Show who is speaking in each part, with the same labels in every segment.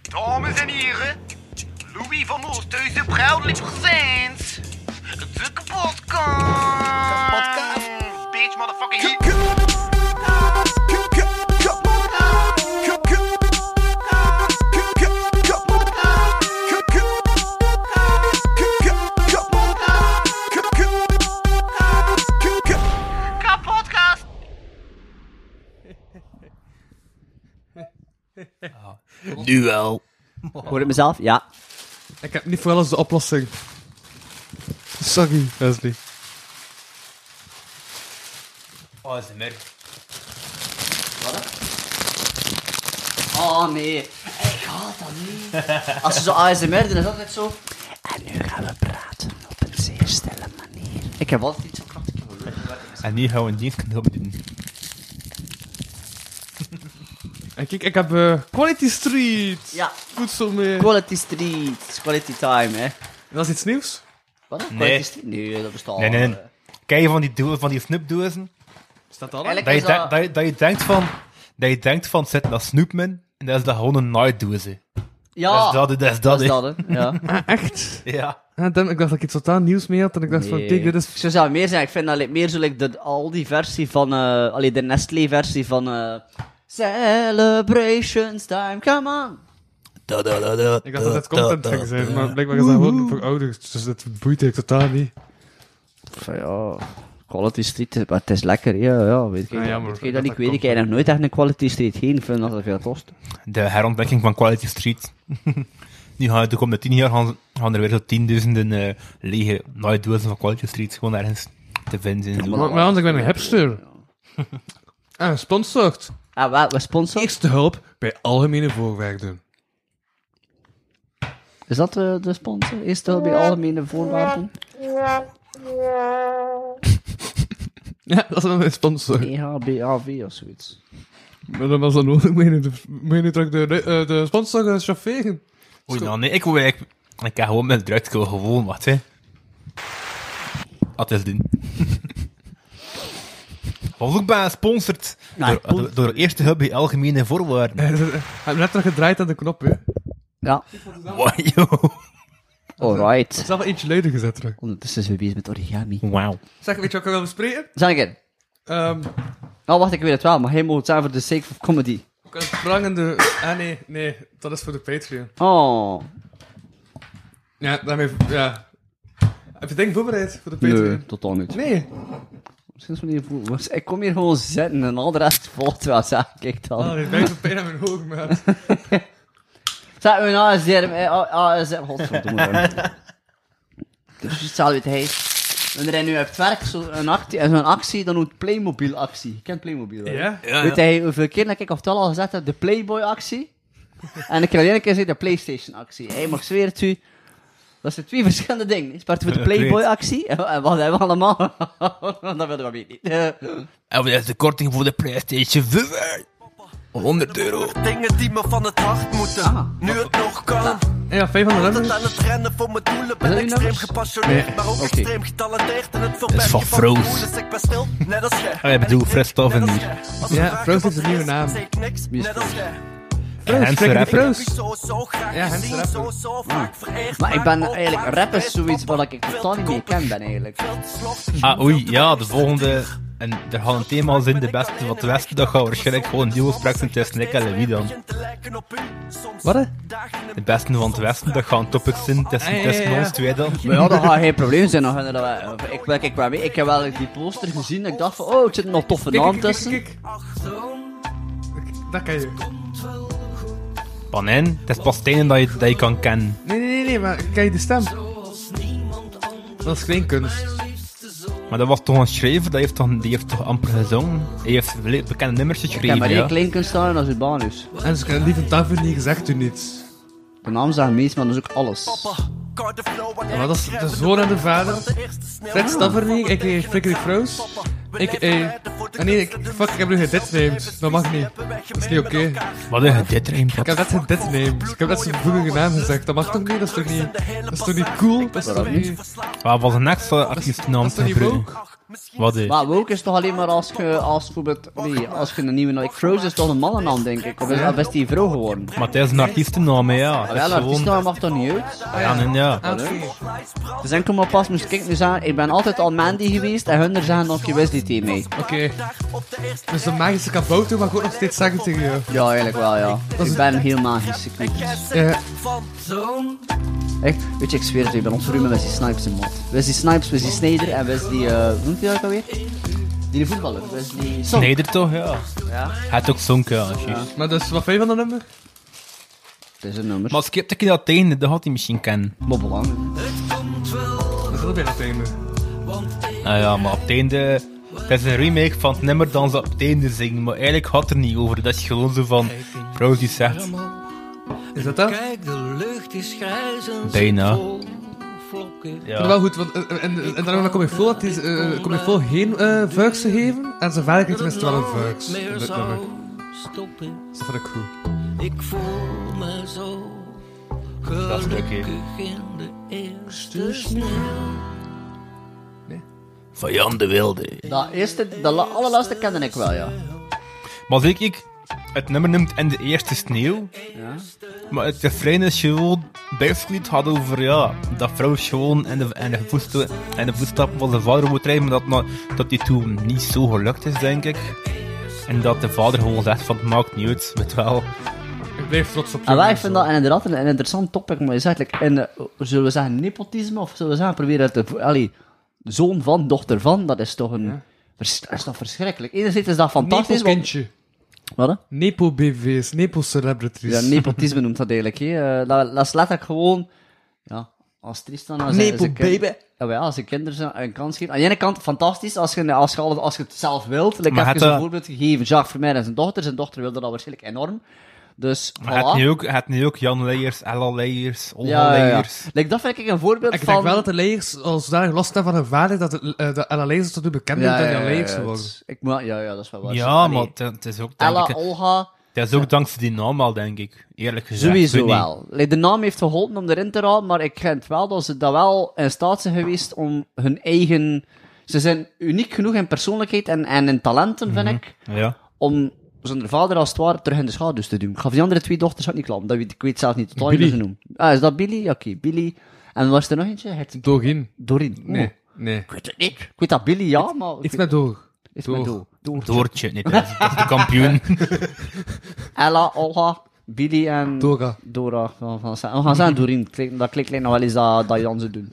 Speaker 1: Dames en heren, Louis van Oosthuizen, proudly presents de kapotkast.
Speaker 2: Kapotkast.
Speaker 1: Bitch, motherfucking heat. Kapotkast.
Speaker 3: Nu wel.
Speaker 4: Hoor ik mezelf? Ja.
Speaker 5: Ik heb niet voor alles de oplossing. Sorry, Wesley.
Speaker 3: Oh, is de merk.
Speaker 4: Oh nee, ik haat dat niet. Als je zo ASMR doet, is dat altijd zo. En nu gaan we praten op een zeer stille manier. Ik heb altijd iets zo krachtig in mijn lucht.
Speaker 3: En nu gaan we een dienstcondom doen.
Speaker 5: En kijk, ik heb eh, Quality Street.
Speaker 4: Ja,
Speaker 5: Goed zo mee.
Speaker 4: quality street, quality time, hè.
Speaker 5: Dat is iets nieuws.
Speaker 4: Wat? Quality
Speaker 3: Nee.
Speaker 4: street? Nee, dat bestaat
Speaker 3: Nee, nee, nee.
Speaker 4: al, eh.
Speaker 3: Ken je van die, doel, van die snoepdozen?
Speaker 5: Is dat al?
Speaker 4: Eigenlijk
Speaker 3: Dat je,
Speaker 4: is dat...
Speaker 3: denkt- dat, je, dat je denkt van... Dat je denkt van, zit dat snoep in? En dat is dat gewoon een nightdoze.
Speaker 4: Ja,
Speaker 3: Dat is dat, hè, dat is dat.
Speaker 4: is
Speaker 3: hè.
Speaker 4: Oh. dat, hè. Ja.
Speaker 5: Ah, Echt?
Speaker 3: Ja.
Speaker 5: Ja, damn, ik dacht dat ik iets totaal nieuws mee had. En ik dacht van,
Speaker 4: Nee.
Speaker 5: kijk, dit
Speaker 4: Ik
Speaker 5: is...
Speaker 4: zou zelf meer zijn. Ik vind dat lijkt meer zo like de Aldi-versie van... eh allee, de Nestlé-versie van... eh Celebrations time, come on.
Speaker 3: Da, da, da, da,
Speaker 5: Ik dacht dat het
Speaker 3: da, da,
Speaker 5: content
Speaker 3: da,
Speaker 5: ging zijn.
Speaker 3: da.
Speaker 5: Maar blijkbaar is dat gewoon voor ouders. Dus dat boeit ik totaal niet.
Speaker 4: Van ja, quality street, maar het is lekker, ja, ja weet ik.
Speaker 5: Ah, Ja, jammer.
Speaker 4: Weet je
Speaker 5: Dat
Speaker 4: dat ik
Speaker 5: dat
Speaker 4: weet, ik heb nog nooit echt een quality street heen, vind dat dat veel kost.
Speaker 3: De herontdekking van Quality Street. nu gaan we de komende tien jaar gaan, ze- gaan er weer zo tienduizenden eh, lege nightdozen van Quality Street gewoon ergens te vinden zijn.
Speaker 4: maar-
Speaker 5: Maar, maar anders, ik ben een hipster. En sponsort.
Speaker 4: Ah, wel, wat sponsor?
Speaker 5: Eerste hulp bij algemene voorwerpen.
Speaker 4: Is dat eh, de sponsor? Is dat bij algemene voorwaarden?
Speaker 5: Ja, dat is dan mijn sponsor.
Speaker 4: E EHBAV of zoiets.
Speaker 5: Maar dan was dat nodig. Moet je nu de- moet je nu terug de, eh, de sponsor gaan chaufferen?
Speaker 3: Oei, nou nee, ik, wil eigenlijk- ik ga gewoon met druidskool gewoon wat, hè. Wat is doen. Was ook bijna gesponsord
Speaker 4: Ja,
Speaker 3: door, door, door Eerste Hub bij Algemene Voorwaarden.
Speaker 5: Hij heeft letterlijk gedraaid aan de knop, hè.
Speaker 4: Ja,
Speaker 3: Wow, joh.
Speaker 4: alright.
Speaker 5: Zelf ietsje luider gezet terug.
Speaker 4: Ondertussen zijn we bezig met origami.
Speaker 3: Wauw.
Speaker 5: Zeg, weet je wat ik wil bespreken?
Speaker 4: Zeg een keer.
Speaker 5: Ehm,
Speaker 4: Nou, wacht, ik weet het wel, maar hij moet het zijn voor de sake of comedy.
Speaker 5: ik wil prangende... Ah, nee, nee. Dat is voor de Patreon.
Speaker 4: Oh,
Speaker 5: Ja, daarmee... Ja. Heb je ding voorbereid voor de
Speaker 4: nee,
Speaker 5: Patreon?
Speaker 4: totaal niet.
Speaker 5: Nee.
Speaker 4: Sinds wanneer voel was- Ik kom hier gewoon zitten en al de rest volgt wel, zeg ik dan.
Speaker 5: Ah, die pijn doet pijn aan mijn ogen, maat.
Speaker 4: Zet me nou eens hier. eh, ah, Ah, is godverdomme. Dus je zal weten, hey. Wanneer hij nu hebt werk, zo'n actie, en zo'n actie, dan noemt Playmobil actie. Je kent Playmobil, hè?
Speaker 5: Ja?
Speaker 4: Weet hij hoeveel keer dat ik of al gezet heb, de Playboy actie? en ik heb alleen een keer gezien de Playstation actie. Hij mag zweer het u. Dat zijn twee verschillende dingen. Is part voor de
Speaker 3: Ja, ik weet.
Speaker 4: Playboy actie, en en wat hebben we allemaal? dat wilden we niet. Eh,
Speaker 3: En wat is de korting voor de PlayStation 5? 100 euro.
Speaker 2: Dingen die me van het hart moeten,
Speaker 4: Ah.
Speaker 2: nu het nog kan.
Speaker 5: Ja, 500
Speaker 2: Altijd
Speaker 5: euro.
Speaker 2: aan het rennen voor mijn doelen.
Speaker 4: dat
Speaker 2: Ben
Speaker 3: nou
Speaker 4: uw
Speaker 2: extreem
Speaker 4: nummers?
Speaker 2: gepassioneerd, maar ook
Speaker 4: Oké.
Speaker 2: extreem getalenteerd. En het verbergen
Speaker 3: van
Speaker 2: van
Speaker 3: Froos.
Speaker 2: gevoelens. Ik ben stil, net als jij.
Speaker 3: Ah, je bedoelt Fresstof en hier.
Speaker 5: Ja, Froos is een nieuwe naam.
Speaker 4: Wie is Froos?
Speaker 5: Proost,
Speaker 3: Hans
Speaker 5: trek
Speaker 3: de
Speaker 5: die
Speaker 3: Rapper.
Speaker 5: proost. Ja,
Speaker 2: Ja,
Speaker 5: Hans de
Speaker 2: hem
Speaker 5: Rapper.
Speaker 2: zo, zo vaak vereerd.
Speaker 4: Maar ik ben
Speaker 2: vaak
Speaker 4: eigenlijk,
Speaker 2: opwaarts
Speaker 4: rap is
Speaker 2: geweest,
Speaker 4: zoiets
Speaker 2: papa.
Speaker 4: waar ik totaal niet mee ken ben eigenlijk.
Speaker 2: Veel te slordig,
Speaker 3: Ah,
Speaker 2: veel
Speaker 3: oei,
Speaker 2: te
Speaker 3: ja,
Speaker 2: weinig
Speaker 3: de volgende. En er gaan een thema zijn, de beste van het Westen. Dat gaan we waarschijnlijk gewoon nieuw spreken tussen ik en Louis dan.
Speaker 5: Wat, hè?
Speaker 3: De beste van het Westen, dat gaan topics zijn tussen,
Speaker 5: Ah, ja, ja,
Speaker 3: tussen
Speaker 5: ja.
Speaker 3: ons twee dan.
Speaker 4: Maar ja, dat gaat geen probleem zijn. Nog, inderdaad. ik, ik, ik, ik, ik heb wel die poster gezien en ik dacht van, oh, het zit een nog toffe naam tussen.
Speaker 5: Dat kan je.
Speaker 3: Panin, het is pas het einde dat je, dat je kan kennen.
Speaker 5: Nee, nee, nee, nee, maar kijk de stem. Dat is geen kunst.
Speaker 3: Maar dat was toch een schrijver, dat heeft toch, die heeft toch amper gezongen? Hij heeft le- bekende nummers
Speaker 4: Ik heb
Speaker 3: geschreven,
Speaker 4: maar
Speaker 3: ja.
Speaker 4: één klein kunnen staan als Urbanus.
Speaker 5: En ze kunnen lieve tafel niet gezegd u niets.
Speaker 4: dus. De naam zegt meest, maar dat is ook alles.
Speaker 5: Maar dat is de zoon en de vader. Fred Stavernie, ik kreeg Frederik Froos. Ik, eh. ah, nee, ik, fuck, ik heb nu geditnamed. Dat mag niet. Dat is niet oké.
Speaker 3: Wat een dit rijmt.
Speaker 5: Ik heb net geditnamed. Ik heb net zijn vroegere naam gezegd. Dat mag toch niet? Dat is toch niet, dat is toch niet cool? Dat is toch niet.
Speaker 3: Wat was een extra artiestennaam
Speaker 5: dat is toch niet
Speaker 3: gebruiken? Wat eh?
Speaker 4: Maar woke is toch alleen maar als je, als bijvoorbeeld, nee, als je een nieuwe... nou, Ik Frozen is toch een mannennaam, denk ik. Of is of is die vrouw geworden?
Speaker 3: Maar het is een artiestennaam, hè, ja.
Speaker 4: Ah,
Speaker 3: Het is
Speaker 4: Wel,
Speaker 3: gewoon...
Speaker 4: artiestennaam mag toch niet uit?
Speaker 3: Ja, nee, ja.
Speaker 5: Ah, oké.
Speaker 4: Dus dan kom maar pas, moest ik nu zeggen, ik ben altijd al Mandy geweest en hun er zeggen dan je Wesley thee mee.
Speaker 5: Oké. Dus de magische kabouter mag ook nog steeds zeggen tegen jou.
Speaker 4: Ja, eigenlijk wel, ja.
Speaker 5: is-
Speaker 4: Ik ben heel magisch, ik weet het.
Speaker 5: Ja.
Speaker 4: Echt, weet je, ik zweer het, ik ben ontverruimd met die Snipes in mod. Wesley Snipes, Wesley Sneijder en Wesley, eh, hoe noemt hij dat ook alweer? Die voetballer, Wesley... Song.
Speaker 3: Snijder toch, ja.
Speaker 4: Ja.
Speaker 3: Hij had ook zonken, ja. juist.
Speaker 5: Maar dat is wat vind je van dat nummer?
Speaker 4: Het is een nummer.
Speaker 3: Maar skip dat je dat tegen, dat had hij misschien kennen.
Speaker 4: Maar belangrijk.
Speaker 5: Dat is wel bijna tegen
Speaker 3: Nou ja, maar op het einde... Het is een remake van het nummer dan ze op het einde zingen, maar eigenlijk had het er niet over. Dat is gewoon zo van... Vrouw die zegt...
Speaker 5: Is dat dat?
Speaker 6: Kijk, de lucht is grijs en
Speaker 3: Bijna.
Speaker 6: vol vlokken.
Speaker 5: Maar
Speaker 3: Ja.
Speaker 5: wel goed, want eh, eh, en, en, daarom kom ik vol dat die, eh, kom ik vol geen eh vuiks te geven. En zijn vader krijgt tenminste wel een vuiks.
Speaker 6: Meer
Speaker 5: Dat
Speaker 6: zou
Speaker 5: nummer.
Speaker 6: stoppen.
Speaker 5: Dus Dat vond ik goed.
Speaker 6: Ik voel me zo
Speaker 3: is leuk, hè.
Speaker 6: gelukkig in de eerste sneeuw.
Speaker 3: Van Jan de Wilde.
Speaker 4: Dat eerste, de la- allerlaatste kende ik wel, ja.
Speaker 3: Maar zie ik, het nummer noemt in de eerste sneeuw. Maar het refrein is gewoon, basically het gaat over, ja, dat vrouw gewoon in de, in de, voetsta- in de voetstappen van zijn vader moet rijden, maar dat, nou- dat die toen niet zo gelukt is, denk ik. En dat de vader gewoon zegt van, het maakt niet uit, weet wel.
Speaker 5: Ik blijf trots op
Speaker 4: En wij
Speaker 5: jongens,
Speaker 4: vinden dat inderdaad een, een interessant topic, maar is eigenlijk in, eh, zullen we zeggen nepotisme, of zullen we zeggen proberen het te... vo- Allee, zoon van, dochter van, dat is toch een... vers- dat is toch verschrikkelijk. Enerzijds is dat
Speaker 5: hoor.
Speaker 4: fantastisch,
Speaker 5: Nepo
Speaker 4: want...
Speaker 5: kindje.
Speaker 4: Wat, hè?
Speaker 5: Nepo BV's, Nepo celebrities.
Speaker 4: Ja, nepotisme noemt dat eigenlijk, hè. Eh, dat, dat is letterlijk gewoon... Ja, als Tristan... nou Als
Speaker 5: Nepo baby.
Speaker 4: Ja, maar ja, als je kinderen zo een kans geeft. Aan de ene kant, fantastisch, als je, als je, alles, als je het zelf wilt. Like,
Speaker 3: Maar
Speaker 4: ik heb
Speaker 3: het,
Speaker 4: je een
Speaker 3: eh,
Speaker 4: voorbeeld gegeven. Jacques Vermeer en zijn dochter. Zijn dochter wilde dat waarschijnlijk enorm. Dus, voilà.
Speaker 3: Maar het nu ook, het nu ook Jan Leijers, Ella Leijers, Olga
Speaker 4: Ja, ja, ja.
Speaker 3: Leijers.
Speaker 4: Like, dat vind ik een voorbeeld
Speaker 5: Ik
Speaker 4: van...
Speaker 5: denk wel dat de leers als daar last hebben van hun vader, dat de, eh, dat alle leers tot nu bekend zijn dan de leers
Speaker 4: het-
Speaker 5: geworden.
Speaker 4: Ik, maar, ja, ja, dat is wel waar.
Speaker 3: Ja,
Speaker 4: Allee,
Speaker 3: maar het, het is ook, denk
Speaker 4: Ella,
Speaker 3: ik,
Speaker 4: Olga,
Speaker 3: het is ook dankzij die naam al, denk ik. Eerlijk gezegd.
Speaker 4: sowieso
Speaker 3: weet niet.
Speaker 4: wel. Like, de naam heeft geholpen om erin te raden, maar ik vind wel dat ze dat wel in staat zijn geweest om hun eigen... Ze zijn uniek genoeg in persoonlijkheid en, en in talenten,
Speaker 3: Mhm.
Speaker 4: vind ik,
Speaker 3: Ja.
Speaker 4: om zonder vader als het ware terug in de schaduw te doen. Ik ga van die andere twee dochters ook niet klappen, dat weet, ik weet zelf niet totaal niet hoe
Speaker 5: Billy.
Speaker 4: ze noemen. Ah, is dat Billy? Ja, Oké, Billy. En was er nog eentje? Het
Speaker 5: Door in.
Speaker 4: Doreen. Oh,
Speaker 5: Nee, nee.
Speaker 4: Ik weet het niet. Ik weet dat Billy, ja, maar... ik
Speaker 5: Iets
Speaker 4: weet-
Speaker 5: met door.
Speaker 4: iets met
Speaker 5: door.
Speaker 4: Do. Door.
Speaker 3: Doortje, niet dat is, dat is de kampioen.
Speaker 4: Ella, Olga, Billy en
Speaker 5: Dora.
Speaker 4: Dora van, van Sa- We gaan zeggen Doreen. Klik- Dat klinkt lijkt nog wel eens dat, dat Jan ze doen.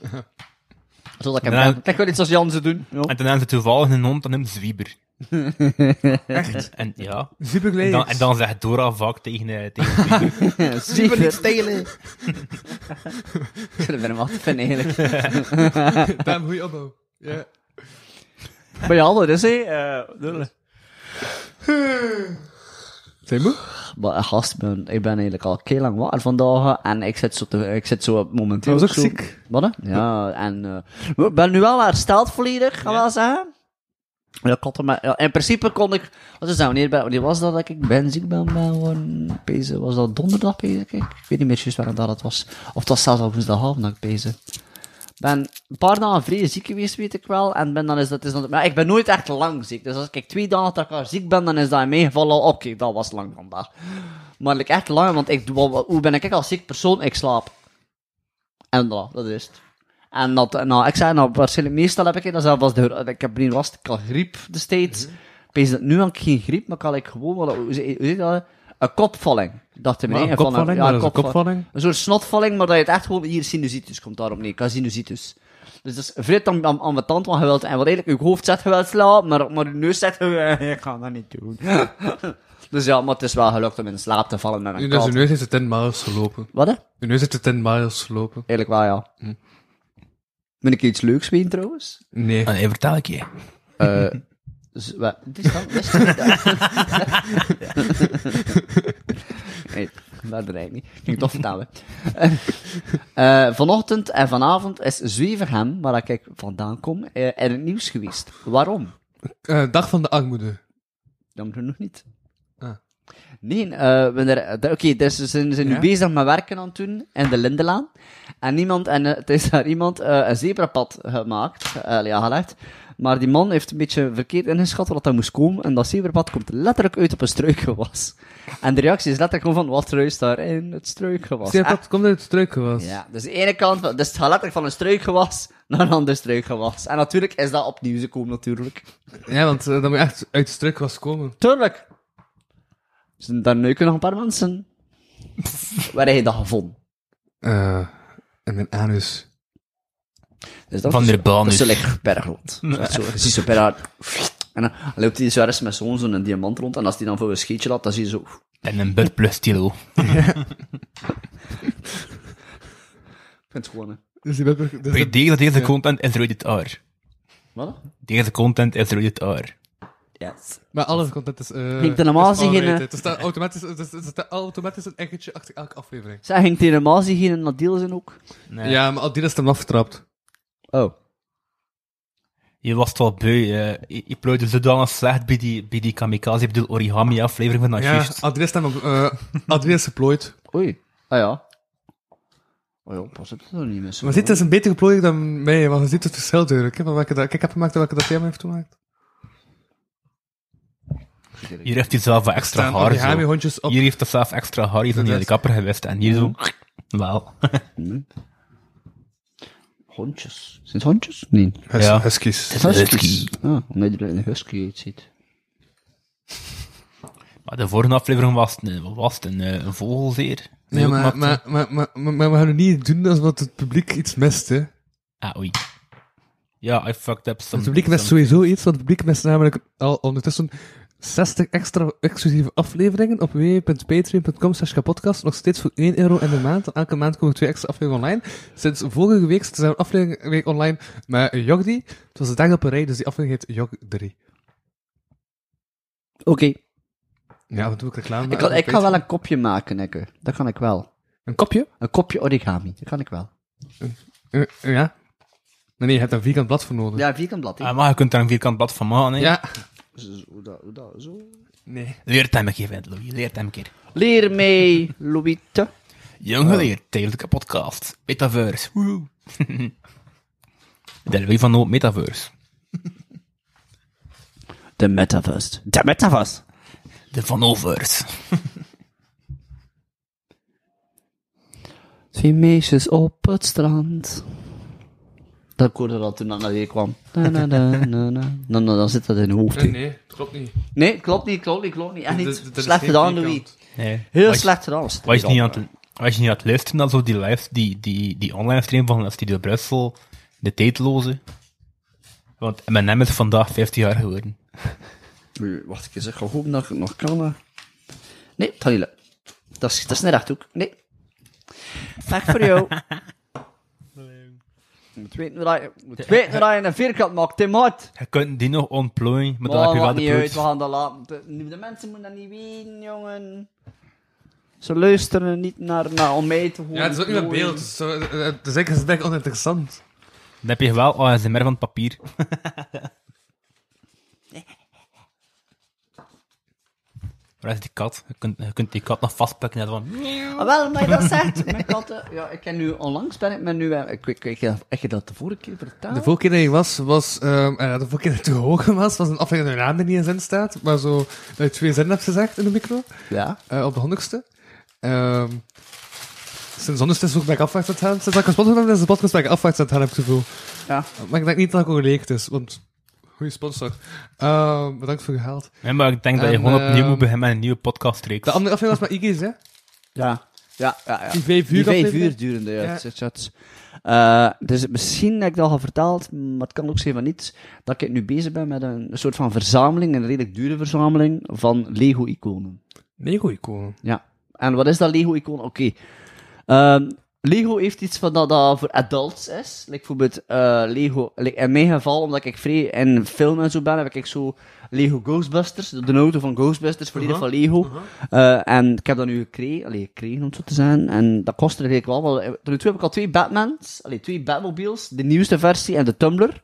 Speaker 4: Zodat ik hem
Speaker 3: Ja.
Speaker 4: ken. Kijk wel iets als Jan ze doen. Ja.
Speaker 3: En dan hebben ze toevallig een hond, dan hem Zwieber. Echt? En, ja.
Speaker 5: Super
Speaker 3: En
Speaker 5: leers.
Speaker 3: dan, en dan zegt Dora vaak tegen, eh, tegen Zwieber.
Speaker 4: Super niet stelen. Ik ben hem altijd fan eigenlijk.
Speaker 5: Damn, goeie opbouw. Ja.
Speaker 4: Maar ja, dat is hij. eh, dolle.
Speaker 5: Zijn moe?
Speaker 4: Maar eh, gast, ik ben, ik ben eigenlijk al heel lang wakker vandaag. eh, En ik zit zo, te, ik zit zo momenteel.
Speaker 5: Hij was ook
Speaker 4: zo-
Speaker 5: ziek.
Speaker 4: Wat? hè? Ja, en. eh, maar ik ben nu wel hersteld volledig, ga wel zeggen. Ja, ik had er maar, ja, in principe kon ik. Wat is dat? Wanneer, ben- wanneer was dat dat ik ben ziek ben? ben gewoon bezig. Was dat donderdag bezig? Ik, ik weet niet meer juist wanneer dat het was. Of het was zelfs al woensdagavond dat ik bezig. ben een paar dagen vrij ziek geweest, weet ik wel. En ben dan is dat. Is dan, maar ik ben nooit echt lang ziek. Dus als ik twee dagen achter elkaar ziek ben, dan is dat in mijn geval al. Oké, dat was lang vandaag. Maar like, echt lang, want ik, doe wel wat- hoe ben ik als ziek persoon? Ik slaap. En voilà, dat is het. En dat, nou, ik zei, nou, waarschijnlijk meestal heb ik dat zelf als de, ik heb niet last, ik had griep destijds.
Speaker 5: Mhm.
Speaker 4: Ik weet dat nu had ik geen griep, maar ik had like, gewoon, wat- hoe zeg hoe zeg je dat? Een kopvalling, dacht in mijn
Speaker 5: Een
Speaker 4: eigen van
Speaker 5: Ah, kopvalling? Maar dat is een kopvalling.
Speaker 4: een soort snotvalling, maar dat je het echt gewoon hier sinusitis komt daarop neer. Ik had sinusitis. Dus dat is vrij am- am- ambetant, want je wilt, en wat eigenlijk, je hoofd zet je wel slaan, maar, maar je neus zet je, eh, ik ga dat niet doen. dus ja, maar het is wel gelukt om in slaap te vallen met een
Speaker 5: Dus uw
Speaker 4: kat.
Speaker 5: neus heeft de 10 miles gelopen.
Speaker 4: Wat hè?
Speaker 5: Uw neus heeft de 10 miles gelopen.
Speaker 4: Eigenlijk wel, ja. Ben ik iets leuks weten trouwens?
Speaker 5: Nee.
Speaker 3: En hij vertel ik je.
Speaker 4: Eh, Z- wa- Dit is dan best goed. Nee, dat draait niet. Ging toch vertellen. Eh, eh, vanochtend en vanavond is Zweverhem, waar ik vandaan kom, eh, in het nieuws geweest. Waarom?
Speaker 5: Eh, dag van de armoede.
Speaker 4: Jammer genoeg niet.
Speaker 5: Ah.
Speaker 4: Nee, eh, we er- de- oké, dus ze zijn, ze zijn
Speaker 5: Ja?
Speaker 4: nu bezig met werken aan het doen in de Lindelaan. En niemand, en eh, het is daar iemand eh, een zebrapad gemaakt, eh, ja, gelegd. Maar die man heeft een beetje verkeerd ingeschat wat dat moest komen. En dat zebrapad komt letterlijk uit op een struikgewas. En de reactie is letterlijk gewoon van, wat ruist daar in het struikgewas?
Speaker 5: Zie je dat? Komt uit het struikgewas.
Speaker 4: Ja, dus de ene kant, van- dus het gaat letterlijk van een struikgewas naar een ander struikgewas. En natuurlijk is dat opnieuw gekomen, natuurlijk.
Speaker 5: Ja, want eh, dan moet je echt uit het struikgewas komen.
Speaker 4: Tuurlijk. Dus daar neuken nog een paar mensen. Waar heb je dat gevonden?
Speaker 5: Eh, en mijn anus.
Speaker 4: Dus dat
Speaker 3: Van
Speaker 4: is-
Speaker 3: der Baan
Speaker 4: Dat is zo
Speaker 3: is-
Speaker 4: lekker perglot. Zo, je ziet zo per haar. En dan loopt hij zo ergens met zo'n zo'n diamant rond. En als hij dan voor een scheetje laat, dan zie je zo...
Speaker 3: En een bed plus stilo.
Speaker 4: Ik vind het gewoon, hè.
Speaker 5: Dus die bed- dus
Speaker 3: Bij
Speaker 5: dat-
Speaker 3: deze, dat deze content is rated R.
Speaker 4: Wat?
Speaker 3: Deze content is rated R.
Speaker 4: Yes.
Speaker 5: Maar alle content is. eh
Speaker 4: Ging er normaal
Speaker 5: is
Speaker 4: gezien geen,
Speaker 5: R-rated.
Speaker 4: eh,
Speaker 5: Er staat automatisch, er staat- er staat automatisch een eggetje achter elke aflevering.
Speaker 4: Zij ging tegen normaal zien geen Nadeel zijn ook.
Speaker 3: Ja.
Speaker 5: Ja, maar Adidas heeft hem afgetrapt.
Speaker 4: Oh.
Speaker 3: Je was het wel beu. eh. je, je plooide zodanig slecht bij die, bij die kamikaze, ik bedoel origami aflevering van dat
Speaker 5: Ja,
Speaker 3: juist.
Speaker 5: Adidas heeft hem. eh, Adidas is geplooid.
Speaker 4: Oei. Ah ja. Oh ja, pas het er niet meer zo.
Speaker 5: Maar dit is een betere plooiing dan mij, want je ziet het verschil duidelijk. hè, van welke dat- Kijk, ik heb gemaakt en welke dat jij me heeft gemaakt.
Speaker 3: Hier heeft hij zelf wat extra
Speaker 5: Staan
Speaker 3: haar. zo.
Speaker 5: origami hondjes op.
Speaker 3: Hier heeft hij zelf extra haar. Hier is nog niet
Speaker 5: Dat
Speaker 3: aan de kapper geweest. En hier zo. Wel.
Speaker 4: Hondjes. Zijn het hondjes? Nee.
Speaker 5: Hus-
Speaker 3: Ja.
Speaker 5: Huskies.
Speaker 4: Huskies. Ah, omdat je er een husky uitziet.
Speaker 3: Maar de vorige aflevering was het een, wat was het, een, eh, een vogelzeer.
Speaker 5: Nee, maar, maar, maar, maar, maar, maar we gaan het niet doen alsof het publiek iets mist, hè.
Speaker 3: Ah, oei. Ja, I fucked up some...
Speaker 5: Het publiek mist
Speaker 3: some-
Speaker 5: sowieso iets, want het publiek mist namelijk al ondertussen 60 extra exclusieve afleveringen op www.patreon.com slash kapodcast. Nog steeds voor 1 euro in de maand. En elke maand komen er twee extra afleveringen online. Sinds vorige week staat er een aflevering week online met Jogdi. Het was de dag op een rij, dus die aflevering heet Jog 3.
Speaker 4: Oké.
Speaker 5: Ja, wat doe ik reclame?
Speaker 4: Ik kan, ik kan wel een kopje maken, Nekke. Dat kan ik wel.
Speaker 5: Een kopje?
Speaker 4: Een kopje origami. Dat kan ik wel.
Speaker 5: Eh, eh, ja. Nee, nee, je hebt een vierkant blad voor nodig.
Speaker 4: Ja, vierkant blad. hè.
Speaker 3: Ah, maar je kunt er een vierkant blad van maken, hè.
Speaker 5: Ja.
Speaker 4: Zo, dat- dat- zo.
Speaker 5: Nee.
Speaker 3: Leert hem een keer, vent, Louis. Leert hem een keer.
Speaker 4: Leer mee, Louite.
Speaker 3: Jong
Speaker 5: Oh.
Speaker 3: geleerd, tijdelijke podcast. Metaverse. Woehoe. De Louis van Noot Metaverse.
Speaker 4: De metaverse. De metaverse.
Speaker 3: De Van Overs.
Speaker 4: Twee meisjes op het strand. Dat hoorde dat toen dat naar hier kwam. Na, na, na, na, na. Dan, dan, dan zit dat in je hoofd.
Speaker 5: eh, Nee, nee, klopt niet.
Speaker 4: Nee, klopt niet, klopt niet, klopt niet. Echt
Speaker 5: Dat- dat-
Speaker 4: niet.
Speaker 5: dat is
Speaker 4: Slecht
Speaker 5: geen
Speaker 4: gedaan,
Speaker 5: vierkant.
Speaker 4: Louis.
Speaker 3: Nee.
Speaker 4: Heel
Speaker 3: Was-
Speaker 4: slecht gedaan. was het.
Speaker 3: Was je niet aan het, was je niet aan het luisteren naar zo die live, die, die, die online stream van Studio Brussel, de tijdloze? Want mijn naam is vandaag 15 jaar geworden.
Speaker 4: Nee, Wacht, ik zeg gewoon dat ik het nog kan. hè. Nee, dat niet lukken. Dat is, dat is net rechthoek. Nee. Weg voor jou. Je moet weten waar je, je moet weten waar je een vierkant maakt, hè, maat.
Speaker 3: Je kunt die nog ontplooien, maar dan
Speaker 4: Maar
Speaker 3: heb je wel
Speaker 4: maakt
Speaker 3: de
Speaker 4: niet uit, we
Speaker 3: proof.
Speaker 4: gaan dat laten. De, de mensen moeten dat niet weten, jongen. Ze luisteren niet naar, naar om mij te horen.
Speaker 5: Ja, het is ook niet met beeld. Dus zo, eh, eh, het is eigenlijk het is eigenlijk oninteressant.
Speaker 3: Dan heb je wel ASMR van het papier. Waar is die kat? Je kunt, je kunt die kat nog vastpakken. Net van...
Speaker 4: Ah, wel, maar dat zegt mijn katten. Ja, ik ken nu onlangs, ben ik me nu... eh, Ik, ik, ik, heb je dat de vorige keer verteld?
Speaker 5: De vorige keer dat je was, was ehm, eh, de vorige keer dat je te hoog was, was een aflevering dat je naam er niet in zin staat, maar zo dat je twee zinnen hebt gezegd in de micro,
Speaker 4: Ja.
Speaker 5: eh, op de honderdste. Ehm sinds honderdste is ook bij afwacht aan het gaan. Sinds dat ik een sponsor heb, is de podcast bij afwacht aan het gaan, heb ik het gevoel.
Speaker 4: Ja.
Speaker 5: Maar ik denk niet dat ik geleekt is, want goede sponsor. Ehm, bedankt voor je geld.
Speaker 3: Nee, maar ik denk dat je
Speaker 5: En,
Speaker 4: eh,
Speaker 3: gewoon opnieuw
Speaker 5: ehm,
Speaker 3: moet beginnen met een nieuwe podcastreeks.
Speaker 5: De andere aflevering was met Iggy's, hè?
Speaker 4: Ja, ja, ja. ja.
Speaker 5: Die vijf uur
Speaker 4: Die vijf
Speaker 5: aflevering.
Speaker 4: uur durende, ja.
Speaker 5: Ja.
Speaker 4: het- het- het- Eh, dus misschien heb ik dat al verteld, maar het kan ook zijn van niet, dat ik nu bezig ben met een soort van verzameling, een redelijk dure verzameling, van Lego-iconen.
Speaker 5: Nee, goeie komen.
Speaker 4: Ja. En wat is dat Lego-icoon? Oké. Ehm, Lego heeft iets van dat, dat voor adults is. Like bijvoorbeeld eh, Lego. like in mijn geval, omdat ik vrij in film en zo ben, heb ik zo Lego Ghostbusters, de auto van Ghostbusters, volledig
Speaker 5: Uh-huh.
Speaker 4: van Lego. Eh, en ik heb dat nu gekregen, allee, gekregen om het zo te zijn. En dat kostte eigenlijk wel. wel- Tot nu toe heb ik al twee Batmans, allee, twee Batmobiles, de nieuwste versie en de Tumblr.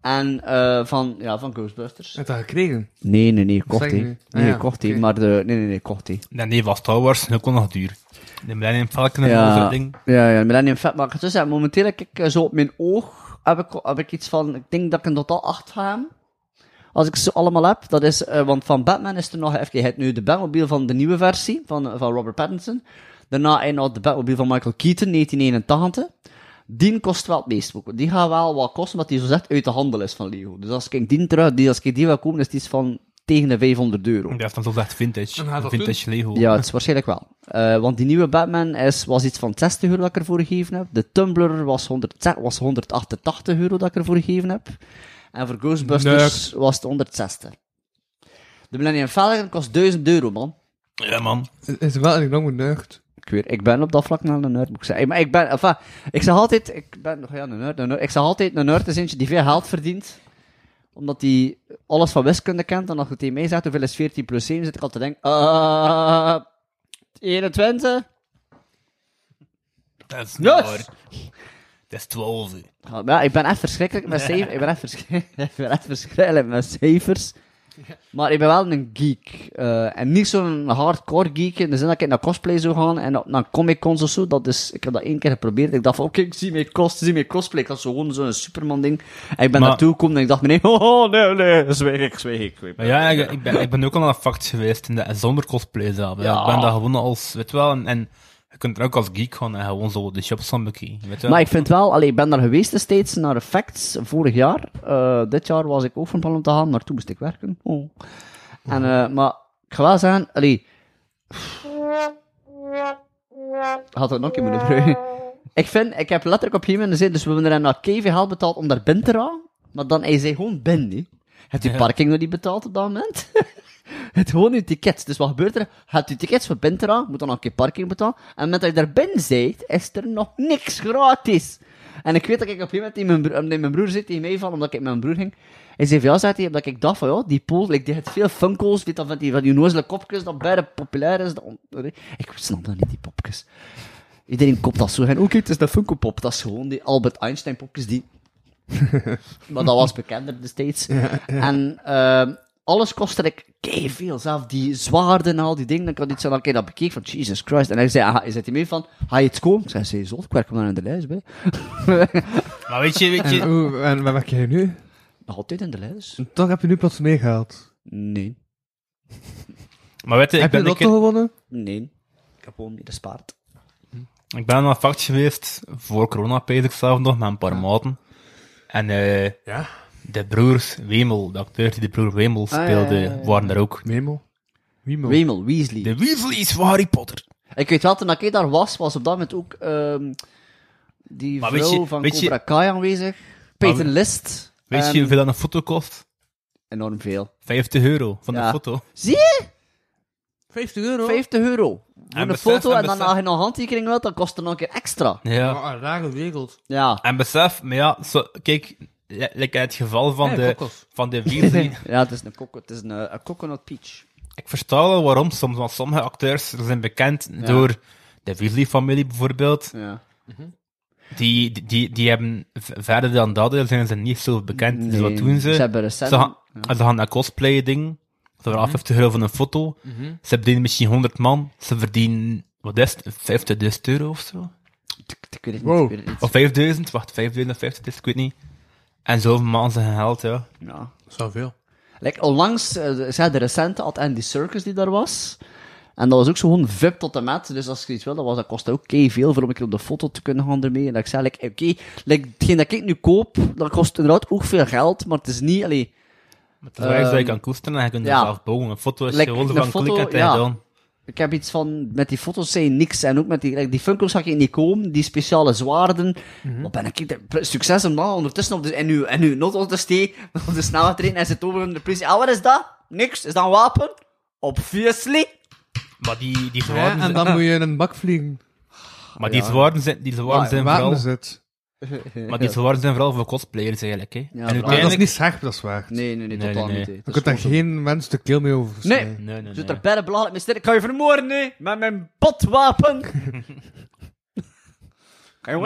Speaker 4: En eh, van, ja, van Ghostbusters.
Speaker 5: Heb je dat gekregen?
Speaker 4: Nee, nee, nee, kocht
Speaker 5: zeg
Speaker 4: hij.
Speaker 5: je nu?
Speaker 4: Nee,
Speaker 5: Ah, ja,
Speaker 4: nee, kocht hij.
Speaker 5: oké.
Speaker 4: Maar de... Nee, nee, nee, kocht hij.
Speaker 3: Nee, nee, was Star Wars en ook nog duur. De Millennium Falcon en al
Speaker 4: Ja,
Speaker 3: zo'n ding.
Speaker 4: ja, ja, Millennium Falcon. Dus ja, momenteel heb ik eh, zo op mijn oog heb ik, heb ik iets van, ik denk dat ik in totaal acht ga hebben. Als ik ze allemaal heb, dat is, eh, want van Batman is er nog even, je hebt nu de Batmobile van de nieuwe versie, van, eh, van Robert Pattinson. Daarna heb je nog de Batmobile van Michael Keaton, 1981. Die kost wel het meest. ook. Die gaat wel wat kosten, omdat die zo zegt uit de handel is van Lego. Dus als ik die terug, die, als ik die wil kopen, is die iets van tegen de 500 euro.
Speaker 3: Dat is dan toch echt vintage.
Speaker 5: Dan gaat dat
Speaker 3: vintage Lego.
Speaker 4: Ja, het is waarschijnlijk wel. Eh, want die nieuwe Batman is, was iets van 60 euro dat ik ervoor gegeven heb. De Tumblr was, 100, was 188 euro dat ik ervoor gegeven heb. En voor Ghostbusters was het 160. De Millennium Falcon kost 1000 euro, man.
Speaker 3: Ja, man.
Speaker 5: Het Is wel een lange neugd.
Speaker 4: Ik, weet, ik ben op dat vlak naar een nerd, moet ik zeggen. Maar ik ben, enfin, ik zeg altijd, ik ben, ja, een nerd, een nerd. Ik zeg altijd, een nerd is eentje die veel geld verdient. Omdat hij alles van wiskunde kent. En als je tegen mij zegt, hoeveel is 14 plus 7, zit ik al te denken, eh, 21?
Speaker 3: Dat is
Speaker 4: Yes!
Speaker 3: waar. Dat is 12. uur.
Speaker 4: Ja, maar ja, ik ben echt verschrikkelijk met cijfers. ik ben echt verschrikkelijk, ik ben echt verschrikkelijk met cijfers. Maar ik ben wel een geek. eh, en niet zo'n hardcore geek in de zin dat ik naar cosplay zou gaan en op- naar comic cons of zo. Dat is, ik heb dat één keer geprobeerd. Ik dacht van, oké, ik zie mijn cos, zie mijn cosplay. Ik had zo gewoon zo'n Superman ding. En ik ben
Speaker 3: Maar-
Speaker 4: naartoe gekomen en ik dacht, nee, oh nee, nee, zweeg ik, zweeg ik. zweeg ik.
Speaker 3: Maar ja, ik, ik ben, ik ben ook al aan een fact geweest in de, zonder cosplay zelf. Ja.
Speaker 4: Ja.
Speaker 3: Ik ben daar gewoon als, weet je wel, en, en je kunt er ook als geek gaan en gewoon zo de shops gaan bekijken. Weet je wel.
Speaker 4: Maar ik vind wel, allee, ik ben daar geweest destijds naar Effects vorig jaar. Eh, dit jaar was ik ook van plan om te gaan, maar toen moest ik werken. Oh. En, eh, maar ik ga wel zeggen, allee, had het nog een keer moeten gebruiken. Ik vind, ik heb letterlijk op een gegeven moment gezien, dus we hebben er naar KV geld betaald om daar binnen te gaan. Maar dan is hij gewoon binnen, hè. Hebt u parking nog niet betaald op dat moment? Het gewoon uw tickets. Dus wat gebeurt er? Hebt u tickets voor binnen te gaan, moet dan nog een keer parking betalen. En met dat je daar binnen bent, is er nog niks gratis. En ik weet dat ik op een gegeven moment in mijn, broer, in mijn broer zit, die meevallen, omdat ik met mijn broer ging. Hij zei van ja, zei hij, omdat ik dacht van ja, die pool, like, die heeft veel funko's, weet dat van die, van die onnozele kopjes, dat bijna populair is. Dat, ik snap dat niet, die popjes. Iedereen koopt dat zo. En ook het is de Funko Pop. Dat is gewoon die Albert Einstein popjes die... maar dat was bekender destijds. En ehm, alles kostte ik veel. Zelf die zwaarden en al die dingen. Dan kan iets zo dan keer dat bekeek van Jesus Christ. En hij zei, ah, is het mee van, ga je iets komen? Ik zei, zei, zot, ik werk hem dan in de lijst bij.
Speaker 3: Maar weet je, weet je,
Speaker 4: Eh,
Speaker 5: En, oeh, en wat maak jij nu?
Speaker 4: Nog altijd in de lijst?
Speaker 5: Toch heb je nu plots meegehaald.
Speaker 4: Nee.
Speaker 3: maar weet je, ik
Speaker 5: Heb je
Speaker 3: ben,
Speaker 5: de
Speaker 3: een
Speaker 5: lotto
Speaker 3: keer-
Speaker 5: gewonnen?
Speaker 4: Nee. Ik heb gewoon niet gespaard.
Speaker 3: ik ben aan een fact geweest, voor corona pees ik zelf nog, met een paar maten. En eh de broers Wemel, de acteur die de broer Wemel
Speaker 4: Ah, ja,
Speaker 3: speelde,
Speaker 4: ja, ja, ja.
Speaker 3: waren er ook.
Speaker 5: Memel.
Speaker 3: Oh.
Speaker 5: Wiemel.
Speaker 4: Wemel, Weasley.
Speaker 3: De Weasleys van Harry Potter.
Speaker 4: Ik weet wel, toen ik daar was, was op dat moment ook ehm, die
Speaker 3: Maar weet
Speaker 4: vrouw
Speaker 3: je-
Speaker 4: van
Speaker 3: weet je-
Speaker 4: Cobra Kai aanwezig. Peter
Speaker 3: we-
Speaker 4: List.
Speaker 3: Weet
Speaker 4: Ehm,
Speaker 3: je hoeveel dat een foto kost?
Speaker 4: Enorm veel.
Speaker 3: 50 euro van
Speaker 4: Ja.
Speaker 3: de foto.
Speaker 4: Zie je?
Speaker 5: 50 euro.
Speaker 4: 50 euro. Voor een
Speaker 3: besef,
Speaker 4: foto
Speaker 3: en
Speaker 4: en dan
Speaker 3: besef.
Speaker 4: als je nog handtekening wilt, dan kost het nog een keer extra.
Speaker 3: Ja.
Speaker 5: Ah, een rare wereld.
Speaker 4: Ja.
Speaker 3: En besef, maar ja, zo, kijk, li- like het geval van
Speaker 5: Ja,
Speaker 3: de,
Speaker 5: kokkels.
Speaker 3: van de Weasley,
Speaker 4: Ja, het is een, coco, het is een, eh, een coconut peach.
Speaker 3: ik versta wel waarom soms, want sommige acteurs zijn bekend door de Weasley-familie bijvoorbeeld,
Speaker 4: Ja.
Speaker 3: die, die- die, die hebben, v- verder dan dat eh, zijn ze niet zo bekend. dus wat
Speaker 4: Nee,
Speaker 3: doen ze?
Speaker 4: Ze hebben
Speaker 3: Ze
Speaker 4: recent... Mhm.
Speaker 3: gaan, ze gaan naar cosplay ding, ze verdienen 50 euro van een foto, ze verdienen misschien 100 man, ze verdienen, wat is het, 50.000 euro of zo?
Speaker 4: Ik- Ik weet het niet.
Speaker 5: Wow.
Speaker 4: Ik weet het niet.
Speaker 3: Of 5000, wacht, 5000 of 50, ik weet niet. En zoveel man zijn geld, ja.
Speaker 4: Ja.
Speaker 5: Zoveel.
Speaker 4: Like, onlangs, eh, de- zei de recente, had Andy Circus die daar was. En dat was ook zo gewoon VIP tot de mat. Dus als je iets wil, dat, was, dat kostte ook kei veel voor om een keer op de foto te kunnen gaan ermee. En dat ik zei, like, oké, like, hetgeen dat ik nu koop, dat kost inderdaad ook veel geld, maar het is niet, allee,
Speaker 3: Het is waar dat je
Speaker 4: Ehm,
Speaker 3: kan koesteren en je kunt er
Speaker 4: ja.
Speaker 3: zelf bouwen. Een foto is
Speaker 4: Like,
Speaker 3: gewoon
Speaker 4: een
Speaker 3: van
Speaker 4: foto,
Speaker 3: klikken en
Speaker 4: ja.
Speaker 3: dan.
Speaker 4: ik heb iets van, met die foto's zijn niks. En ook met die, like, die Funko's zag ik niet komen, die speciale zwaarden.
Speaker 3: Mhm.
Speaker 4: Wat ben ik, de- succes om dan ondertussen op de, en nu, en nu, not op de stee, op de snelheid trainen, en zit over de politie. Ah, wat is dat? Niks. Is dat een wapen? Obviously.
Speaker 3: Maar die, die
Speaker 5: Ja,
Speaker 3: zwaarden,
Speaker 5: en
Speaker 3: zijn-
Speaker 5: dan moet je in een bak vliegen.
Speaker 3: maar die
Speaker 4: Ja. Ah,
Speaker 3: zwaarden zijn, die zwaarden zijn
Speaker 5: Waar
Speaker 3: vooral,
Speaker 5: is het?
Speaker 3: maar die zwaarden zijn vooral voor cosplayers eigenlijk, hè.
Speaker 4: Ja,
Speaker 3: en
Speaker 4: maar
Speaker 5: Maar dat is
Speaker 3: uiteindelijk,
Speaker 5: niet scherp, dat is waar.
Speaker 4: Nee, nee, nee,
Speaker 3: Nee,
Speaker 4: totaal
Speaker 3: nee, nee.
Speaker 4: niet. hè.
Speaker 5: Dan
Speaker 4: Dat
Speaker 5: kunt
Speaker 4: is
Speaker 5: daar
Speaker 4: gewoon zo.
Speaker 5: geen mens de keel mee over
Speaker 4: Nee.
Speaker 5: snijden.
Speaker 3: nee, nee, nee.
Speaker 4: Zit er bijna belachelijk mee Ik kan je vermoorden, hè? Met mijn botwapen.
Speaker 3: Maar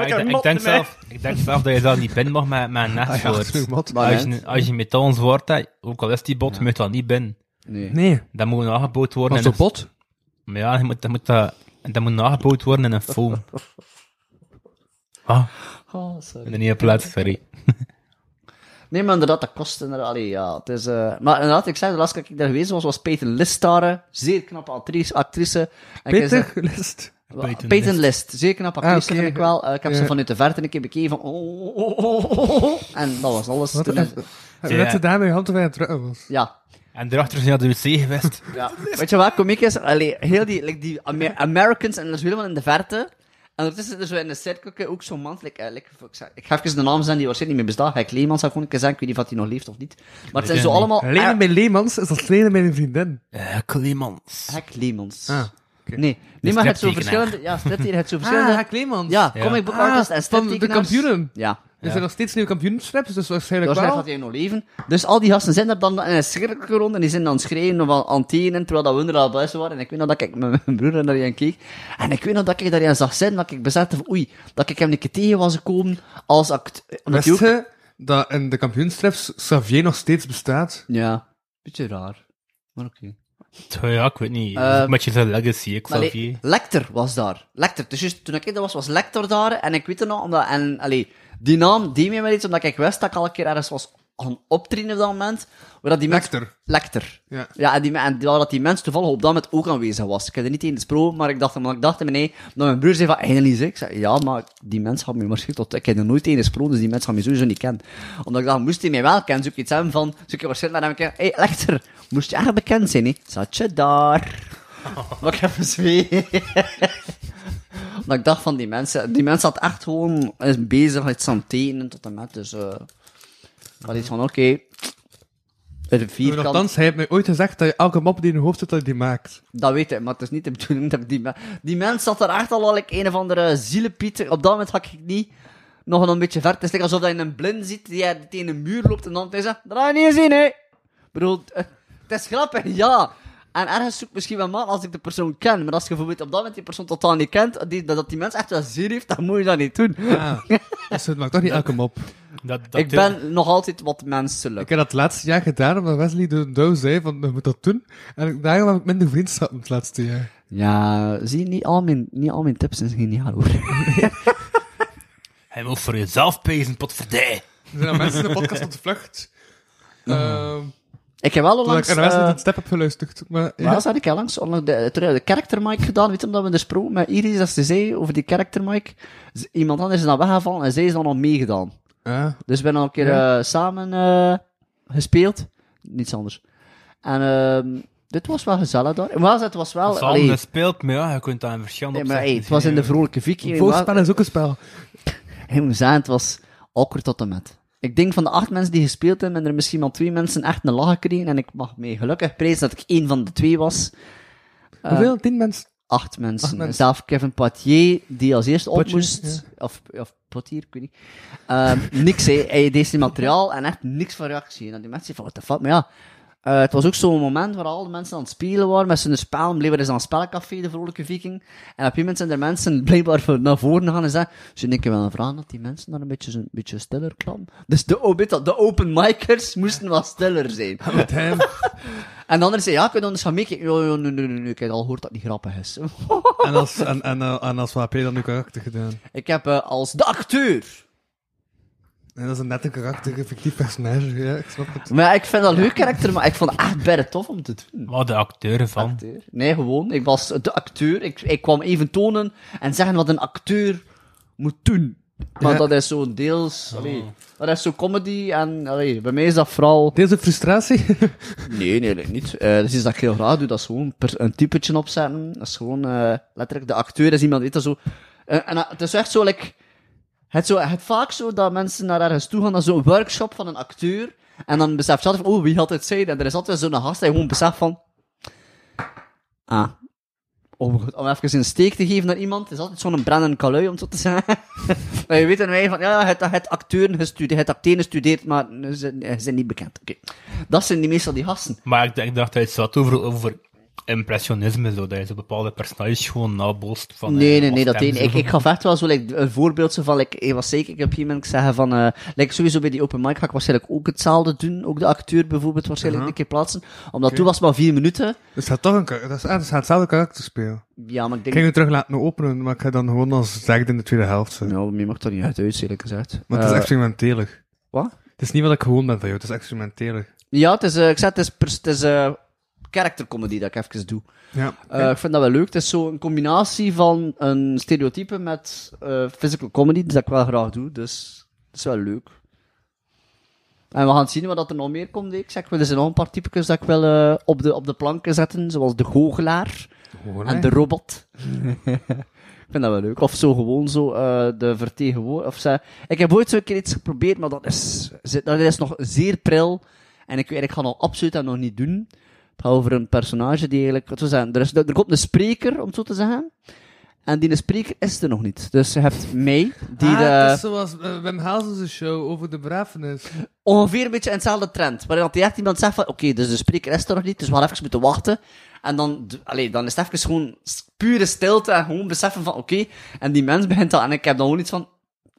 Speaker 3: ik, ik, denk zelf, ik denk zelf dat je dat niet binnen mag met, met een
Speaker 5: Ah, ja,
Speaker 3: nestwoord.
Speaker 5: terug, mat.
Speaker 4: Maar
Speaker 3: als,
Speaker 4: net.
Speaker 3: je, als je metaal zwart hebt, ook al is die bot, je moet dat niet binnen.
Speaker 4: Nee.
Speaker 5: Nee,
Speaker 3: Dat moet nageboot worden.
Speaker 5: was
Speaker 3: in
Speaker 5: de pot?
Speaker 3: een- Ja, je moet, dat, moet dat, dat moet nageboot worden in een foam. Ah,
Speaker 4: Oh, sorry.
Speaker 3: in een nieuwe plaat, sorry.
Speaker 4: Nee, maar inderdaad, dat kost inderdaad. allee, ja, het is, eh, maar inderdaad, ik zei, de laatste keer dat ik daar geweest was, was Peyton Listare. Zeer knappe actrice. actrice. En ik is, eh,
Speaker 5: Peter, list.
Speaker 4: Wel,
Speaker 3: Peyton
Speaker 4: Peyton
Speaker 3: List.
Speaker 4: List. Zeer knap actrice,
Speaker 5: Ah, oké.
Speaker 4: vind ik wel. Eh, ik heb ze
Speaker 5: Ja.
Speaker 4: vanuit de verte een keer bekeken van... oh, oh, oh, oh, oh, oh. En dat was alles.
Speaker 5: Wat
Speaker 4: Toen is-
Speaker 5: Heb je net de dame je hand erbij aan het rukken was?
Speaker 4: ja.
Speaker 3: En daarachter zijn we naar de zee geweest.
Speaker 4: ja. Weet je wat komiek is? Allee, heel die, like die Amer- Americans, en dat is helemaal in de verte. En ondertussen is er zo in de cirkel ook zo'n man. Like, eh, like, ik, zeg- ik ga even de naam zeggen die waarschijnlijk niet meer bestaat. Hij Leemans zou ik gewoon een keer zeggen. Ik weet niet of hij nog leeft of niet. Maar eh, het zijn
Speaker 3: ken
Speaker 4: zo
Speaker 3: hem niet.
Speaker 4: allemaal...
Speaker 5: Lenen bij Leemans is als lenen bij een vriendin.
Speaker 3: Eh, Clemens.
Speaker 4: Hek Leemans.
Speaker 5: Ah, oké.
Speaker 4: Nee, nee maar het zo
Speaker 3: striptekenaar.
Speaker 4: verschillende... Ja, striptekenaar, het zo verschillende...
Speaker 5: Ah, Leemans.
Speaker 4: ja,
Speaker 3: Ja.
Speaker 4: comic book
Speaker 5: Ah,
Speaker 4: artists en
Speaker 5: van de
Speaker 4: striptekenaars.
Speaker 5: kampioenen.
Speaker 4: Ja.
Speaker 5: Er zijn nog steeds nieuwe kampioensraps, dus waarschijnlijk
Speaker 4: Waarschijnlijk
Speaker 5: wel.
Speaker 4: gaat hij nog leven. Dus al die gasten zijn er dan in een cirkel rond en die zijn dan schreeuwen of aan antenen, terwijl dat we er al buiten waren. En ik weet nog dat ik met mijn broer naar die keek. En ik weet nog dat ik daarin zag zitten, dat ik besefte van oei, dat ik hem een keer tegen was gekomen als act... Omdat hij
Speaker 5: Wist
Speaker 4: ook...
Speaker 5: je dat in de kampioensraps Xavier nog steeds bestaat?
Speaker 4: Ja, beetje raar. Maar oké.
Speaker 3: Ja, ik weet niet.
Speaker 4: Eh,
Speaker 3: Een beetje zijn legacy,
Speaker 4: Maar allee,
Speaker 3: Xavier.
Speaker 4: Lecter was daar. Lecter. Dus juist toen ik er was, was Lecter daar. En ik weet het nog, omdat... En, allee, die naam die mij wel iets, omdat ik wist dat ik al een keer ergens was gaan optreden op dat moment. Waar dat die mens-
Speaker 5: Lecter.
Speaker 4: Lecter.
Speaker 5: Ja.
Speaker 4: Ja, en, die, en die- dat die mens toevallig op dat moment ook aanwezig was. Ik heb er niet in gesproken, maar ik dacht, maar ik dacht nee, dat mijn broer zei van, eindelijk Ik zei, ja, maar die mens had me waarschijnlijk tot... Ik heb er nooit in gesproken, dus die mens had me sowieso niet kennen. Omdat ik dacht, moest hij mij wel kennen, zoek ik iets hebben van... Zoek ik waarschijnlijk naar hem, hé, hey, Lecter, moest je erg bekend zijn, hè? Zat je daar? Maar ik heb een zweet. Omdat ik dacht van die mensen, die mensen had echt gewoon is bezig met zijn tenen tot en met, dus... eh dat is van, oké... de vierkant...
Speaker 5: Nogthans, hij heeft mij ooit gezegd dat je elke mop die in je hoofd zit, dat je die maakt.
Speaker 4: Dat weet ik, maar het is niet de bedoeling dat ik die... me- Die mens zat er echt al like, een of andere zielenpiet. Op dat moment had ik niet nog een beetje ver. Het is like alsof dat je een blind ziet die er tegen een muur loopt en dan zegt, dat ga je niet zien, hè. Ik bedoel, eh, het is grappig, ja. En ergens zoek ik misschien wel maat als ik de persoon ken. Maar als je bijvoorbeeld op dat moment die persoon totaal niet kent, die, dat, dat die mens echt wel zin heeft, dan moet je dat niet doen.
Speaker 5: Ah, dus het maakt toch niet elke mop.
Speaker 3: Dat, dat
Speaker 4: ik ben nog altijd wat menselijk.
Speaker 5: Ik heb dat het laatste jaar gedaan, omdat Wesley de Douw zei van, je moet dat doen. En ik- daarom heb ik minder vriendschappen het laatste jaar.
Speaker 4: Ja, zie, niet al mijn, niet al mijn tips zijn geniaal, hoor.
Speaker 3: Hij moet voor jezelf pezen, potverdij.
Speaker 5: Er zijn al mensen in de podcast op de vlucht. Ehm
Speaker 4: Ik heb wel
Speaker 5: Toen ik
Speaker 4: onlangs...
Speaker 5: er wel eens
Speaker 4: eh,
Speaker 5: niet een step heb geluisterd. Maar, ja.
Speaker 4: Maar dat had ik al langs onlangs de, terwijl de character mic gedaan. Weet je, omdat we er spraken met Iris, dat ze zei over die character mic. Z- Iemand anders is dan weggevallen en zij is dan al meegedaan.
Speaker 5: Ah,
Speaker 4: Dus we hebben al een keer
Speaker 5: Ja.
Speaker 4: eh, samen eh, gespeeld. Niets anders. En ehm, dit was wel gezellig daar. Maar het was wel... allee,
Speaker 3: Samen speelt, maar ja, je kunt daar een verschil op
Speaker 4: nee, maar
Speaker 5: dus
Speaker 4: hey, het was in de vrolijke vik. eh,
Speaker 5: Voorspel
Speaker 4: maar-
Speaker 5: is ook een spel.
Speaker 4: Ik moet zeggen, het was awkward tot en met. Ik denk van de acht mensen die gespeeld hebben, hebben er misschien wel twee mensen echt een lach gekregen. En ik mag mee gelukkig prijzen dat ik één van de twee was.
Speaker 5: Hoeveel? Tien mensen?
Speaker 4: acht mensen.
Speaker 5: Acht mensen.
Speaker 4: Zelf Kevin Poitier, die als eerste op
Speaker 5: Poitier,
Speaker 4: moest. Of, of Potier, ik weet niet. Ehm, niks, hè. Hij deed zijn materiaal en echt niks van reactie. En dan die mensen van, what the fuck, maar ja. eh, het was ook zo'n moment waar al de mensen aan het spelen waren met zijn spel. Blijkbaar is aan het spelcafé, de vrolijke viking. En op een moment zijn er mensen blijkbaar voor- naar voren gaan en zeggen... Ze denken wel een vraag dat die mensen dan een beetje, een beetje stiller kwamen. Dus de, oh, weet dat, de open micers moesten wat stiller zijn.
Speaker 5: Damn.
Speaker 4: En de anderen zeiden, ja, kunnen we anders gaan meekijken? Ja, ja, nee, nee, nee, nee, ik heb al gehoord dat het niet grappig is.
Speaker 5: en, als, en, en, eh, en als WAP dan uw karakter gedaan.
Speaker 4: Ik heb eh, als de acteur.
Speaker 5: En dat is een nette karakter, een fictief personage. Ja, ik snap het.
Speaker 4: Maar ik vind dat leuk karakter, maar ik vond het echt bijna tof om te doen.
Speaker 3: Wat de acteur van.
Speaker 4: Acteur. Nee, gewoon. Ik was de acteur. Ik, ik kwam even tonen en zeggen wat een acteur moet doen. Maar
Speaker 5: Ja.
Speaker 4: dat is zo'n deels. allee, dat is zo comedy en allee, bij mij is dat vooral.
Speaker 5: Deze frustratie.
Speaker 4: Nee, nee, nee, niet. Eh dat is iets dat ik heel graag doe. Dat is gewoon per, een typetje opzetten. Dat is gewoon eh, letterlijk de acteur. is iemand, weet dat zo. Eh, en dat- het is echt zo, like, het, zo, het vaak zo dat mensen naar ergens toe gaan, naar zo'n workshop van een acteur. En dan beseft je altijd van, oh, wie had het zijn? En er is altijd zo'n gast die gewoon beseft van... Ah. Om, om even een steek te geven naar iemand, is altijd zo'n Brandon Calui, om zo te zeggen. maar je weet dan wij van, ja, het, het acteuren gestudeerd, het acteren gestudeerd, maar ze, ze zijn niet bekend. Oké. Dat zijn die meestal die gasten.
Speaker 3: Maar ik, ik dacht, hij zat over, over impressionisme, zo, dat je zo bepaalde personages gewoon nabootst van...
Speaker 4: Nee,
Speaker 3: eh,
Speaker 4: nee, nee,
Speaker 3: wat
Speaker 4: dat één.
Speaker 3: hem
Speaker 4: Ik,
Speaker 3: zo-
Speaker 4: ik gaf echt wel zo like, een voorbeeld zo van, like, ik was zeker, ik heb iemand moment zeggen van, eh like, sowieso bij die open mic ga ik waarschijnlijk ook hetzelfde doen, ook de acteur bijvoorbeeld waarschijnlijk een keer plaatsen, omdat toen was het maar vier minuten.
Speaker 5: Dus gaat toch een kar- dat is, ah, dus gaat hetzelfde karakter spelen.
Speaker 4: Ja, maar ik
Speaker 5: Ik
Speaker 4: denk,
Speaker 5: ging het terug laten openen, maar ik ga dan gewoon als zegt in de tweede helft zijn.
Speaker 4: nou, je mag dat niet uit, eerlijk gezegd.
Speaker 5: Maar het is
Speaker 4: Eh,
Speaker 5: experimentelig.
Speaker 4: Wat?
Speaker 5: Het is niet wat ik gewoon ben van jou, het is experimentelig.
Speaker 4: Ja, het is, eh, ik zei, het is, pers- het is eh, character comedy dat ik even doe.
Speaker 5: Ja.
Speaker 4: Eh, ik vind dat wel leuk. Het is zo een combinatie van een stereotype met eh, physical comedy, dus dat ik wel graag doe. Dus dat is wel leuk. En we gaan zien wat dat er nog meer komt. Ik zeg, er zijn nog een paar types dat ik wil eh, op, de, op de planken zetten, zoals de goochelaar
Speaker 5: Gewoon, hè.
Speaker 4: en de robot. ik vind dat wel leuk. Of zo gewoon zo eh, de vertegenwoordiger. Of ze... Ik heb ooit zo een keer iets geprobeerd, maar dat is, zit- dat is nog zeer pril. En ik, weet, ik ga nog absoluut dat nog niet doen. Het gaat over een personage die eigenlijk... Wat we zeggen, er, is, er komt een spreker, om het zo te zeggen. En die spreker is er nog niet. Dus je hebt mij, die...
Speaker 5: Ah,
Speaker 4: de-
Speaker 5: het is zoals eh, Wim Hazel's show over de begrafenis.
Speaker 4: ongeveer een beetje in hetzelfde trend. Waarin dat die echt iemand zegt van, oké, dus de spreker is er nog niet, dus we gaan even moeten wachten. En dan, d- allee, dan is het even gewoon s- pure stilte en gewoon beseffen van, oké, en die mens begint al, en ik heb dan gewoon iets van,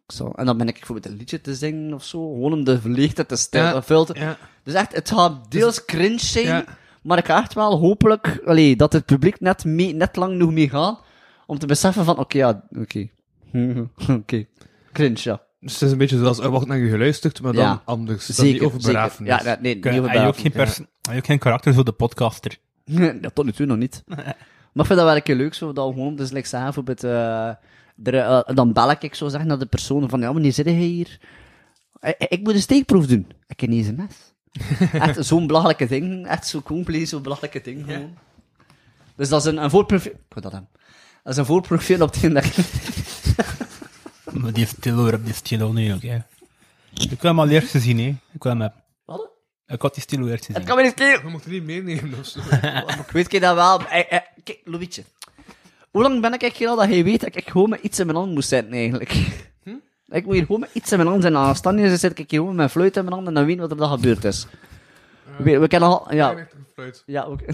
Speaker 4: zo, en dan ben ik bijvoorbeeld een liedje te zingen of zo, gewoon om de leegte te stil,
Speaker 5: Ja,
Speaker 4: filteren.
Speaker 5: ja. Dus-
Speaker 4: Dus echt, het gaat deels cringe zijn,
Speaker 5: ja.
Speaker 4: maar ik ga echt wel hopelijk, allee, dat het publiek net, mee, net lang genoeg mee gaat, om te beseffen van, oké, ja, oké, oké, cringe, ja.
Speaker 5: Dus het is een beetje zoals, er wordt naar je geluisterd, maar dan
Speaker 4: Ja.
Speaker 5: anders. Dan die
Speaker 4: Zeker,
Speaker 5: over
Speaker 4: zeker.
Speaker 5: begrafenis.
Speaker 4: Ja, nee, nee, niet
Speaker 3: Hij
Speaker 4: over
Speaker 3: heeft ook
Speaker 4: begrafenis.
Speaker 3: geen pers- hij heeft ook geen karakter, zo de podcaster.
Speaker 4: Nee, dat tot nu toe nog niet. Maar ik vind dat wel een keer leuk, zo, dat we gewoon, dus like, zeggen, bijvoorbeeld, eh, er, eh, dan bel ik, ik zo zeggen, naar de persoon van, ja, wanneer zit jij hier? Ik, ik moet een steekproef doen. Ik heb niet eens een mes. Echt zo'n belachelijke ding, echt zo compleet, zo'n belachelijke ding gewoon. Dus dat is een, een voorproefje, ik wil dat hem. Dat is een voorproefje op die dag.
Speaker 3: Maar die stil hoor, die stilo nu ook, ja. Ik kwam al eerst zien, hè. Ik kwam hem.
Speaker 4: Wat?
Speaker 3: Ik had die stilo eerst gezien.
Speaker 4: Het kan me niet schelen.
Speaker 5: Je mocht het niet meenemen of zo.
Speaker 4: Nou. Ik weet je dat wel. Eh, eh, Kijk, Louietje. Hoe lang ben ik eigenlijk al dat jij weet dat ik gewoon met iets in mijn hand moest zitten, eigenlijk? Hm? Ik moet hier gewoon met iets in mijn hand zijn. Als Tanja zit, zit ik hier gewoon met mijn fluit in mijn hand en dan weet ik wat er dan gebeurd is. We, we kennen al... Ja, ja ook... ik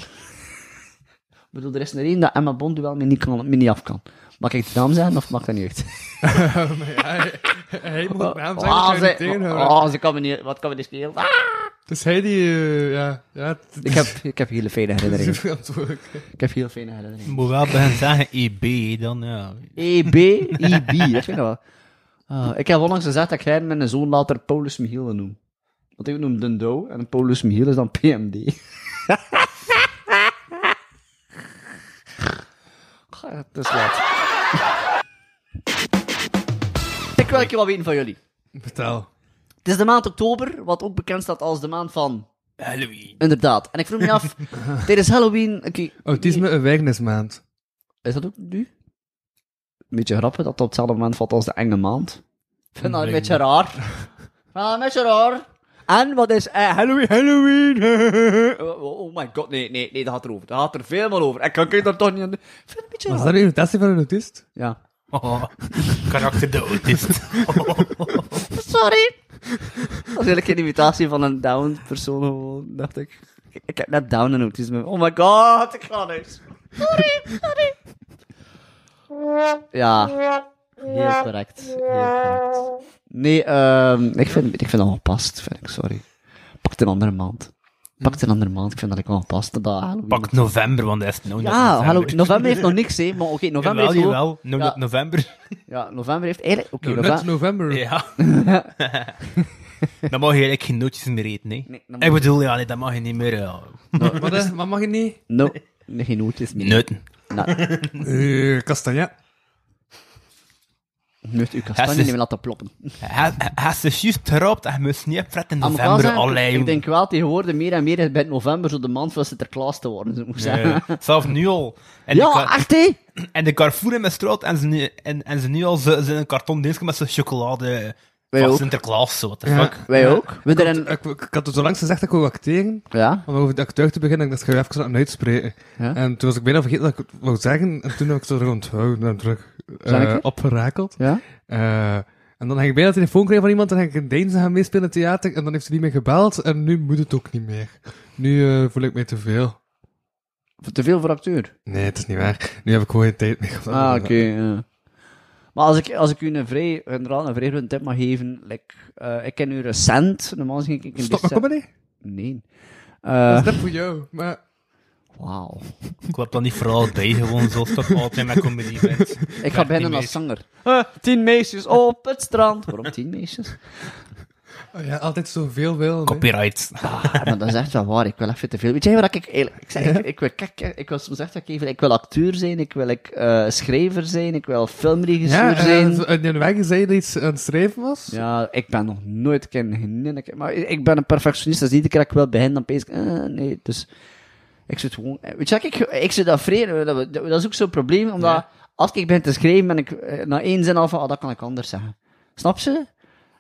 Speaker 4: bedoel, er is er één dat Emma Bond wel mee niet, kan, mee niet af kan. Mag ik de naam zeggen of mag dat niet uit?
Speaker 5: Hij moet naam zijn,
Speaker 4: Ah,
Speaker 5: dat kan je niet
Speaker 4: ze,
Speaker 5: tegenhouden.
Speaker 4: ah, ze kan me niet... Wat kan me niet schelen? Ah,
Speaker 5: Het is hij die, eh, ja, ja, het
Speaker 4: ik, heb, ik heb hele fijne
Speaker 5: het is
Speaker 4: herinneringen.
Speaker 5: verantwoordelijk.
Speaker 4: Ik heb heel fijne herinneringen.
Speaker 3: Ik moet wel beginnen zeggen EB, dan ja.
Speaker 4: EB, IB, ik vind dat wel. Ah, ik heb onlangs gezegd dat ik hem mijn zoon later Paulus Michiel noem. Want ik noem Dundo en Paulus Michiel is dan PMD. Goh, Het is laat. ik wil een keer wat weten van jullie.
Speaker 5: Vertel.
Speaker 4: Het is de maand oktober, wat ook bekend staat als de maand van...
Speaker 3: Halloween.
Speaker 4: Inderdaad. En ik vroeg me af, tijdens Halloween... oké,
Speaker 5: Autisme een wijknismaand.
Speaker 4: is dat ook nu? Een beetje grappig dat het op hetzelfde moment valt als de enge maand. Ik vind dat een beetje
Speaker 3: Blijkbaar.
Speaker 4: raar. Ik vind dat een beetje raar. En wat is eh, Halloween, Halloween? oh, oh my god, nee, nee, nee, dat gaat erover. Dat gaat er veel meer over. Ik kan kun je daar toch niet aan doen. Ik vind het een beetje
Speaker 5: Was
Speaker 4: raar.
Speaker 5: dat een invitatie van een autist?
Speaker 4: Ja.
Speaker 3: Oh, karakter de autist.
Speaker 4: Sorry. Dat is eigenlijk een imitatie van een down persoon, gewoon, dacht ik. Ik- Ik heb net down en autisme. Oh my god, ik ga niks. Sorry, sorry. Ja, heel correct. Heel correct. Nee, ehm, ik vind, ik vind dat ongepast, vind ik, sorry. Pak een andere maand. Pak een andere maand, ik vind dat ik ongepast. Dat Halloween-
Speaker 3: Pak november, want dat is nou net
Speaker 4: Ja,
Speaker 3: november.
Speaker 4: hallo, november heeft nog niks, hè. Maar oké, november
Speaker 3: Jawel,
Speaker 4: heeft ook-
Speaker 3: jawel. Nou,
Speaker 4: Ja.
Speaker 3: net november.
Speaker 4: Ja, november heeft eigenlijk... Oké,
Speaker 5: Nou, net
Speaker 4: november...
Speaker 5: november.
Speaker 3: Ja. dan mag je eigenlijk geen nootjes meer eten, hè.
Speaker 4: Nee, dan
Speaker 3: Ik bedoel, ja, nee, dat mag je niet meer, ja.
Speaker 5: Wat, hè? Wat mag je niet?
Speaker 4: No, nee, geen nootjes meer.
Speaker 3: Nutten.
Speaker 4: Nou,
Speaker 5: Eh, Castagna.
Speaker 4: Moet uw kastanje
Speaker 3: Ja,
Speaker 4: niet
Speaker 3: ze-
Speaker 4: meer laten ploppen.
Speaker 3: Hij hij is dus juist erop dat je moet niet opfretten in
Speaker 4: Ah, maar ik wel
Speaker 3: november,
Speaker 4: zeggen,
Speaker 3: alleen.
Speaker 4: Ik denk wel tegenwoordig meer en meer bij november zo de maand van Sinterklaas te worden. Zo moet ik zeggen.
Speaker 3: Ja, zelfs nu al. En de
Speaker 4: Ja,
Speaker 3: ka-
Speaker 4: echt hé!
Speaker 3: En de Carrefour in mijn straat en ze nu, en, en ze nu al ze, ze een karton dienstje met zo'n chocolade
Speaker 4: Wij
Speaker 3: van
Speaker 4: ook.
Speaker 3: Sinterklaas, zo, what the
Speaker 5: Ja.
Speaker 3: fuck.
Speaker 4: Wij ook. We er een...
Speaker 5: Ik, ik, ik had het zo langs gezegd dat ik wou acteren.
Speaker 4: Ja?
Speaker 5: Om over de acteur te beginnen, ik dacht, ik ga even aan uitspreken.
Speaker 4: Ja.
Speaker 5: En toen was ik bijna vergeten dat ik het wou zeggen. En toen heb ik het er onthouden en druk
Speaker 4: Zal ik het?
Speaker 5: opgerakeld.
Speaker 4: Ja?
Speaker 5: Eh, en dan ging ik bijna een telefoon krijgen van iemand, dan ging ik een Deense gaan meespelen in het theater, en dan heeft ze niet meer gebeld, en nu moet het ook niet meer. Nu eh, voel ik mij te veel.
Speaker 4: Te veel voor acteur.
Speaker 5: Nee, het is niet waar. Nu heb ik gewoon geen tijd meer.
Speaker 4: Ah, oké. ja. Maar als ik, als ik u een vrij, inderdaad, een vrij ruim tip mag geven, like, eh, ik ken u recent, normaal gezien ik een
Speaker 5: Stop
Speaker 4: beetje-
Speaker 5: maar comedy?
Speaker 4: Nee.
Speaker 5: Dat
Speaker 4: Eh
Speaker 5: is net voor jou. Maar
Speaker 4: Wauw.
Speaker 3: Ik klap dan niet vooral bij, gewoon zoals dat altijd met comedy bent.
Speaker 4: Ik ga
Speaker 3: bijna
Speaker 4: beginnen als zanger. Eh, tien meisjes op het strand. Waarom tien meisjes?
Speaker 5: oh ja, altijd zoveel wil.
Speaker 3: Copyright.
Speaker 4: Ah, maar dat is echt wel waar. Ik wil even te veel. Weet jij wat ik eigenlijk... Ik, zeg, ik, ik wil, kijk, eh, ik wil soms echt even... Ik wil acteur zijn, ik wil ik, eh, schrijver zijn, ik wil filmregisseur
Speaker 5: Ja, eh,
Speaker 4: zijn.
Speaker 5: en in de weg zei je dat iets aan het schrijven was.
Speaker 4: Ja, ik ben nog nooit kennen. Maar ik ik ben een perfectionist, dus iedere keer dat ik wil beginnen, dan pees ik, eh, nee, dus... Ik zit gewoon... eh, Weet je, wat, ik, ik zit dat vrede, dat, dat is ook zo'n probleem, omdat als ik begin te schrijven, ben ik eh, na één zin al van, ah, dat kan ik anders zeggen. Snap je?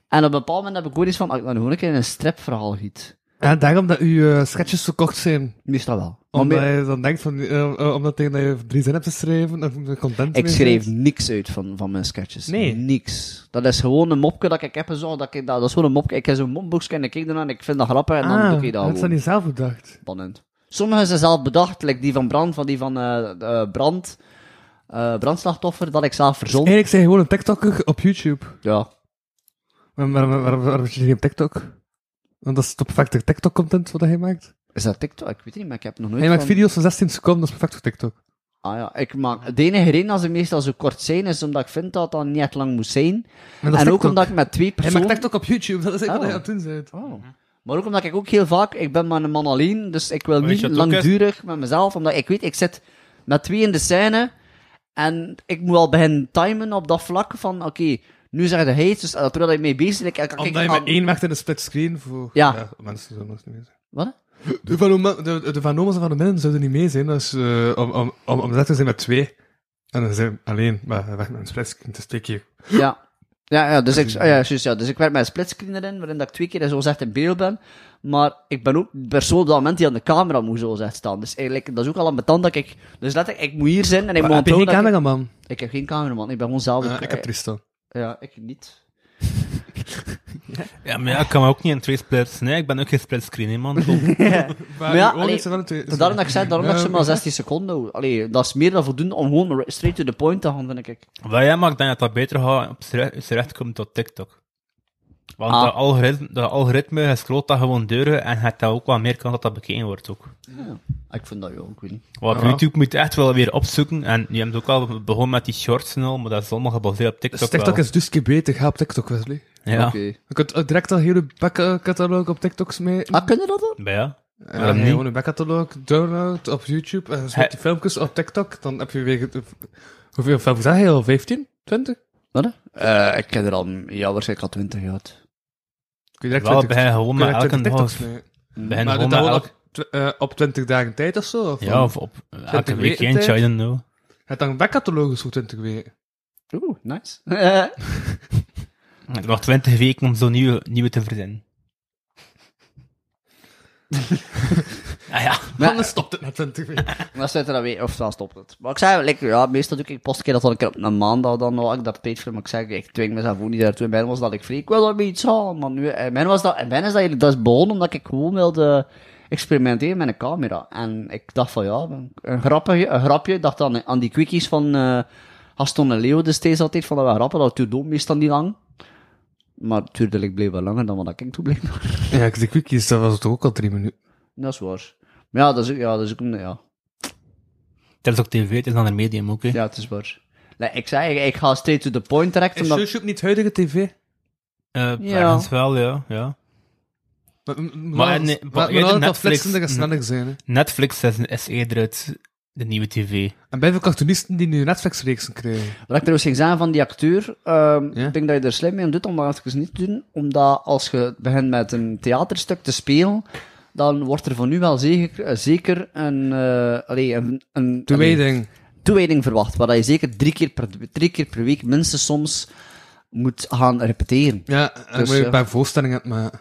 Speaker 4: En op een bepaald moment heb ik gewoon iets van, ah, ik ben gewoon een keer in een stripverhaal giet.
Speaker 5: En daarom dat uw eh, sketches zo kort zijn.
Speaker 4: Meestal wel. Maar
Speaker 5: Omdat
Speaker 4: me-
Speaker 5: je dan denkt van, eh, eh, omdat tegen dat je drie zinnen hebt geschreven en er content
Speaker 4: Ik
Speaker 5: mee
Speaker 4: schreef
Speaker 5: zit.
Speaker 4: niks uit van, van mijn sketches.
Speaker 5: Nee.
Speaker 4: Niks. Dat is gewoon een mopje dat ik heb zo. Dat, ik, dat, dat is gewoon een mopje. Ik heb zo'n mopboekje en ik kijk ernaar en ik vind dat grappig en dan
Speaker 5: Ah,
Speaker 4: doe ik dat
Speaker 5: dat is dan
Speaker 4: gewoon.
Speaker 5: niet zelf bedacht.
Speaker 4: Spannend. Sommige zijn zelf bedacht, like die van Brand, van die van eh, eh, Brand, eh, Brandslachtoffer, dat ik zelf verzon.
Speaker 5: Dus Eigenlijk zijn je gewoon een TikToker op YouTube.
Speaker 4: Ja.
Speaker 5: Maar waarom, waarom, waarom zit je geen TikTok? Want dat is toch perfecte TikTok-content wat hij maakt?
Speaker 4: Is dat TikTok? Ik weet niet, maar ik heb nog nooit
Speaker 5: Hij maakt
Speaker 4: van-
Speaker 5: video's van 16 seconden, dat is perfect voor TikTok.
Speaker 4: Ah ja, ik maak... De enige reden dat ze meestal zo kort zijn, is omdat ik vind dat dat niet echt lang moet zijn.
Speaker 5: Maar
Speaker 4: En
Speaker 5: dat is
Speaker 4: ook
Speaker 5: TikTok.
Speaker 4: omdat ik met twee
Speaker 5: Hij
Speaker 4: personen...
Speaker 5: maakt TikTok op YouTube, dat is eigenlijk
Speaker 4: Oh.
Speaker 5: wat hij aan het doen bent.
Speaker 4: Oh. Maar ook omdat ik ook heel vaak, ik ben maar een man alleen, dus ik wil
Speaker 3: Weet
Speaker 4: niet
Speaker 3: je wat ook is?
Speaker 4: langdurig met mezelf, omdat ik weet, ik zit met twee in de scène en ik moet al beginnen timen op dat vlak van, oké, nu zeg je heet, dus eh, terwijl ik mee bezig ben, ik kan
Speaker 5: Omdat je met één maakt in een split screen voor...
Speaker 4: Ja.
Speaker 5: mensen zouden nog niet mee zijn.
Speaker 4: Wat?
Speaker 5: De Van, Oma- de, de van Oma's en Van de Minnen zouden niet mee zijn, dus, eh om, om, om, om dat te zijn met twee. En dan zijn we alleen, maar hij werkt met een split screen, het is twee keer.
Speaker 4: Ja. Ja, ja, dus ik, ah ja, juist, ja, dus ik werk met een splitscreen erin, waarin dat ik twee keer zo zegt in beeld ben. Maar ik ben ook de persoon op dat moment die aan de camera moet zo zegt staan. Dus eigenlijk, dat is ook al een betand dat ik... Dus letterlijk, ik moet hier zijn en ik moet
Speaker 5: heb je geen
Speaker 4: onthouden dat ik-
Speaker 5: cameraman? Ah,
Speaker 4: Ik heb geen cameraman, ik ben gewoon zelf...
Speaker 5: ik heb Tristan.
Speaker 4: Ja, ik niet.
Speaker 3: Ja, maar ja, ik kan me ook niet in twee splits. Nee, ik ben ook geen splitscreen, hè, man. Kom.
Speaker 5: Maar
Speaker 4: ja,
Speaker 5: uw ogen
Speaker 4: allee,
Speaker 5: zijn wel een twee-
Speaker 4: Dus daarom dat ik zei, daarom
Speaker 5: Ja,
Speaker 4: dat ik ze
Speaker 5: oké.
Speaker 4: maar 16 seconden houden. Allee, dat is meer dan voldoende om gewoon straight to the point te gaan, vind ik.
Speaker 3: Wat jij maakt, denk dat dat beter gaat op z'n recht- z'n recht komt tot TikTok. Want
Speaker 4: Ah.
Speaker 3: dat, algoritme, dat algoritme je scrolt dat gewoon deuren en het dat ook wel meer kans dat dat bekeken wordt ook.
Speaker 4: Ah, Ik vind dat, ja, ik weet niet.
Speaker 3: Want op
Speaker 5: Ja.
Speaker 3: YouTube moet je echt wel weer opzoeken en je hebt ook al begonnen met die shorts en al, maar dat is allemaal gebaseerd op TikTok
Speaker 5: Dus TikTok
Speaker 3: wel.
Speaker 5: is dus keer beter, ga op TikTok, Wesley.
Speaker 3: Ja,
Speaker 4: Oké.
Speaker 5: Je kunt eh, direct al heel je backcatalog op TikToks mee.
Speaker 4: Ah, kunnen dat dan?
Speaker 3: Maar ja.
Speaker 5: Ja,
Speaker 3: waarom
Speaker 5: nee,
Speaker 3: niet?
Speaker 5: Gewoon een backcatalog, download op YouTube, en
Speaker 3: Hij-
Speaker 5: zet die filmpjes op TikTok, dan heb je weer... ge- Hoeveel filmpjes heb je al? 15? 20?
Speaker 4: Wat? eh ik ken er al, ja, waarschijnlijk al 20 jaar.
Speaker 5: Kun je direct
Speaker 3: Wel,
Speaker 5: 20
Speaker 3: begin gewoon
Speaker 5: kun je
Speaker 3: met
Speaker 5: direct
Speaker 3: elke
Speaker 5: 20
Speaker 3: dag.
Speaker 5: TikToks mee.
Speaker 3: Begin
Speaker 5: Mm. Maar
Speaker 3: gewoon
Speaker 5: doe
Speaker 3: met
Speaker 5: dat wel
Speaker 3: elke...
Speaker 5: op, tw- eh, op 20 dagen tijd of zo? Of
Speaker 3: Ja, of op elke
Speaker 5: weken
Speaker 3: weekend,
Speaker 5: tijd.
Speaker 3: I don't know.
Speaker 5: Het dan backcatalogus voor 20 weken.
Speaker 4: Oeh, nice.
Speaker 3: Ik heb nog twintig weken om zo'n nieuwe, nieuwe te verzinnen. ah ja.
Speaker 4: Maar-
Speaker 5: Anders stopt het na 20 weken.
Speaker 4: Dan zit er dan weer, of dan stopt het. Maar ik zei, like, ja, meestal doe ik- ik post een keer dat dan een keer op een maandag dan nog, ik daar tijd voor, maar ik zeg, ik dwing mezelf ook niet daartoe. En ben was dat ik vrij, ik wil daarmee iets halen, maar nu, en ben was dat, en ben is dat eigenlijk, dat is begonnen omdat ik gewoon wilde experimenteren met een camera. En ik dacht van, ja, een grapje, een grapje, ik dacht dan aan die quickies van, eh Gaston en Leo destijds altijd, van dat we grappen, dat duurde ook meestal niet lang. Maar het duurde like, blijkbaar langer dan wat ik toen bleef.
Speaker 5: Ja, ik de quickies, dat was toch ook al 3 minuten.
Speaker 4: dat is waar. Maar ja, dat is ook, ja, dat is ook, een- ja.
Speaker 3: Het is ook tv, het is dan een medium ook, hè.
Speaker 4: Ja, het is waar. Nee, ik zei, ik, ik ga straight to the point direct,
Speaker 5: Is
Speaker 4: omdat...
Speaker 5: YouTube niet huidige tv?
Speaker 3: Eh,
Speaker 4: Ja.
Speaker 3: ergens wel, ja, ja.
Speaker 5: Maar, maar,
Speaker 3: nee,
Speaker 5: maar,
Speaker 3: maar
Speaker 5: maar dat
Speaker 3: Netflix- Mhm.
Speaker 5: dat flitsender en sneller zijn. Hè.
Speaker 3: Netflix is, is eerder het, de nieuwe tv.
Speaker 5: En bij veel cartoonisten die nu Netflix-reeksen krijgen.
Speaker 4: Wat ik trouwens ging zeggen van die acteur, ehm,
Speaker 5: Ja?
Speaker 4: ik denk dat je er slim mee om doet om dat even niet te doen, omdat als je begint met een theaterstuk te spelen, dan wordt er van nu wel zeker, eh, zeker een, eh allee, een, een
Speaker 5: De
Speaker 4: allee,
Speaker 5: Weiding.
Speaker 4: toewijding verwacht, waar je zeker drie keer, per, drie keer per week minstens soms moet gaan repeteren.
Speaker 5: Ja, en dan
Speaker 4: Dus,
Speaker 5: moet je
Speaker 4: ja.
Speaker 5: een paar voorstellingen aan het maken.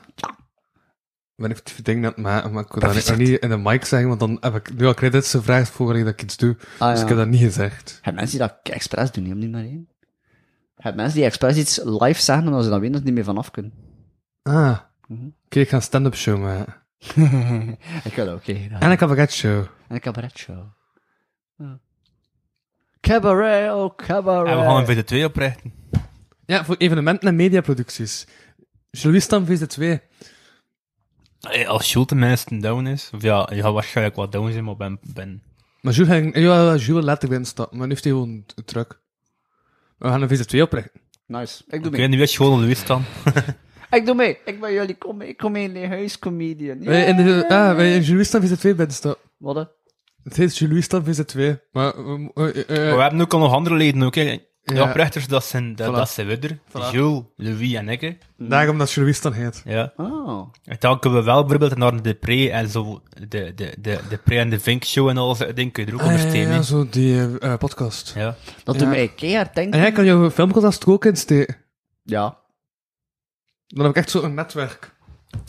Speaker 5: Ik ben even dingen aan het maken, maar ik wil dat niet- nog niet in de mic zeggen, want dan heb ik nu al credits gevraagd voor wanneer dat ik iets doe.
Speaker 4: Ah,
Speaker 5: Dus
Speaker 4: ja.
Speaker 5: ik heb dat niet gezegd.
Speaker 4: Heb mensen die dat expres doen, niet om die manier. Heb mensen die expres iets live zeggen, omdat ze dan weten dat ze niet meer vanaf kunnen.
Speaker 5: Ah, oké, ik ga een stand-up show maken.
Speaker 4: Ik wil dat ook. hè.
Speaker 5: En een cabaret show.
Speaker 4: En een cabaretshow. Ja. Cabaret, oh cabaret.
Speaker 3: En we gaan een VD2 oprichten.
Speaker 5: Ja, voor evenementen en mediaproducties. Julie Stam VZ2.
Speaker 3: Hey, Eh, Als Jules tenminste down is, of ja, je gaat waarschijnlijk wat down zijn, maar ben, ben.
Speaker 5: Maar Jules ging... Ja, Jules laat ik bij hem stappen, maar nu heeft hij gewoon een truck. We gaan een VZ2 oprichten.
Speaker 4: Nice, ik doe
Speaker 3: Ik
Speaker 4: mee.
Speaker 3: weet niet wist gewoon op de wies staan.
Speaker 4: Ik doe mee. Ik ben jullie, kom mee, ik kom mee in de huiscomedian.
Speaker 5: Wij in de, ah, wij in Julie Stam VZ2 bij de stap.
Speaker 4: Wat hè?
Speaker 5: Het heet Julie Stam VZ2. Maar... we- eh, eh, eh,
Speaker 3: Maar we hebben ook al nog andere leden, ook. hè. De
Speaker 5: Ja.
Speaker 3: oprichters, dat zijn, dat,
Speaker 5: Voilà.
Speaker 3: dat zijn we er.
Speaker 5: Voilà.
Speaker 3: Jules, Louis en ik. hè.
Speaker 5: Daarom dat Julie Stam heet.
Speaker 3: Ja.
Speaker 4: Oh.
Speaker 3: En dan kunnen we wel bijvoorbeeld naar de pre en zo, de, de, de, de pre en de Vink show en al dat soort dingen kun je er ook
Speaker 5: Ah,
Speaker 3: onder
Speaker 5: ja, ja,
Speaker 3: steken.
Speaker 5: ja,
Speaker 3: hè.
Speaker 5: zo die eh, eh, podcast.
Speaker 3: Ja.
Speaker 4: Dat doet mij keihard denken.
Speaker 5: En jij kan jouw filmcontest er ook insteken.
Speaker 4: Ja.
Speaker 5: Dan heb ik echt zo'n netwerk.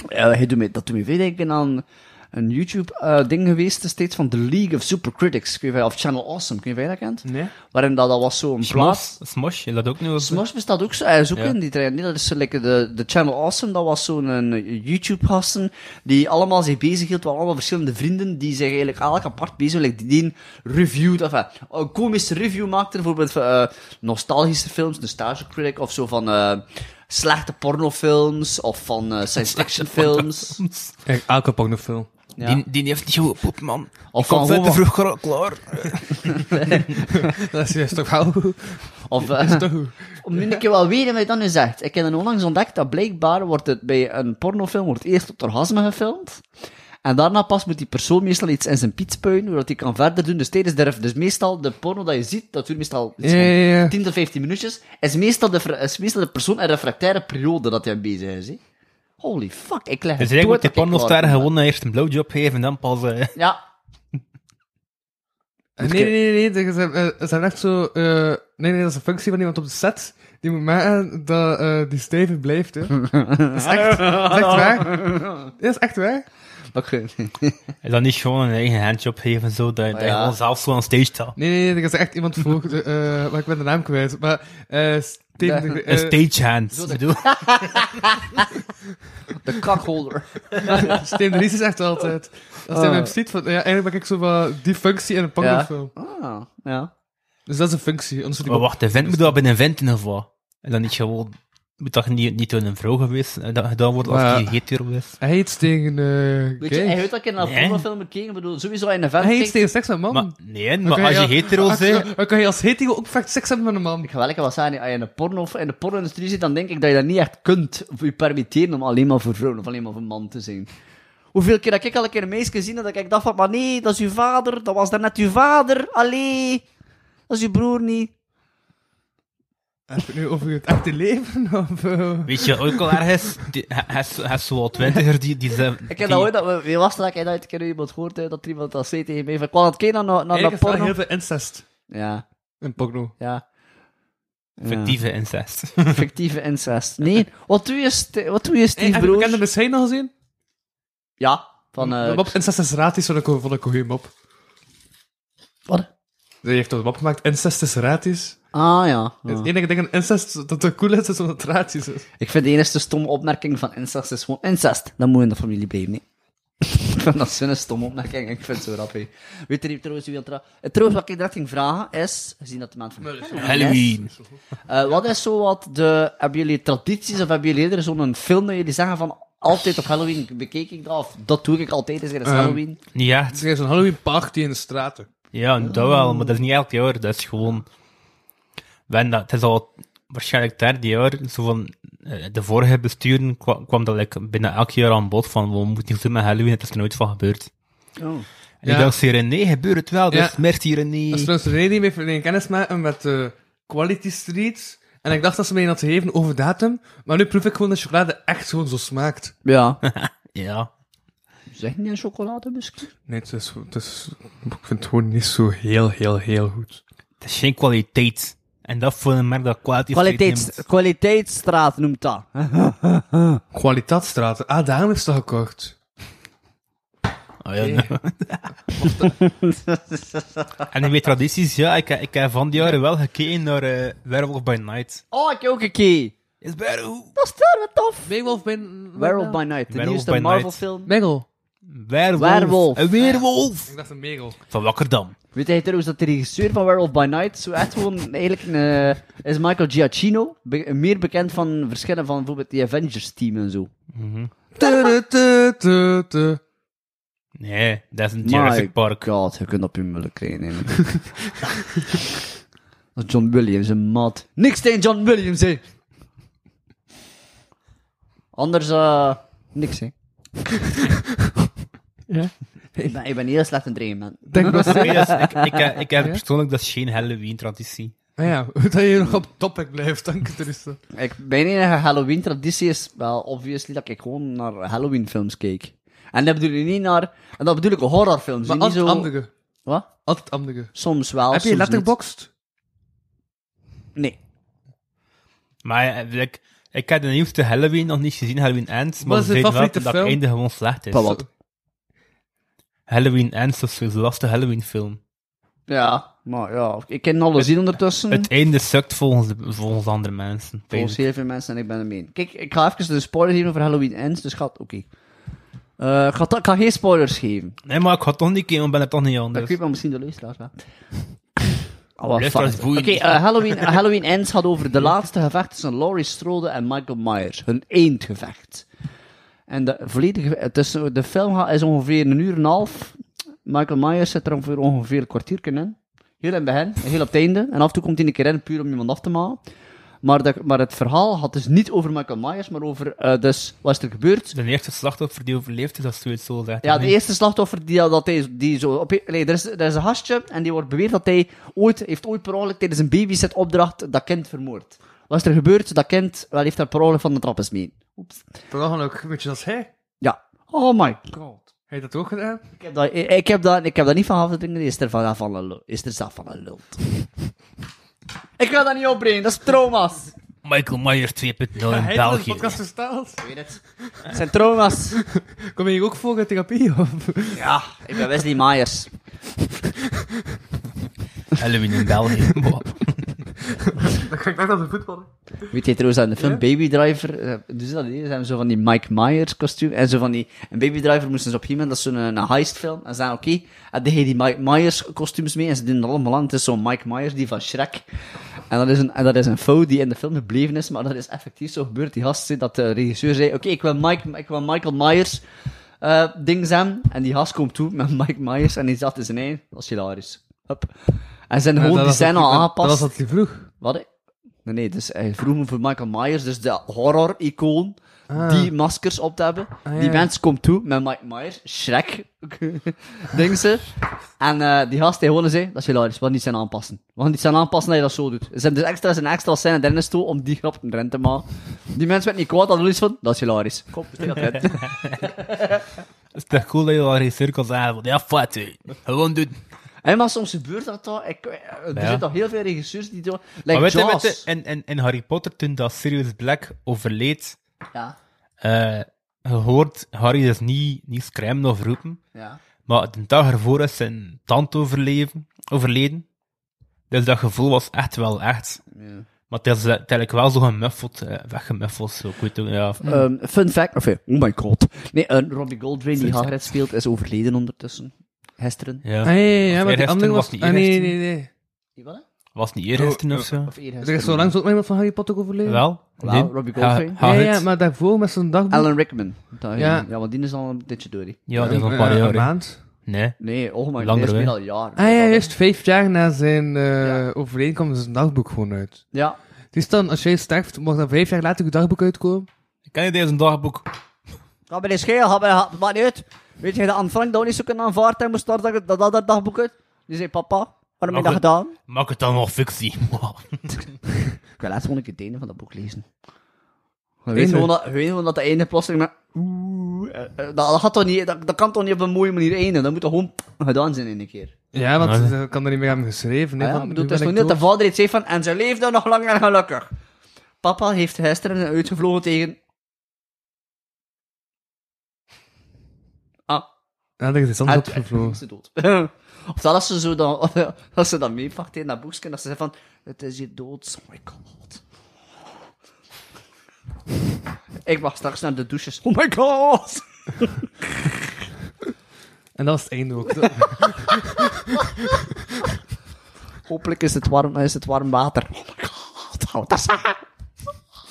Speaker 4: Ja, Eh, hij doet mij, dat doet mij veel denken aan een YouTube-ding geweest steeds van The League of Supercritics. Ik weet niet of Channel Awesome, kun je dat kent?
Speaker 5: Nee.
Speaker 4: Waarin dat, dat was zo'n plaat.
Speaker 3: Smosh, Smosh, je dat ook nu?
Speaker 4: Smosh bestaat ook zo, hij is ook
Speaker 3: Ja.
Speaker 4: in die trein. Nee, dat is zo lekker de, de Channel Awesome, dat was zo'n eh, YouTube-gasten die allemaal zich bezighield met allemaal verschillende vrienden die zich eigenlijk elk apart bezighielden. Die die reviewed, enfin, een komische review maakte, bijvoorbeeld van eh, nostalgische films, Nostalgia Critic, of zo van eh, slechte pornofilms, of van eh, science-fiction films.
Speaker 5: Kijk, elke pak nog film.
Speaker 4: Ja.
Speaker 3: die heeft niet goed poep, man.
Speaker 4: Of van gewoon-
Speaker 3: vroeg klaar.
Speaker 5: Dat is juist toch wel goed.
Speaker 4: Of, eh,
Speaker 5: Toch goed.
Speaker 4: nu ik wel weten wat je dan nu zegt. Ik heb dan onlangs ontdekt dat blijkbaar wordt het bij een pornofilm wordt eerst het orgasme gefilmd. En daarna pas moet die persoon meestal iets in zijn piet spuien, zodat hij kan verder doen. Dus tijdens de ref, dus meestal de porno dat je ziet, dat duurt meestal iets
Speaker 5: Ja,
Speaker 4: van
Speaker 5: ja, ja.
Speaker 4: 10 tot 15 minuutjes, is meestal de, ver- is meestal de persoon een refractaire periode dat hij bezig is. hè. Holy fuck, ik leg
Speaker 3: Dus
Speaker 4: het
Speaker 3: eigenlijk
Speaker 4: dood
Speaker 3: moet die
Speaker 4: dat ik
Speaker 3: pornoster
Speaker 4: klaar ben.
Speaker 3: gewoon eerst een blowjob geven en dan pas... eh,
Speaker 4: Ja,
Speaker 5: Nee, nee, nee, nee. nee. Ze, hebben, eh, ze hebben echt zo... eh, nee, nee, dat is een functie van iemand op de set. Die moet maken dat eh, die stevig blijft, hè. Dat is echt, dat is echt waar. Dat is echt waar.
Speaker 4: dat kun
Speaker 3: En dan niet gewoon een eigen handjob geven, zo, dat, dat je
Speaker 4: ja.
Speaker 3: gewoon zelf zo aan stage staat.
Speaker 5: Nee, nee, nee. Er is echt iemand voor... eh, eh, maar ik ben de naam kwijt. Maar... eh Steven de,
Speaker 3: Een
Speaker 5: eh,
Speaker 3: stagehand,
Speaker 4: dat-
Speaker 3: bedoel.
Speaker 4: De kakholder.
Speaker 5: Steven de Ries is echt altijd... Als hij
Speaker 4: Oh.
Speaker 5: hem ziet, van, ja, eigenlijk ben ik zo van die functie in een pornofilm.
Speaker 4: Ah, ja.
Speaker 5: Dus dat is een functie. Anders
Speaker 3: Maar
Speaker 5: doe ik
Speaker 3: wacht, de vent moet dat binnen venten of wat? En dan niet gewoon... Moet dat niet, niet door een vrouw geweest eh, dat gedaan wordt als
Speaker 5: Maar-
Speaker 3: die hetero is?
Speaker 5: Hij heet tegen... eh
Speaker 4: Weet je,
Speaker 5: gay.
Speaker 4: hij weet dat ik naar
Speaker 3: Nee.
Speaker 4: pornofilmen keek, ik bedoel, sowieso in een vent
Speaker 5: Hij
Speaker 4: keek-
Speaker 5: heeft tegen seks met man.
Speaker 3: Maar, nee, maar
Speaker 5: kan
Speaker 3: als je hetero
Speaker 5: als-
Speaker 3: bent...
Speaker 5: Dan kan je als hetero ook vaak seks hebben met een man.
Speaker 4: Ik ga wel lekker wat zeggen, als je in de, porno, in de porno-industrie zit, dan denk ik dat je dat niet echt kunt of je permitteren om alleen maar voor vrouwen of alleen maar voor man te zijn. Hoeveel keer dat ik al een keer een meisje gezien heb, dat ik dacht van, maar nee, dat is uw vader, dat was daarnet uw vader, allee, dat is uw broer niet.
Speaker 5: Heb je het nu over het echte leven? Of, eh,
Speaker 3: Weet je, ook al ergens, die- hij- hij is- hij is zo wat twintiger, die... die zijn,
Speaker 4: Ik heb dat ooit, dat, we- wie was dat, ik heb dat ooit een keer iemand gehoord, hè, dat er iemand dat zei tegen mij, van, ik kwam aan het kijken naar, naar dat
Speaker 5: eigenlijk is er
Speaker 4: porno.
Speaker 5: heel veel incest
Speaker 4: Ja,
Speaker 5: in porno.
Speaker 4: ja. Ja.
Speaker 3: Fictieve incest.
Speaker 4: Fictieve incest. Nee, wat doe je, sti- wat doe je
Speaker 5: Hey, heb je
Speaker 4: stiefbroer?
Speaker 5: bekende Miss Hein al gezien?
Speaker 4: Ja, van...
Speaker 5: de
Speaker 4: eh,
Speaker 5: mop Incest is gratis, vond ik, vond ik een goeie mop.
Speaker 4: Wat?
Speaker 5: Die heeft een mop gemaakt, incest is gratis.
Speaker 4: Ah ja. ja.
Speaker 5: Het enige ding aan incest dat er cool is, is omdat het gratis is.
Speaker 4: Ik vind de enige stomme opmerking van incest is gewoon incest. Dan moet je in de familie blijven, nee. ik vind dat zo'n stomme opmerking. Ik vind het zo rap, hé. Weet je trouwens wie dat... tra- Eh, Trouwens, wat ik direct ging vragen is... Gezien dat de maand van
Speaker 3: Halloween.
Speaker 4: Eh, wat is zo wat de... Hebben jullie tradities of hebben jullie eerder zo'n film dat jullie zeggen van... Altijd op Halloween bekeek ik dat, of dat doe ik altijd, is er
Speaker 5: Ehm,
Speaker 4: Halloween.
Speaker 3: Niet echt.
Speaker 5: Het is een Halloween party in de straten.
Speaker 3: Ja, dat wel, maar dat is niet elk jaar. Dat is gewoon... Wen dat, het is al waarschijnlijk het derde jaar. Zo van, eh, de vorige besturen kwa- kwam dat like, binnen elk jaar aan bod van we moeten iets doen met Halloween, het is er nooit van gebeurd.
Speaker 4: Oh.
Speaker 3: En
Speaker 5: Ja.
Speaker 3: ik dacht, zei René, gebeurt het wel, dus
Speaker 5: Ja.
Speaker 3: merci
Speaker 5: Dat is
Speaker 3: René.
Speaker 5: trouwens de reden die mij verleden kennis maken met eh, Quality Street. En ik dacht dat ze mij dat geven over datum. Maar nu proef ik gewoon dat chocolade echt gewoon zo smaakt.
Speaker 4: Ja.
Speaker 3: Ja.
Speaker 4: zeg niet een chocolade misschien?
Speaker 5: Nee, het is, het is, ik vind het gewoon niet zo heel, heel, heel goed.
Speaker 3: Het is geen kwaliteit. En dat voor een merk dat kwaliteit
Speaker 4: Kwaliteits,
Speaker 3: neemt.
Speaker 4: kwaliteitsstraat noemt dat. hè.
Speaker 5: Kwaliteitsstraten. Ah, daarom is dat gekocht.
Speaker 3: Ah, ja, nou. en weet tradities, ja, ik, ik heb van die jaren wel gekeken naar eh, Werewolf by Night.
Speaker 4: Oh, ik heb ook een keer.
Speaker 3: Is better hoe?
Speaker 4: Dat is daar wat tof.
Speaker 5: Werewolf by...
Speaker 4: Werewolf by Night, de
Speaker 3: Werewolf
Speaker 4: nieuwste
Speaker 3: by Night.
Speaker 4: Marvel film.
Speaker 5: Megel.
Speaker 3: Werwolf.
Speaker 4: Werwolf.
Speaker 3: Een weerwolf.
Speaker 5: Ik dacht een megel.
Speaker 3: Van Wakkerdam.
Speaker 4: Weet jij trouwens dat de regisseur van Werewolf by Night zo echt gewoon eigenlijk een, eh, is Michael Giacchino, be- meer bekend van verschillen van bijvoorbeeld die Avengers team en zo.
Speaker 5: Tudu, tudu, tudu.
Speaker 3: Nee, dat is een Jurassic
Speaker 4: My
Speaker 3: Park.
Speaker 4: God, je kunt op je mullen krijgen. hè, man. Dat is John Williams, een maat. Niks tegen John Williams, hè. Anders, eh, niks, hè.
Speaker 5: Ja.
Speaker 4: Ik ben, ik ben heel slecht in dreigen, man.
Speaker 5: Denk wel
Speaker 3: Nee, dat is- ik, ik, ik, ik heb
Speaker 5: Ja?
Speaker 3: persoonlijk, dat is geen Halloween-traditie.
Speaker 5: Ah ja, dat je nog op topic blijft, dank je Tristan.
Speaker 4: Ik, mijn enige Halloween-traditie is wel obviously dat ik gewoon naar Halloween-films keek. En dat bedoel ik niet naar... En dat bedoel ik horrorfilms,
Speaker 5: Maar
Speaker 4: niet
Speaker 5: altijd
Speaker 4: zo...
Speaker 5: andere.
Speaker 4: Wat?
Speaker 5: Altijd andere.
Speaker 4: Soms wel,
Speaker 5: Heb je
Speaker 4: soms niet.
Speaker 5: letterboxd?
Speaker 4: Nee.
Speaker 3: Maar ja, ik, ik heb de nieuwste Halloween nog niet gezien, Halloween Ends. Maar
Speaker 5: Wat is
Speaker 3: ze
Speaker 5: je
Speaker 3: weten wel
Speaker 5: favoriete
Speaker 3: dat het
Speaker 5: film?
Speaker 3: einde gewoon slecht is.
Speaker 4: Maar wat?
Speaker 3: Halloween Ends is de laatste Halloween-film.
Speaker 4: Ja, maar ja. Ik ken alle zien ondertussen.
Speaker 3: Het einde sukt volgens, de- volgens andere mensen.
Speaker 4: Volgens heel veel mensen en ik ben er mee. Kijk, ik ga even de spoilers geven over Halloween Ends, dus gaat... Oké. Eh, ik, ga ta- ik ga geen spoilers geven.
Speaker 3: Nee, maar ik had toch niet keer, want ik ben het toch niet
Speaker 4: Dat
Speaker 3: anders.
Speaker 4: weet maar misschien de luisteraars wel. Oh, wat
Speaker 3: Luisteraars
Speaker 4: fuck.
Speaker 3: boeien
Speaker 4: Oké,
Speaker 3: niet.
Speaker 4: eh, Halloween, Halloween Ends gaat over de laatste gevecht tussen Laurie Strode en Michael Myers. Hun eendgevecht. En de, volledige, het is, de film gaat- is ongeveer een uur en een half. Michael Myers zit er ongeveer, ongeveer een kwartier in. Heel in het begin, en heel op het einde. En af en toe komt hij een keer in, puur om iemand af te maken. Maar, dat, maar het verhaal had dus niet over Michael Myers, maar over eh, dus, wat is er gebeurd.
Speaker 3: De eerste slachtoffer die overleefd is, dat is zoiets zo zegt.
Speaker 4: Ja, de eerste slachtoffer die, dat hij, die zo... Op, nee, er is, er is een gastje en die wordt beweerd dat hij ooit, heeft ooit per ongeluk tijdens een babysitopdracht dat kind vermoord. Wat is er gebeurd? Dat kind wel, heeft daar per ongeluk van de trap eens mee. Oeps.
Speaker 5: Per ongeluk, weet je, als hij.
Speaker 4: Ja. Oh my
Speaker 5: God. Heb je dat ook gedaan?
Speaker 4: Ik heb dat, ik, ik heb dat, ik heb dat niet van afdringen. Is er van, van een lul. Is er zelf van een lul. ik ga dat niet opbrengen. Dat is trauma's.
Speaker 3: Michael Myers 2.0 in
Speaker 5: Hij heeft dat in de
Speaker 3: België.
Speaker 5: podcast gesteld.
Speaker 4: Ik weet het. Het zijn trauma's.
Speaker 5: Kom je hier ook voor in therapie? Of?
Speaker 4: Ja, ik ben Wesley Myers.
Speaker 3: Halloween in België. Wow.
Speaker 5: Ik denk dat we voetballen.
Speaker 4: Weet je trouwens aan de film Baby Driver? eh, Dus dat is hebben zo van die Mike Myers kostuum. En zo van die. En Baby Driver moesten ze op iemand, dat is zo'n eh, een heistfilm. En ze zeiden oké, en die die Mike Myers kostuums mee. En ze doen dat allemaal aan. Het is zo'n Mike Myers, die van Shrek. En dat, is een, en dat is een fout die in de film gebleven is, maar dat is effectief zo gebeurd. Die gast zei dat de regisseur zei: Oké, ik, wil Mike, ik wil Michael Myers eh ding zijn. En die gast komt toe met Mike Myers en die zat in zijn eind. Dat is hilarisch. Hup. En ze zijn gewoon die scène al aangepast.
Speaker 5: Dat was dat die vroeg.
Speaker 4: Wat? hè? Nee, nee, dus hij vroeg me voor Michael Myers, dus de horror-icoon,
Speaker 3: Ah.
Speaker 4: die maskers op te hebben.
Speaker 5: ja,
Speaker 4: Die
Speaker 5: ja.
Speaker 4: mens komt toe met Mike Myers, Shrek, denk ze. En eh, die gast, die gewoon zei, dat is hilarisch, we gaan niet zijn aanpassen. We gaan niet zijn aanpassen dat je dat zo doet. Er zijn dus extra, zijn extra scène erin toe om die grap erin te maken. Die mensen werd niet kwaad, dat is van, dat is hilarisch. Kom, steek dat erin.
Speaker 3: Het is toch cool dat je al geen cirkel zegt. want Ja, fuck it. Gewoon doen.
Speaker 4: en maar soms gebeurt dat toch, ik, eh, er
Speaker 3: Ja.
Speaker 4: zijn toch heel veel regisseurs die doen,
Speaker 3: Maar
Speaker 4: like
Speaker 3: weet je, weet
Speaker 4: Jaws.
Speaker 3: je, in, in, in Harry Potter, toen dat Sirius Black overleed,
Speaker 4: Ja,
Speaker 3: eh, je hoort Harry dus niet, niet screamen of roepen.
Speaker 4: ja.
Speaker 3: Maar de dag ervoor is zijn tand overleven, overleden. Dus dat gevoel was echt wel echt. Maar het is eh, eigenlijk wel zo gemuffeld, eh, weggemuffeld. Zo, ik weet het ook, ja.
Speaker 4: Ehm, fun fact, of eh, oh my god. Nee, eh, Robbie Coltrane die Hagrid speelt, is overleden ondertussen. Gisteren.
Speaker 3: ja.
Speaker 5: Ah, ja, ja, ja,
Speaker 3: Of
Speaker 5: maar die
Speaker 3: eergisteren
Speaker 5: andere was...
Speaker 3: was niet
Speaker 5: ah, nee,
Speaker 3: eergisteren.
Speaker 5: nee, nee.
Speaker 3: Was niet eergisteren of zo?
Speaker 4: Of eergisteren.
Speaker 5: Er is zo lang zo iemand van Harry Potter overleden.
Speaker 3: Wel?
Speaker 4: oh. Wel, Robbie
Speaker 3: Ha-
Speaker 4: Coltrane.
Speaker 5: Ja,
Speaker 3: Hagrid.
Speaker 5: ja, maar daarvoor met zo'n dagboek.
Speaker 4: Alan Rickman. Dat- eh, ja.
Speaker 5: Ja.
Speaker 4: want die is al een beetje door. die.
Speaker 3: Ja, dat is nog een
Speaker 5: Ja,
Speaker 3: paar jaar.
Speaker 5: Eh, Een
Speaker 3: hè.
Speaker 5: maand.
Speaker 3: Nee.
Speaker 4: Nee, oh my god,
Speaker 3: Langer,
Speaker 4: dat is meer
Speaker 3: hè?
Speaker 4: al jaren.
Speaker 5: Ah ja, juist vijf jaar na zijn eh
Speaker 4: Ja.
Speaker 5: overleden kwam zijn dagboek gewoon uit.
Speaker 4: Ja.
Speaker 5: Het is dan, als jij sterft, mag dan vijf jaar later je dagboek uitkomen.
Speaker 3: Ik ken je deze dagboek.
Speaker 4: Ga bij de scheel, ga bij, ga- maakt niet uit. Weet je, dat Anne Frank dat ook niet zo kunnen aanvaarden, hij moest daar dat, dat, dat, dat dagboek uit. Die zei, papa, waarom heb je dat
Speaker 3: Mag
Speaker 4: gedaan?
Speaker 3: Maak het dan nog fictie.
Speaker 4: Ik wil laatst gewoon een keer het einde van dat boek lezen. Je
Speaker 5: Weet
Speaker 4: weet
Speaker 5: je?
Speaker 4: gewoon dat, je weet gewoon dat de einde plotseling met... Oeh, eh, eh, dat, dat, gaat toch niet, dat, dat kan toch niet op een mooie manier eindigen? Dat moet toch gewoon gedaan zijn in een keer.
Speaker 5: Ja, want
Speaker 3: Ah,
Speaker 5: ze kan er niet meer hebben geschreven.
Speaker 4: Ah
Speaker 5: hè,
Speaker 4: ja,
Speaker 5: van,
Speaker 4: ik bedoel,
Speaker 5: nu
Speaker 4: het is
Speaker 5: ben
Speaker 4: nog niet
Speaker 5: ik
Speaker 4: dat de
Speaker 5: dood.
Speaker 4: vader iets heeft van en ze leefde nog lang en gelukkig. Papa heeft gisteren uitgevlogen tegen... Ah,
Speaker 5: Ja, dat is anders
Speaker 4: het
Speaker 5: opgevlogen.
Speaker 4: is dood. of dat als ze zo dan, als ze dan meepakt in dat boekje, dat ze zeggen van, het is hier dood, oh my god. Ik mag straks naar de douches, oh my god.
Speaker 5: En dat was het einde ook. Dat-
Speaker 4: Hopelijk is het warm, is het warm water. Oh my god, houd dat aan.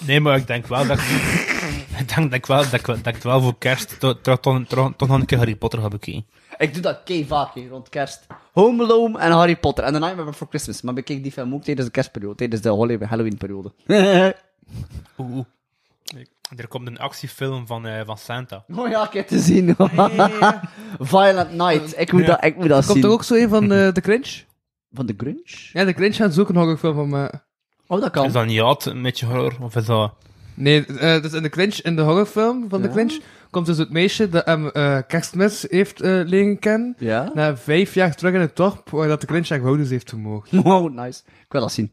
Speaker 3: Nee, maar ik denk wel dat ik, ik, denk, dat ik, wel, dat ik, dat ik wel voor kerst toch toch- toch- toch- toch nog een keer Harry Potter ga bekijken.
Speaker 4: Ik doe dat kei vaak hè, rond kerst. Home Alone en Harry Potter. En The Nightmare Before Christmas. Maar bekijk die film ook tijdens de kerstperiode. Tijdens de Halloween- Halloween-periode.
Speaker 3: Oeh, oeh. Er komt een actiefilm van, eh, van Santa.
Speaker 4: oh ja, ik heb te zien. Violent Night. Ik moet
Speaker 3: Ja.
Speaker 4: dat, ik moet dat
Speaker 5: Komt
Speaker 4: zien.
Speaker 5: er ook zo een van eh, de Grinch?
Speaker 4: Van de Grinch?
Speaker 5: Ja, de Grinch had zo'n horrorfilm van eh, maken.
Speaker 4: Oh, dat
Speaker 3: Is
Speaker 4: kan.
Speaker 3: dat niet oud, een beetje horror? Of is dat...
Speaker 5: Nee, eh, dus in de Grinch, in de horrorfilm van de
Speaker 4: Ja.
Speaker 5: Grinch, komt dus het meisje dat hem eh, kerstmis heeft eh, leren kennen.
Speaker 4: Ja?
Speaker 5: Na vijf jaar terug in het dorp, waar dat de Grinch haar ouders heeft vermoord.
Speaker 4: Wow, nice. Ik wil dat zien.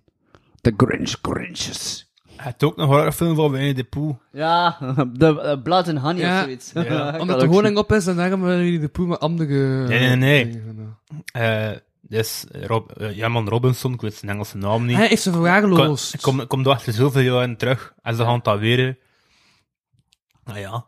Speaker 4: De Grinch Grinches.
Speaker 3: Het ook een horrorfilm van Winnie de Pooh.
Speaker 4: Ja, de eh, Blood and Honey
Speaker 5: Ja.
Speaker 4: of zoiets.
Speaker 3: Ja.
Speaker 4: Ik wil
Speaker 5: Omdat
Speaker 4: ook
Speaker 5: de
Speaker 4: zien.
Speaker 5: honing op is en daarom willen jullie de poe met andere...
Speaker 3: Nee, nee, nee.
Speaker 5: dingen.
Speaker 3: Eh, dus Rob, eh, Herman Robinson, ik weet zijn Engelse naam niet.
Speaker 5: Hij is een verwaarloosd.
Speaker 3: Ik kom, kom achter zoveel jaren terug en ze gaan dat weer. Nou ja,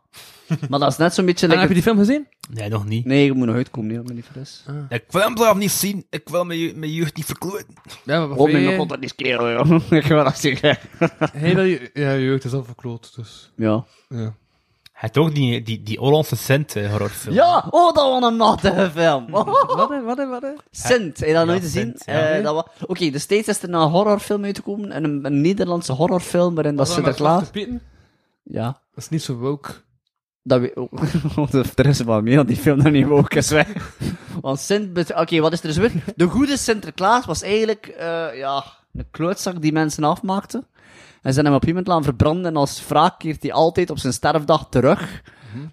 Speaker 4: Maar dat is net zo'n beetje...
Speaker 5: En
Speaker 4: lekker.
Speaker 5: Ah, heb je die film gezien?
Speaker 3: nee, nog niet.
Speaker 4: Nee, je moet nog uitkomen, nee, ik ben niet fris.
Speaker 3: Ik wil hem zelf niet zien, ik wil mijn, je- mijn jeugd niet verkloten.
Speaker 5: Ja, maar
Speaker 4: Kom je nog onder die schreeuwen, joh. Ik wil dat zien.
Speaker 5: Heel je ja, je jeugd is al verkloot, dus...
Speaker 4: Ja.
Speaker 5: Ja.
Speaker 3: Hij toch die, die, die Hollandse Sint eh, horrorfilm.
Speaker 4: Ja, oh, dat was een natte film.
Speaker 5: Wat, hè, wat, hè, wat, hè?
Speaker 4: Sint, heb je dat nooit gezien?
Speaker 3: Sint, ja.
Speaker 4: Eh, dat wa- Oké, dus steeds is er een horrorfilm uitgekomen, en een, een Nederlandse horrorfilm waarin
Speaker 5: Oh,
Speaker 4: dat Sinterklaas... Ja,
Speaker 5: Dat is niet zo woke.
Speaker 4: dat oh. weet ook. Want er is wel meer aan die film dan niet ook is weg. Want Sint... bet- Oké, wat is er dus weer? De goede Sinterklaas was eigenlijk, eh, ja, een klootzak die mensen afmaakte. En ze zijn hem op iemand laten verbranden, en als wraak keert hij altijd op zijn sterfdag terug.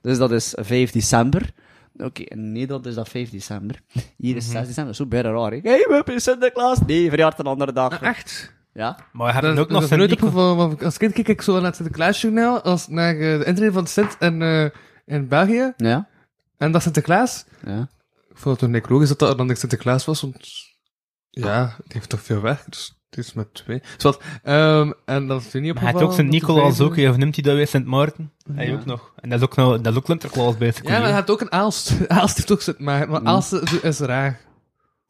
Speaker 4: Dus dat is 5 december. Oké, in Nederland is dat 5 december. Hier is 6 december, zo bijna raar. hè. hey, we hebben Sinterklaas. Nee, verjaart een andere dag.
Speaker 5: Ah, Echt?
Speaker 4: Ja?
Speaker 3: Maar hij
Speaker 5: Dat
Speaker 3: heeft
Speaker 5: is
Speaker 3: ook
Speaker 5: dat
Speaker 3: nog
Speaker 5: is
Speaker 3: zijn
Speaker 5: nooit
Speaker 3: Nico.
Speaker 5: opgevallen, want als kind keek ik zo naar het Sinterklaasjournaal, als naar eh, de intrede van Sint en, eh, in België.
Speaker 4: Ja?
Speaker 5: En dat Sinterklaas,
Speaker 4: Ja.
Speaker 5: Ik vond het toen ik logisch dat dat dan ik Sinterklaas was, want ja, die heeft toch veel werk, dus het is met twee. Zwat, ehm, en dat is toen niet opgevallen.
Speaker 3: Maar hij heeft ook zijn
Speaker 5: want de
Speaker 3: Nicolaas
Speaker 5: vijfde-
Speaker 3: ook, hè, of noemt hij dat weer Sint Maarten? Hij ook nog. En dat is ook, nou, dat is ook Sinterklaas bij
Speaker 5: Ja, maar hij had ook een Aalst. Aalst heeft ook zit maar, maar Aalst is, is raar.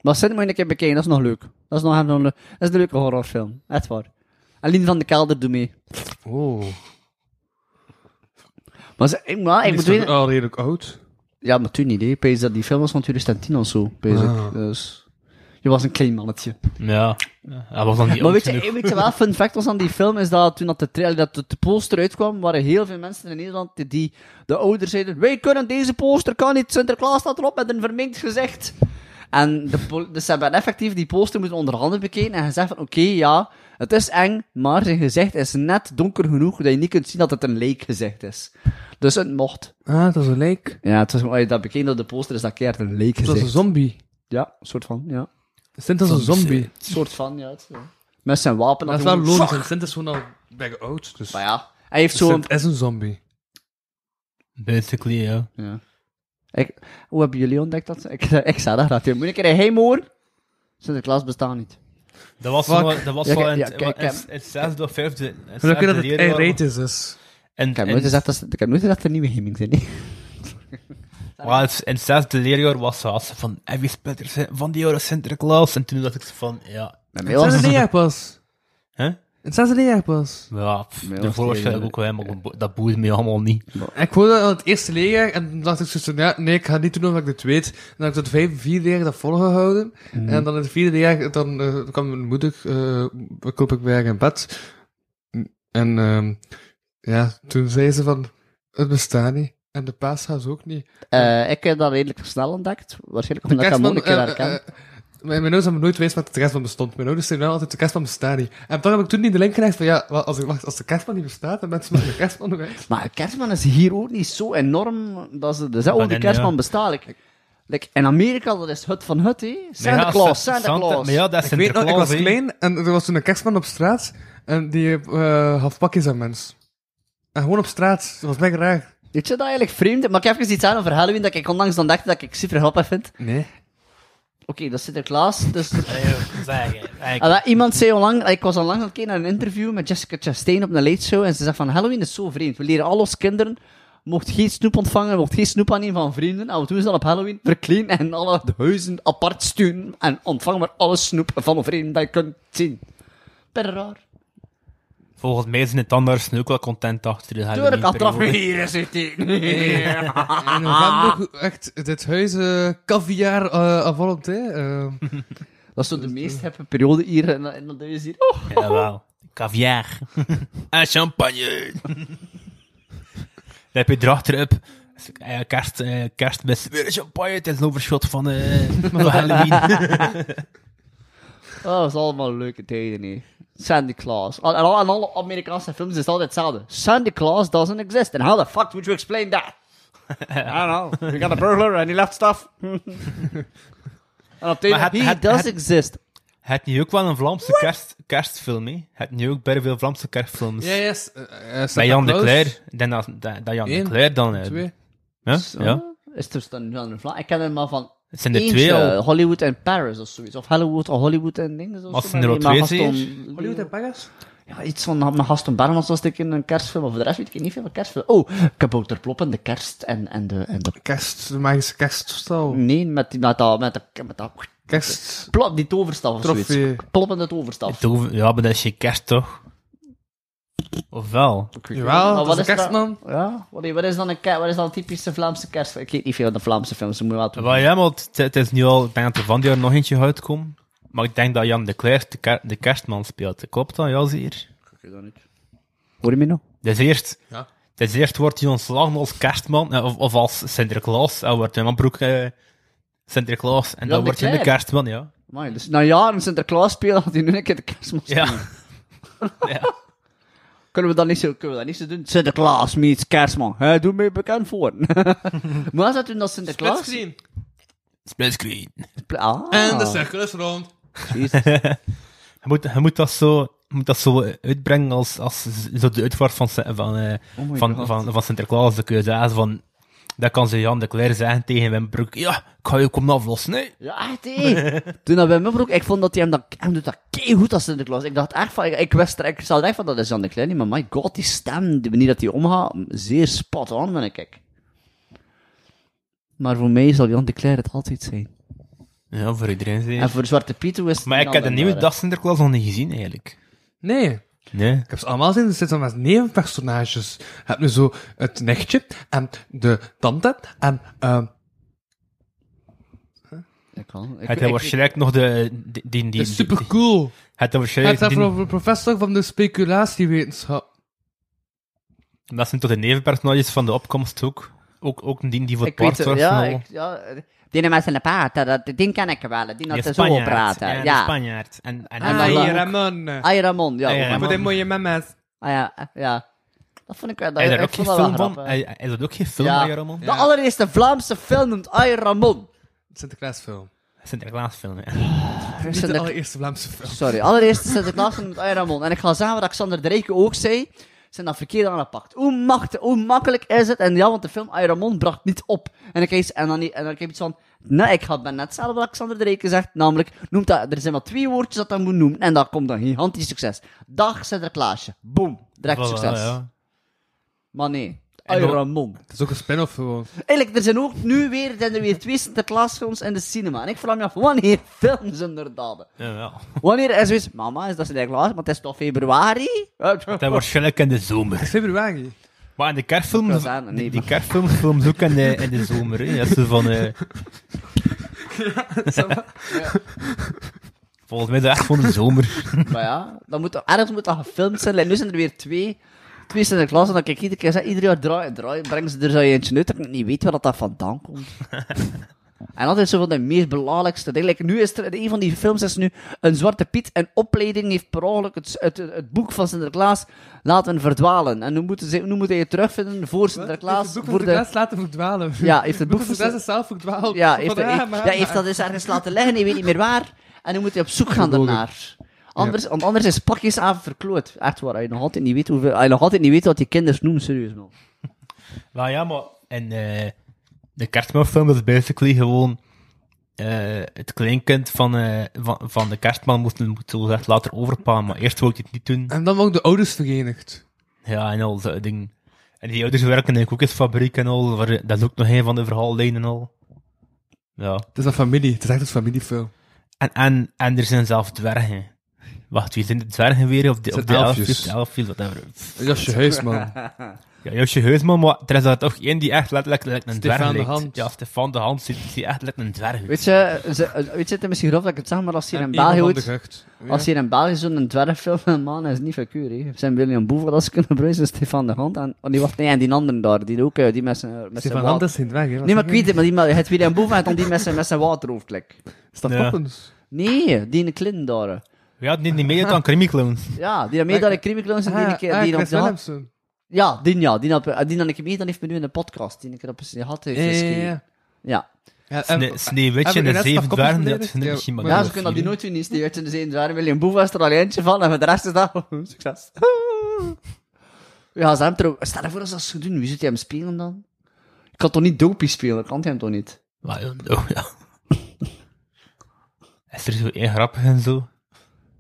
Speaker 4: Maar Sint moet je een keer bekijken, dat is nog leuk. Dat is nog een, dat is een leuke horrorfilm, echt waar. En Lien van de Kelder doet mee.
Speaker 5: Oh.
Speaker 4: Maar, ze- ik, maar ik
Speaker 5: Die
Speaker 4: moet
Speaker 5: is
Speaker 4: weten...
Speaker 5: toch al redelijk oud.
Speaker 4: Ja, maar toen niet, hè. Ik Pees dat die film was van 2010 of zo, pees ik.
Speaker 5: Ah.
Speaker 4: Dus... Je was een klein mannetje.
Speaker 3: Ja. Hij was dan niet
Speaker 4: Maar
Speaker 3: oud
Speaker 4: weet
Speaker 3: genoeg.
Speaker 4: je, weet je wel, fun fact was aan die film, is dat toen dat de, trailer, dat de, de poster uitkwam, waren heel veel mensen in Nederland die- die de ouders zeiden, wij kunnen deze poster, kan niet, Sinterklaas staat erop met een verminkt gezicht. En de, pol- dus ze hebben effectief die poster moeten onderhanden bekeken en gezegd van, oké, ja, het is eng, maar zijn gezicht is net donker genoeg dat je niet kunt zien dat het een leekgezicht is. Dus het mocht.
Speaker 5: Ah, dat is een leek.
Speaker 4: Ja, het was, als je dat bekeken op de poster, is dat keert een leekgezicht.
Speaker 5: Dat is een zombie.
Speaker 4: Ja, een soort van, ja. Een
Speaker 5: Sint is een zombie.
Speaker 4: soort van, ja. het- ja. Met zijn wapen.
Speaker 5: Dat is wel
Speaker 4: hij gewoon-
Speaker 5: logisch, want Sint is gewoon al bij oud, dus
Speaker 4: Maar ja, hij heeft zo'n...
Speaker 5: Sint is een zombie.
Speaker 3: Basically, ja.
Speaker 4: Ja. Ik, hoe hebben jullie ontdekt dat? ze- Ik, ik zei dat graag. Moet ik er heen, hoor? Sinterklaas bestaat niet.
Speaker 3: Dat was
Speaker 5: Fuck.
Speaker 3: wel, dat was
Speaker 4: Ja,
Speaker 3: wel
Speaker 4: kijk,
Speaker 3: in
Speaker 4: ja,
Speaker 3: het in
Speaker 4: kijk,
Speaker 3: het- in het zesde of vijfde. in het
Speaker 5: Gelukkig dat
Speaker 3: zesde
Speaker 5: het
Speaker 3: leerjaar was-
Speaker 5: irate is, dus.
Speaker 3: En,
Speaker 4: Ik heb
Speaker 3: en-
Speaker 4: nooit gezegd dat ze- ik heb nooit gezegd dat er nieuwe gaming zijn. hè.
Speaker 3: maar het- in het zesde leerjaar was ze als ze van, en wie speelt er Sin- van die jaren Sinterklaas? En toen dacht ik zo van, ja,
Speaker 5: Het zesde leerjaar pas.
Speaker 3: hè?
Speaker 5: Het zesde leerjaar pas.
Speaker 3: Ja, pff,
Speaker 4: Nee,
Speaker 3: de
Speaker 4: was
Speaker 3: voorwaarschijnlijk
Speaker 4: die-
Speaker 3: ook wel helemaal, gebo- dat boeit me allemaal niet.
Speaker 5: Ik hoorde dat het eerste leerjaar en toen dacht ik zo van, ja, nee, ik ga niet doen omdat ik dit weet. En dan heb ik tot vijf, vier leerjaar dat volgehouden. En dan in het vierde leerjaar, dan eh, kwam mijn moeder, eh koop ik bij haar in bed. En ehm, ja, toen zei ze van, het bestaat niet. En de paashaas ook niet.
Speaker 4: Eh, ik heb dat redelijk snel ontdekt. Waarschijnlijk omdat ik hem ook
Speaker 5: Kerstman,
Speaker 4: een keer
Speaker 5: eh,
Speaker 4: herken.
Speaker 5: eh, eh, mijn mijn ouders hebben nooit weten wat de kerstman bestond. Mijn ouders zeiden wel altijd, de kerstman bestaat niet. En dan heb ik toen niet de link gelegd van, ja, wel, als, ik, wacht, als de kerstman niet bestaat, dan mensen met de kerstman nog uit.
Speaker 4: Maar kerstman is hier ook niet zo enorm dat ze... Dus, oh, die
Speaker 3: Maar dan,
Speaker 4: kerstman
Speaker 3: ja.
Speaker 4: bestaat. Like, like, in Amerika, dat is hut van hut, hè.
Speaker 3: Maar ja,
Speaker 4: Sinterklaas,
Speaker 3: Sint-
Speaker 4: Sinterklaas.
Speaker 3: Maar ja, dat is
Speaker 5: Ik weet nog, ik was
Speaker 3: Sinterklaas, hè.
Speaker 5: klein en er was toen een kerstman op straat en die eh had pakjes aan mens. En gewoon op straat, dat was mega raar.
Speaker 4: Weet je dat eigenlijk vreemd? Maar ik heb even iets aan over Halloween dat ik onlangs dan dacht dat ik super grappig vind.
Speaker 5: Nee.
Speaker 4: Oké, dat is Sinterklaas, dus...
Speaker 3: Eh, zeggen,
Speaker 4: Ah,
Speaker 3: eigenlijk.
Speaker 4: wel, iemand zei onlang, ik was onlangs aan het kijken naar een interview met Jessica Chastain op een late show en ze zegt van Halloween is zo vreemd. We leren al onze kinderen mocht geen snoep ontvangen, mocht geen snoep aan een van vrienden. En wat doen ze dan op Halloween? Verkleen en alle huizen apart sturen en ontvang maar alle snoep van een vrienden dat je kunt zien. Per raar.
Speaker 3: Volgens mij zijn het anders nu ook wel content achter de
Speaker 4: Tuurlijk,
Speaker 3: Halloween
Speaker 4: had dat
Speaker 3: periode.
Speaker 4: hier is het niet.
Speaker 5: En we gaan nog echt dit huis eh caviar eh à volonté. eh.
Speaker 4: Dat is zo de meest heppe periode hier in, in dat huis hier. Oh.
Speaker 3: Jawel. Caviar. en champagne. Dan heb je erachter op. eh, Kerst, eh, kerstmis. Weer een champagne. Het is een overschot van, eh, van Halloween.
Speaker 4: Oh, dat is allemaal leuke tijden, hè. Santa Claus. Al- En al- en alle Amerikaanse films is het altijd hetzelfde. Santa Claus doesn't exist. And how the fuck would you explain that? I don't know. We got a burglar and he left stuff. en op de
Speaker 3: Maar het-
Speaker 4: he
Speaker 3: het-
Speaker 4: does
Speaker 3: het-
Speaker 4: exist.
Speaker 3: Het nu ook wel een Vlaamse kerst, kerstfilm, hè? Het nu ook bij veel Vlaamse kerstfilms.
Speaker 5: Ja, yes. eh, eh, Santa
Speaker 3: Bij Jan de
Speaker 5: Claus.
Speaker 3: Cler. Ik denk dat, dat, dat Jan
Speaker 5: Eén,
Speaker 3: de Cler dan... eh,
Speaker 5: Twee.
Speaker 3: Ja? ja.
Speaker 4: Zo. Is er dan dan een vla- Ik ken er maar van
Speaker 3: Het zijn er
Speaker 4: eentje,
Speaker 3: twee al.
Speaker 4: Hollywood en Paris of zoiets. Of Hollywood of Hollywood en dingen. zo,
Speaker 3: Als
Speaker 4: zo,
Speaker 3: het er
Speaker 4: maar
Speaker 3: al
Speaker 4: die- maar
Speaker 3: twee
Speaker 4: Gaston-
Speaker 5: Hollywood en Pagas?
Speaker 4: Ja, iets van mijn Gaston Barmans was ik in een kerstfilm. Of de rest weet ik niet veel van kerstfilm. Oh, Kabouterplop en de kerst en, en, de, en de
Speaker 5: Kerst, de magische kerststal.
Speaker 4: Nee, met, die, met, dat, met, dat, met dat
Speaker 5: Kerst.
Speaker 4: plop, die toverstaf of
Speaker 5: Trofee.
Speaker 4: zoiets. Ploppende toverstaf.
Speaker 3: Het hoeft- Ja, maar dat is je kerst toch? Of wel?
Speaker 4: Ik weet niet,
Speaker 5: Jawel,
Speaker 4: maar
Speaker 5: dat is een
Speaker 4: dat-
Speaker 5: kerstnaam.
Speaker 4: Ja, wat, wat is dan een, ke- wat is dan een typische Vlaamse kerst? Ik weet niet veel van de Vlaamse films, dat moet je wel doen.
Speaker 3: Wel ja, want het- het is nu al... Ik denk dat er van die jaar nog eentje uitkomt. Maar ik denk dat Jan de Cler de, ker- de kerstman speelt. Klopt dat? Ja, zeer.
Speaker 4: Hoor je me nog?
Speaker 3: Dus eerst...
Speaker 5: Ja.
Speaker 3: Dus eerst wordt hij ontslagen als kerstman, eh, of, of als Sinterklaas. Hij wordt in Manbroek eh, Sinterklaas, en
Speaker 4: Jan
Speaker 3: dan
Speaker 4: de
Speaker 3: wordt hij de
Speaker 4: Cler.
Speaker 3: kerstman, ja.
Speaker 4: Amai, dus na jaren Sinterklaas spelen had hij nu een keer de kerstman
Speaker 3: Ja.
Speaker 4: spelen.
Speaker 3: ja.
Speaker 4: Kunnen we dat niet zo, kunnen we dat niet zo doen? Sinterklaas meets kerstman. Hè, doe me bekend voor. maar is dat toen dat Sinterklaas...
Speaker 5: gezien.
Speaker 3: Splitscreen.
Speaker 4: Ah,
Speaker 5: En de cirkel is rond.
Speaker 4: Jezus.
Speaker 3: Je moet, je moet dat zo... je Moet dat zo eh, uitbrengen als, als zo de uitvaart van, Sin- van, eh,
Speaker 4: Oh my
Speaker 3: van,
Speaker 4: God.
Speaker 3: van, van Sinterklaas. Dan kun je zeggen van... Dat kan ze Jan de Cler zeggen tegen Wim Broek. Ja, ik ga je komen aflossen, hè.
Speaker 4: Ja, echt, hé. Toen dat bij mijn broek, ik vond dat hij hem dat, hem doet dat goed als Sinterklaas. Ik dacht echt van, ik, ik wist er, ik zat echt van, dat is Jan de Kleine, maar my god, die stem, de manier dat hij omgaat, zeer spot on, vind ik. Maar voor mij zal Jan de Kleine het altijd zijn.
Speaker 3: Ja, voor iedereen
Speaker 4: En
Speaker 3: zeker.
Speaker 4: voor Zwarte Piet hoe is het
Speaker 3: Maar
Speaker 4: een
Speaker 3: ik heb de
Speaker 4: ander
Speaker 3: nieuwe
Speaker 4: daar,
Speaker 3: dag Sinterklaas nog niet gezien, eigenlijk.
Speaker 5: Nee.
Speaker 3: Nee.
Speaker 5: Ik heb ze allemaal gezien, er zitten maar negen personages. Je hebt nu zo het nichtje, en de tante, en ehm
Speaker 4: hè. Ik kan- ik-
Speaker 3: Het
Speaker 4: ik-
Speaker 3: hij waarschijnlijk nog de... die- Die,
Speaker 5: de
Speaker 3: die, die-
Speaker 5: supercool.
Speaker 3: Het hij
Speaker 5: Hij is
Speaker 3: waarschijnlijk... die-
Speaker 5: de professor van de speculatiewetenschap.
Speaker 3: Dat zijn toch de nevenpersonages van de opkomst ook. Ook, ook die die voor
Speaker 4: Ik weet
Speaker 3: paard
Speaker 4: het,
Speaker 3: zorgt.
Speaker 4: ja,
Speaker 3: en al.
Speaker 4: ik- ja, eh, die met zijn paard, dat, die ken ik wel, die
Speaker 3: Die
Speaker 4: dat zo
Speaker 3: Spanjaard.
Speaker 4: praten.
Speaker 3: Ja, de
Speaker 4: Ja,
Speaker 3: Spanjaard. En, en,
Speaker 4: Ah,
Speaker 3: en-
Speaker 4: ja.
Speaker 5: Ramon.
Speaker 4: Ay Ramon, ja.
Speaker 3: Ah, ja,
Speaker 4: oh my
Speaker 3: Ramon.
Speaker 4: god.
Speaker 5: mooie mama's.
Speaker 4: Ah ja, eh, ja. Dat vond ik wel, dat,
Speaker 3: Is er
Speaker 4: ik
Speaker 3: ook geen
Speaker 4: vond dat wel
Speaker 3: film van?
Speaker 4: grappig.
Speaker 3: Is is dat ook geen film
Speaker 4: Ja.
Speaker 3: van Jaramon?
Speaker 4: De allereerste Vlaamse film noemt Ay Ramon.
Speaker 5: Sinterklaasfilm.
Speaker 3: Sinterklaasfilm, ja.
Speaker 5: Niet
Speaker 4: Sinter-
Speaker 5: de allereerste Vlaamse film.
Speaker 4: Sorry, allereerst Sinterklaas film noemt Ay Ramon. En ik ga zeggen wat Xander de Rijke ook zei. Ze zijn dat verkeerd aangepakt. Hoe, macht, hoe makkelijk is het? En ja, want de film Ay Ramon bracht niet op. En ik, eens, en dan, en dan, ik heb iets van... Nee, ik had ben net hetzelfde wat Xander de Rijke zegt. Namelijk, noemt dat, er zijn maar twee woordjes dat dat moet noemen. En dat komt dan gigantisch succes. Dag Sinterklaasje. Boom. Direct
Speaker 3: Voilà,
Speaker 4: succes.
Speaker 3: ja.
Speaker 4: Maar nee,
Speaker 3: En
Speaker 4: Ay
Speaker 3: dan-
Speaker 4: Ramon.
Speaker 5: Het is ook een spin-off gewoon.
Speaker 4: Eigenlijk, er zijn ook nu weer, zijn er weer twee Sinterklaasfilms in de cinema. En ik vraag me af, wanneer films inderdaad?
Speaker 3: Jawel.
Speaker 4: Wanneer is zoiets... Mama, is dat Sinterklaas? Maar het is toch februari?
Speaker 3: Dat is waarschijnlijk in de zomer.
Speaker 5: Februari.
Speaker 3: Maar in de
Speaker 4: Dat
Speaker 3: kerstfilms...
Speaker 4: was aan- nee,
Speaker 3: die die
Speaker 4: maar-
Speaker 3: kerstfilms films ook in de, in de zomer, hè. Dat ze van... eh, Volgens mij is dat echt van de zomer.
Speaker 4: maar ja, dan moet, ergens moet dat gefilmd zijn. Like, nu zijn er weer twee, twee Sinterklaas. En dan kijk ik iedere keer zeg, ieder jaar draai, draai, brengen ze er zo eentje uit. Dat ik niet weet waar dat, dat vandaan komt. en dat is zo van de meest belangrijkste dingen. Like, nu is er, een van die films is nu een Zwarte Piet. En opleiding heeft per ongeluk het, het, het boek van Sinterklaas laten verdwalen. En nu moeten ze, nu moet hij het terugvinden voor Sinterklaas.
Speaker 5: Heeft het boek
Speaker 4: voor
Speaker 5: van
Speaker 4: de,
Speaker 5: Sinterklaas laten verdwalen.
Speaker 4: Ja, heeft het boek van
Speaker 5: Sinterklaas is zelf verdwaald.
Speaker 4: Ja, heeft,
Speaker 5: Van, ah,
Speaker 4: heeft-
Speaker 5: maar,
Speaker 4: ja, heeft dat dus ergens laten liggen, hij weet niet meer waar. En nu moet hij op zoek gaan daarnaar. Anders, Want anders is pakjesavond verkloot. Echt waar, hij nog altijd niet weet hoeveel, hij nog altijd niet weet wat die kinders noemen, serieus man.
Speaker 3: Nou ja, maar... En eh, de kerstmanfilm is basically gewoon... eh, het kleinkind van, eh, van, van de kerstman moet, moet zo gezegd later overpalen, maar eerst wou ik het niet doen.
Speaker 5: En dan worden de ouders verenigd.
Speaker 3: Ja, en al zo'n ding. En die ouders werken in een koekjesfabriek en al. waar- dat is ook nog een van de verhaallijnen en al. Ja.
Speaker 5: Het is een familie. Het is echt een familiefilm.
Speaker 3: En, en, en er zijn zelf dwergen. Wacht, wie zijn de dwergen weer? Of de,
Speaker 5: Het
Speaker 3: of de
Speaker 5: zijn elfjes.
Speaker 3: elfjes? De elfjes, whatever.
Speaker 5: Jasje Huisman.
Speaker 3: Ja, Josje Heusman, maar er is daar toch één die echt letterlijk lijkt een
Speaker 5: Stefan
Speaker 3: dwerg
Speaker 5: de
Speaker 3: lijkt.
Speaker 5: Hand.
Speaker 3: Ja, Stefan de Hand ziet, ziet echt lijkt een dwerg uit.
Speaker 4: Weet je, ze- eh, weet je, het is misschien grof dat ik het zeg, maar als hier in België ooit- als hier in België zo'n dwergfilm een man is, niet verkuur, hè. Zijn William Boever, dat ze kunnen bruisen, Stefan de Hand en, oh, die wacht, nee, en die anderen daar, die ook, eh, die met zijn, met zijn
Speaker 5: Stefan Hand
Speaker 4: water.
Speaker 5: is geen dwerg, hè.
Speaker 4: Nee, maar ik weet het, maar die met, het William Boever en dan die met zijn, met zijn waterhoofd, like.
Speaker 5: Is dat
Speaker 3: Ja.
Speaker 5: Poppins?
Speaker 4: Nee, die in de Clinton daar.
Speaker 3: We hadden die niet mee aan Creamy Clowns.
Speaker 4: Ja, die mee dat ik crime clowns en die een keer, die dan op
Speaker 5: Ah, Chris
Speaker 4: zijn hand-
Speaker 5: Willemsen.
Speaker 4: Ja, die ja, die had, eh, die dan ik mee, dan heeft me nu in de podcast, die een keer op zijn had heeft
Speaker 5: Ja, ja,
Speaker 4: geschreven.
Speaker 5: ja.
Speaker 4: Ja.
Speaker 5: Ja, en-
Speaker 3: Sne- Sneeuwwitje
Speaker 5: hebben we
Speaker 3: en de
Speaker 5: de
Speaker 3: Zeven
Speaker 5: rest nog koppels
Speaker 3: Dwergen, dat vind ik
Speaker 5: beneden?
Speaker 3: misschien maar
Speaker 5: Ja,
Speaker 4: Ja,
Speaker 3: wel
Speaker 4: ze kunnen dat die
Speaker 3: vier.
Speaker 4: nooit doen, is die uit in de zin waar William Boef was er al eentje van en met de rest is dat succes. ja, ze hebben er ook... Stel je voor als dat ze doen, wie zit hij hem spelen dan? Ik kan toch niet dopie spelen, kan hij hem toch niet?
Speaker 3: Maar ja, nou, ja. Is er zo één grappig en zo?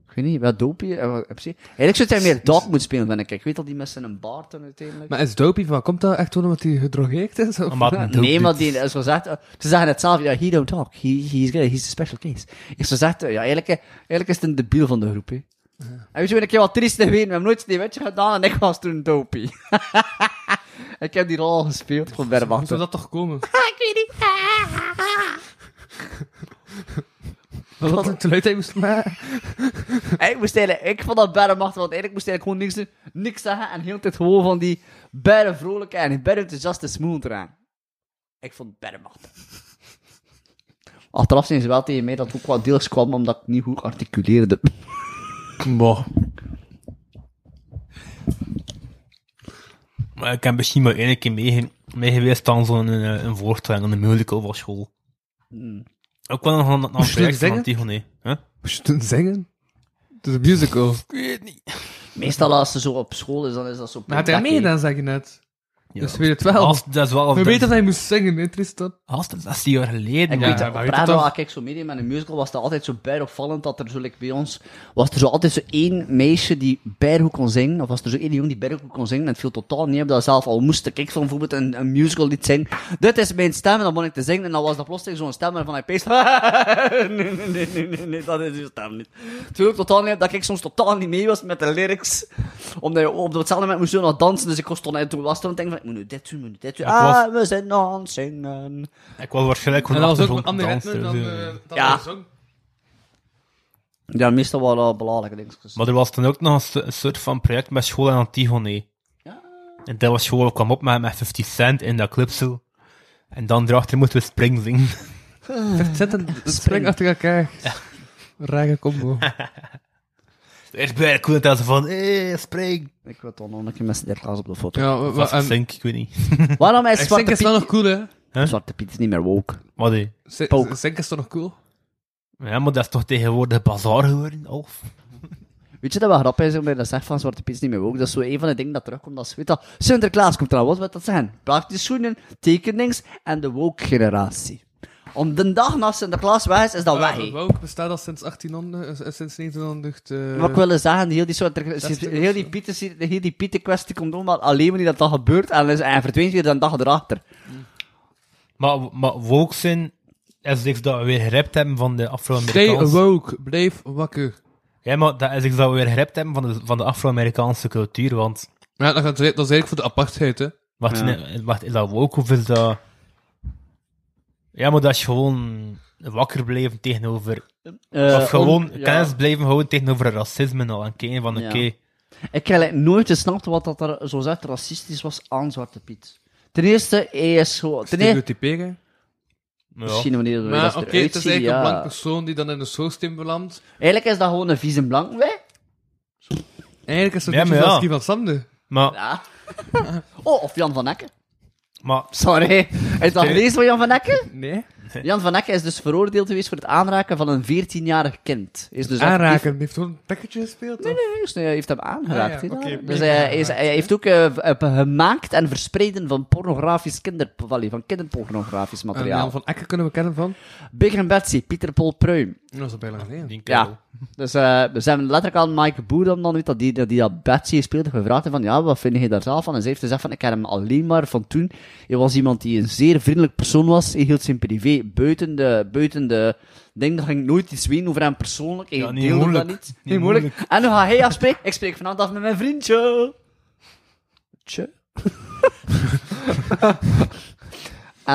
Speaker 4: Ik weet niet, wat dopie... eh, wat- op zich- Eigenlijk zou hij meer dark moeten spelen, vind ik. Ik weet al die met zijn baard dan uiteindelijk.
Speaker 5: Maar is Dopey van, komt dat echt gewoon omdat hij gedrogeerd is? Of?
Speaker 3: Omdat het een doop
Speaker 4: nee,
Speaker 3: doet.
Speaker 4: maar die, eh, zoals zegt, eh, ze zeggen het zelf, ja, he don't talk, he, he's, good, he's a special case. Ik zou zeggen, eh, ja, eigenlijk, eh, eigenlijk is het een debiel van de groep, hè. En weet je wat ik heel wat triest weet? We hebben nooit Sneeuwwitje gedaan en ik was toen dopey. ik heb die rol gespeeld van
Speaker 5: Hoe zou
Speaker 4: Berwachter.
Speaker 5: dat toch komen? Wat een geluid hij moest maken.
Speaker 4: Ik moest eigenlijk, ik vond dat bermachter, want eigenlijk moest hij eigenlijk gewoon niks doen, niks zeggen en heel de tijd gewoon van die berre vrolijke en berre enthousiaste smoel eraan. Ik vond het bermachter. Achteraf zijn ze wel tegen mij dat het ook wel deels kwam omdat ik niet goed articuleerde.
Speaker 3: Maar ik heb misschien maar één keer mee, mee geweest aan zo'n eh, een voorstelling, een musical van school.
Speaker 5: Hmm.
Speaker 3: Ook wel nog aan aan een
Speaker 5: Moest je
Speaker 3: project van
Speaker 5: zingen?
Speaker 3: Antigone. hè?
Speaker 5: Moest je toen zingen? Het is een musical.
Speaker 4: Meestal als ze zo op school is, dan is dat zo...
Speaker 5: Maar had hij meegedaan, zeg je net.
Speaker 3: Ja.
Speaker 5: Dus weet het wel.
Speaker 3: Als- Dat is wel...
Speaker 5: We
Speaker 3: dat-
Speaker 5: weten dat hij moest zingen, hè, Tristan?
Speaker 3: Als dat 16 jaar geleden.
Speaker 4: Ik
Speaker 3: ja.
Speaker 4: weet
Speaker 5: maar
Speaker 4: dat, op
Speaker 5: weet je
Speaker 4: radio,
Speaker 5: toch?
Speaker 4: als ik zo meedeed met een musical, was dat altijd zo bijopvallend dat er zo, like, bij ons, was er zo altijd zo één meisje die bijgoed kon zingen, of was er zo één jongen die bijgoed kon zingen, en het viel totaal niet op dat zelf, al moest ik van bijvoorbeeld een, een musical lied zingen, dit is mijn stem, en dan begon ik te zingen, en dan was dat plotseling zo'n stem waarvan ik peest, nee, nee, nee, nee, nee, nee, dat is uw stem niet. Het viel ook totaal niet op dat ik soms totaal niet mee was met de lyrics, omdat je op hetzelfde moment moest je nog dansen, dus ik was toen, toen was toen denk van, ik moet nu dit doen, ik moet nu dit doen,
Speaker 3: Ja, ik was-
Speaker 4: ah, we zijn aan het zingen.
Speaker 3: Ik was waarschijnlijk
Speaker 5: En
Speaker 3: gewoon
Speaker 5: dat was ook
Speaker 3: achtergrond
Speaker 5: een andere
Speaker 3: danser,
Speaker 5: ritme dan
Speaker 3: zo.
Speaker 5: eh, dan
Speaker 4: Ja.
Speaker 5: de zong.
Speaker 4: Ja, meestal wel eh, belangrijke dingetjes.
Speaker 3: Maar er was dan ook nog een so- een soort van project met school en Antigone.
Speaker 4: Ja.
Speaker 3: En dat was school kwam op met, met 50 cent in dat clipsel. En dan erachter moesten we spring zingen.
Speaker 5: Zet een een spring achter elkaar. Rage combo.
Speaker 3: Eerst bij de koel en ze van, hé, eh, spring.
Speaker 4: Ik wil toch nog een keer met z'n dertigers op de foto.
Speaker 5: Ja,
Speaker 3: Of
Speaker 5: maar,
Speaker 3: um,
Speaker 5: en,
Speaker 3: zink, ik weet niet.
Speaker 4: Waarom is
Speaker 5: en Zink
Speaker 4: Zwarte
Speaker 5: is
Speaker 4: Piet,
Speaker 5: wel nog cool, hè?
Speaker 4: Zwarte Piet is niet meer woke?
Speaker 3: Maar die-
Speaker 5: Z-
Speaker 4: Poke.
Speaker 5: Zink is toch nog cool?
Speaker 3: Ja, maar dat is toch tegenwoordig bazaar geworden, Alf?
Speaker 4: Weet je dat wel grappig is om dat zegt van Zwarte Piet is niet meer woke? Dat is zo een van de dingen dat terugkomt als, weet dat, Sinterklaas komt eraan. Wat wil dat zijn? Praktische schoenen, tekenings en de woke generatie. Om de dag na Sinterklaas weg is, is dat weg.
Speaker 5: Uh,
Speaker 4: hè.
Speaker 5: Wouk bestaat al sinds 1800, eh, sinds 1900. eh,
Speaker 4: Wat ik wil zeggen, heel die, soort, heel die,
Speaker 5: zo.
Speaker 4: Pieten, heel die Pieten kwestie komt om, maar alleen maar niet dat dat gebeurt en, is- en verdwijnt weer de dag erachter.
Speaker 3: Maar, maar woke zijn is iets dat we weer gerept hebben van de
Speaker 5: Stay
Speaker 3: Afro-Amerikaanse...
Speaker 5: woke, bleef wakker.
Speaker 3: Ja, maar dat is iets dat we weer gerept hebben van de, van de Afro-Amerikaanse cultuur, want...
Speaker 5: Ja, dat, dat is eigenlijk voor de apartheid, hè?
Speaker 3: Wacht, nee, wacht, is dat woke of is dat... Ja, maar dat is gewoon wakker blijven tegenover...
Speaker 4: Eh,
Speaker 3: of gewoon
Speaker 4: on- ja.
Speaker 3: kennis blijven houden tegenover racisme en al. En kijken van, oké...
Speaker 4: Ja. Ik heb eigenlijk nooit gesnapt wat dat er zo zegt racistisch was aan Zwarte Piet. Ten eerste, hij is gewoon... Ten eerste,
Speaker 5: Stereotyperen.
Speaker 3: ja.
Speaker 4: misschien wanneer we
Speaker 5: Maar
Speaker 4: dat
Speaker 5: oké,
Speaker 4: eruit
Speaker 5: het is
Speaker 4: zien,
Speaker 5: eigenlijk
Speaker 4: ja.
Speaker 5: een blank persoon die dan in de schoorsteen belandt.
Speaker 4: Eigenlijk is dat gewoon een vieze blank, wij.
Speaker 5: Eigenlijk is het
Speaker 3: Ja,
Speaker 5: een beetje
Speaker 3: maar ja.
Speaker 5: zoals die van Sander.
Speaker 3: Maar,
Speaker 4: Ja. oh, of Jan van Ecken.
Speaker 3: maar
Speaker 4: Sorry. Is dat lees van Jan van Ecken?
Speaker 5: Nee.
Speaker 4: Jan van Akke is dus veroordeeld geweest voor het aanraken van een 14-jarig kind. Is dus actief-
Speaker 5: Aanraken, die heeft gewoon een takketje gespeeld.
Speaker 4: Nee,
Speaker 5: toch?
Speaker 4: nee, nee, hij heeft hem aangeraakt.
Speaker 5: Ah, ja,
Speaker 4: hè,
Speaker 5: oké,
Speaker 4: daar. dus
Speaker 5: mega
Speaker 4: hij, hij is, hij heeft ook eh, v- eh, gemaakt en verspreiden van pornografisch kinder, wally, van kinderpornografisch
Speaker 5: En
Speaker 4: materiaal.
Speaker 5: Ah, Jan van Akker kunnen we kennen van.
Speaker 4: Big en Betsy, Pieter Paul Pruim.
Speaker 5: Dat was al bijna geleden.
Speaker 4: Ja. Dus eh, we zijn letterlijk aan Mike Boedam dan, weet, dat die, dat die dat Betsy speelde, gevraagd heeft van, ja, wat vind je daar zelf van? En ze heeft gezegd van, ik ken hem alleen maar van toen. Hij was iemand die een zeer vriendelijk persoon was. Hij hield zijn privé buiten de, buiten de ding. Daar ging ik nooit iets weten over hem persoonlijk. Hij
Speaker 3: Ja, niet
Speaker 4: deelde
Speaker 3: moeilijk.
Speaker 4: dat niet.
Speaker 3: Niet
Speaker 4: Niet moeilijk.
Speaker 3: moeilijk.
Speaker 4: En nu ga hij afspreken. Ik spreek vanavond af met mijn vriendje. Tje.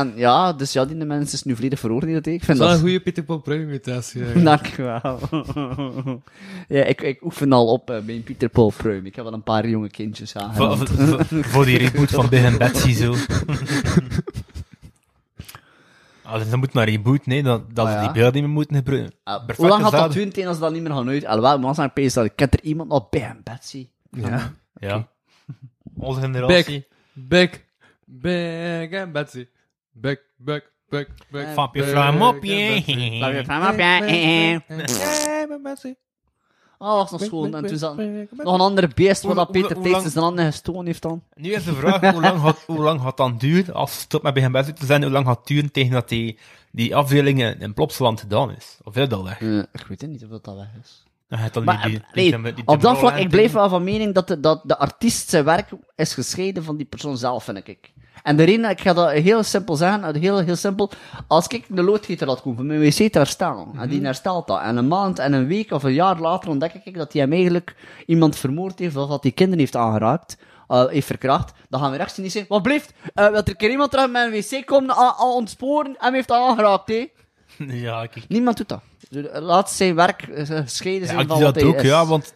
Speaker 4: en ja, dus ja, die mens is nu volledig veroordeeld. hè. Ik vind
Speaker 5: Dat is wel
Speaker 4: dat...
Speaker 5: een goede Peter Paul Pruim imitatie. eigenlijk.
Speaker 4: Dank u wel. ja, ik, ik oefen al op eh, mijn Pieter Paul Pruim. Ik heb al een paar jonge kindjes aan.
Speaker 3: Voor, voor- voor- voor die reboot van Big en Betsy zo. Ah, dus dan moet maar reboot, nee, dat, dat
Speaker 4: Ah, ja.
Speaker 3: ze die beelden niet meer moeten gebruiken.
Speaker 4: Ah, Hoe
Speaker 3: Perfecte
Speaker 4: lang gaat dat
Speaker 3: zaden.
Speaker 4: duren tegen als ze dat niet meer gaan uit? Alhoewel, maar zijn pees dat ik ken er iemand nog bij hem, Betsy.
Speaker 5: Ja.
Speaker 3: Ja. Onze generatie.
Speaker 5: Big, big, big en Betsy. Big, big, big, big.
Speaker 3: Van je
Speaker 5: Eh, big
Speaker 3: vlam op
Speaker 5: en Betsy.
Speaker 4: Laat
Speaker 3: je.
Speaker 4: ik hem op, ja. eh, eh.
Speaker 5: Hey, mijn Betsy.
Speaker 4: Ah, was nog
Speaker 5: Big,
Speaker 4: schoon.
Speaker 5: big,
Speaker 4: En toen
Speaker 5: big,
Speaker 4: zat
Speaker 5: big, big.
Speaker 4: nog een ander beest wat dat
Speaker 3: Hoe- hoe-
Speaker 4: Peter
Speaker 3: hoe
Speaker 4: Teets
Speaker 3: lang-
Speaker 4: zijn handen gestolen heeft dan.
Speaker 3: Nu is de vraag, hoe lang gaat, hoe lang gaat dat duren? Als ze stopt met Big en Betsy te zijn, hoe lang gaat het duren tegen dat die, die afdeling in- in Plopsaland gedaan is? Of is dat weg?
Speaker 4: Eh, ik weet niet of dat dat weg is.
Speaker 3: Dan gaat dan
Speaker 4: Maar
Speaker 3: die- die-
Speaker 4: eh,
Speaker 3: die-
Speaker 4: nee,
Speaker 3: die- die- die
Speaker 4: op dat vlak, ik
Speaker 3: Tomorrowland
Speaker 4: bleef
Speaker 3: doen.
Speaker 4: wel van mening dat de, dat de artiest zijn werk is gescheiden van die persoon zelf, vind ik. En de reden, ik ga dat heel simpel zeggen, heel, heel simpel. Als ik de loodgieter had komen van mijn wc te herstellen, en
Speaker 3: Mhm.
Speaker 4: die herstelt dat, en een maand en een week of een jaar later ontdek ik dat hij hem eigenlijk iemand vermoord heeft of dat hij kinderen heeft aangeraakt, eh, heeft verkracht, dan gaan we rechts niet zeggen, wat blijft, eh dat er een keer iemand terug met een wc komt, a- a- ontsporen, en hem heeft aangeraakt, hè.
Speaker 3: Ja, kijk.
Speaker 4: Niemand doet dat. Dus, Laat zijn werk eh, gescheiden zijn
Speaker 3: Ja, ik
Speaker 4: van
Speaker 3: doe
Speaker 4: wat
Speaker 3: dat
Speaker 4: hij
Speaker 3: ook,
Speaker 4: is.
Speaker 3: ja, want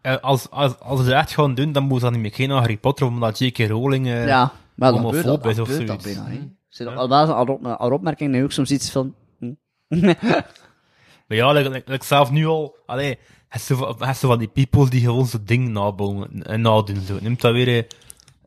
Speaker 3: eh, als, als, als ze dat echt gaan doen, dan moet dat niet meer geen Harry Potter, omdat J.K. Rowling eh,
Speaker 4: Ja, maar dan gebeurt dat,
Speaker 3: homofoob
Speaker 4: dan
Speaker 3: is of
Speaker 4: gebeurt dat
Speaker 3: zoiets.
Speaker 4: bijna. hè. Zit al wel zo'n op- een opmerking nu ook soms iets van... hm.
Speaker 3: Maar ja, like, like- like zelf nu al, allee, heb ze, van- heb ze van die people die gewoon zo'n ding nabomen en nadoen. Zo. Neemt dat weer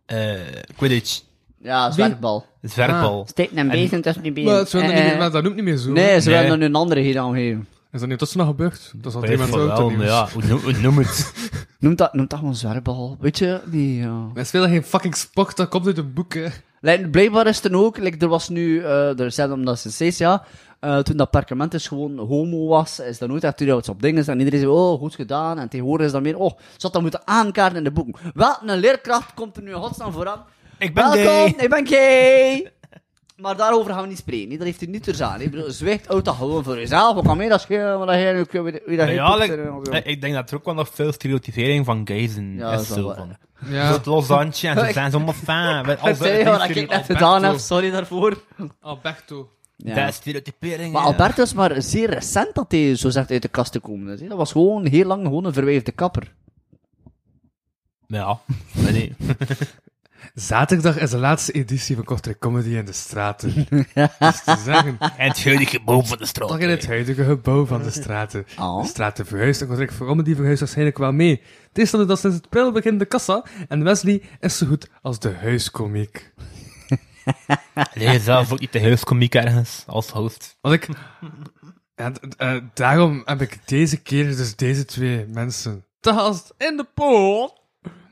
Speaker 3: eh eh, Quidditch,
Speaker 4: ja, zwerfbal.
Speaker 3: zwerkbal.
Speaker 4: Steek een bezem tussen die benen.
Speaker 5: Maar dat is wel nog niet
Speaker 4: Eh,
Speaker 5: meer- maar dat noemt niet meer zo.
Speaker 4: Nee, ze
Speaker 3: Nee.
Speaker 4: willen er een andere hier aan geven.
Speaker 5: Is dat niet tot z'n nog gebeurd? Dat is al
Speaker 3: Weet
Speaker 5: drie
Speaker 3: van
Speaker 5: maanden oud.
Speaker 3: wel,
Speaker 5: dat
Speaker 3: maar
Speaker 5: nieuws.
Speaker 3: ja, hoe, noem- hoe noem het?
Speaker 4: Noem dat, noem dat gewoon zwerfbal. Weet je, die... ja.
Speaker 5: Wij spelen geen fucking sport, dat komt uit een boek, hè.
Speaker 4: Like, blijkbaar is het dan ook, like, er was nu, eh, er zijn omdat ze steeds, ja, eh, toen dat parkement is gewoon homo was, is dat nooit echt toen dat op dingen en iedereen zei, oh, goed gedaan, en tegenwoordig is dat meer, oh, ze had dat moeten aankaarten in de boeken. Wel, een leerkracht komt er nu in godsnaam vooraan.
Speaker 3: Ik ben
Speaker 4: Welkom,
Speaker 3: gay.
Speaker 4: ik ben gay! Maar daarover gaan we niet spreken, hè. dat heeft u niet ter zaan. hè. Ik bedoel, Zwijgt, houdt dat gewoon voor jezelf, wat kan mij dat schelen, wat jij nu, wie dat jij
Speaker 3: Ja, like,
Speaker 4: poept en zo.
Speaker 3: eh, ik denk dat er ook wel nog veel stereotypering van gays in
Speaker 4: Ja, dat
Speaker 3: is.
Speaker 4: is wel
Speaker 3: Zo
Speaker 4: waar.
Speaker 3: van.
Speaker 5: Ja,
Speaker 3: Dat loszandje en ze zijn zomaar fan. Met al
Speaker 4: Ik zei, wat ik net gedaan heb,
Speaker 5: Alberto.
Speaker 4: sorry daarvoor.
Speaker 5: Alberto.
Speaker 4: Ja.
Speaker 3: Dat is stereotypering.
Speaker 4: Maar
Speaker 3: ja.
Speaker 4: Alberto is maar zeer recent dat hij zo zegt uit de kast te komen. is, hè. Dat was gewoon heel lang gewoon een verwijfde kapper.
Speaker 3: Ja, maar nee.
Speaker 5: Zaterdag is de laatste editie van Kortrijk Comedy in de straten. Dat is te zeggen,
Speaker 3: En het huidige boom van de straat.
Speaker 5: toch in het huidige gebouw van de straten.
Speaker 4: Oh.
Speaker 5: De straten verhuisd en Kortrijk Comedy verhuisd waarschijnlijk wel mee. Het is dan dat sinds het pril begint de kassa en Wesley is zo goed als de huiscomiek.
Speaker 3: Nee, zelf ook niet de huiskomiek ergens als host.
Speaker 5: Want ik... Ja, d- eh, daarom heb ik deze keer dus deze twee mensen te gast in de pool.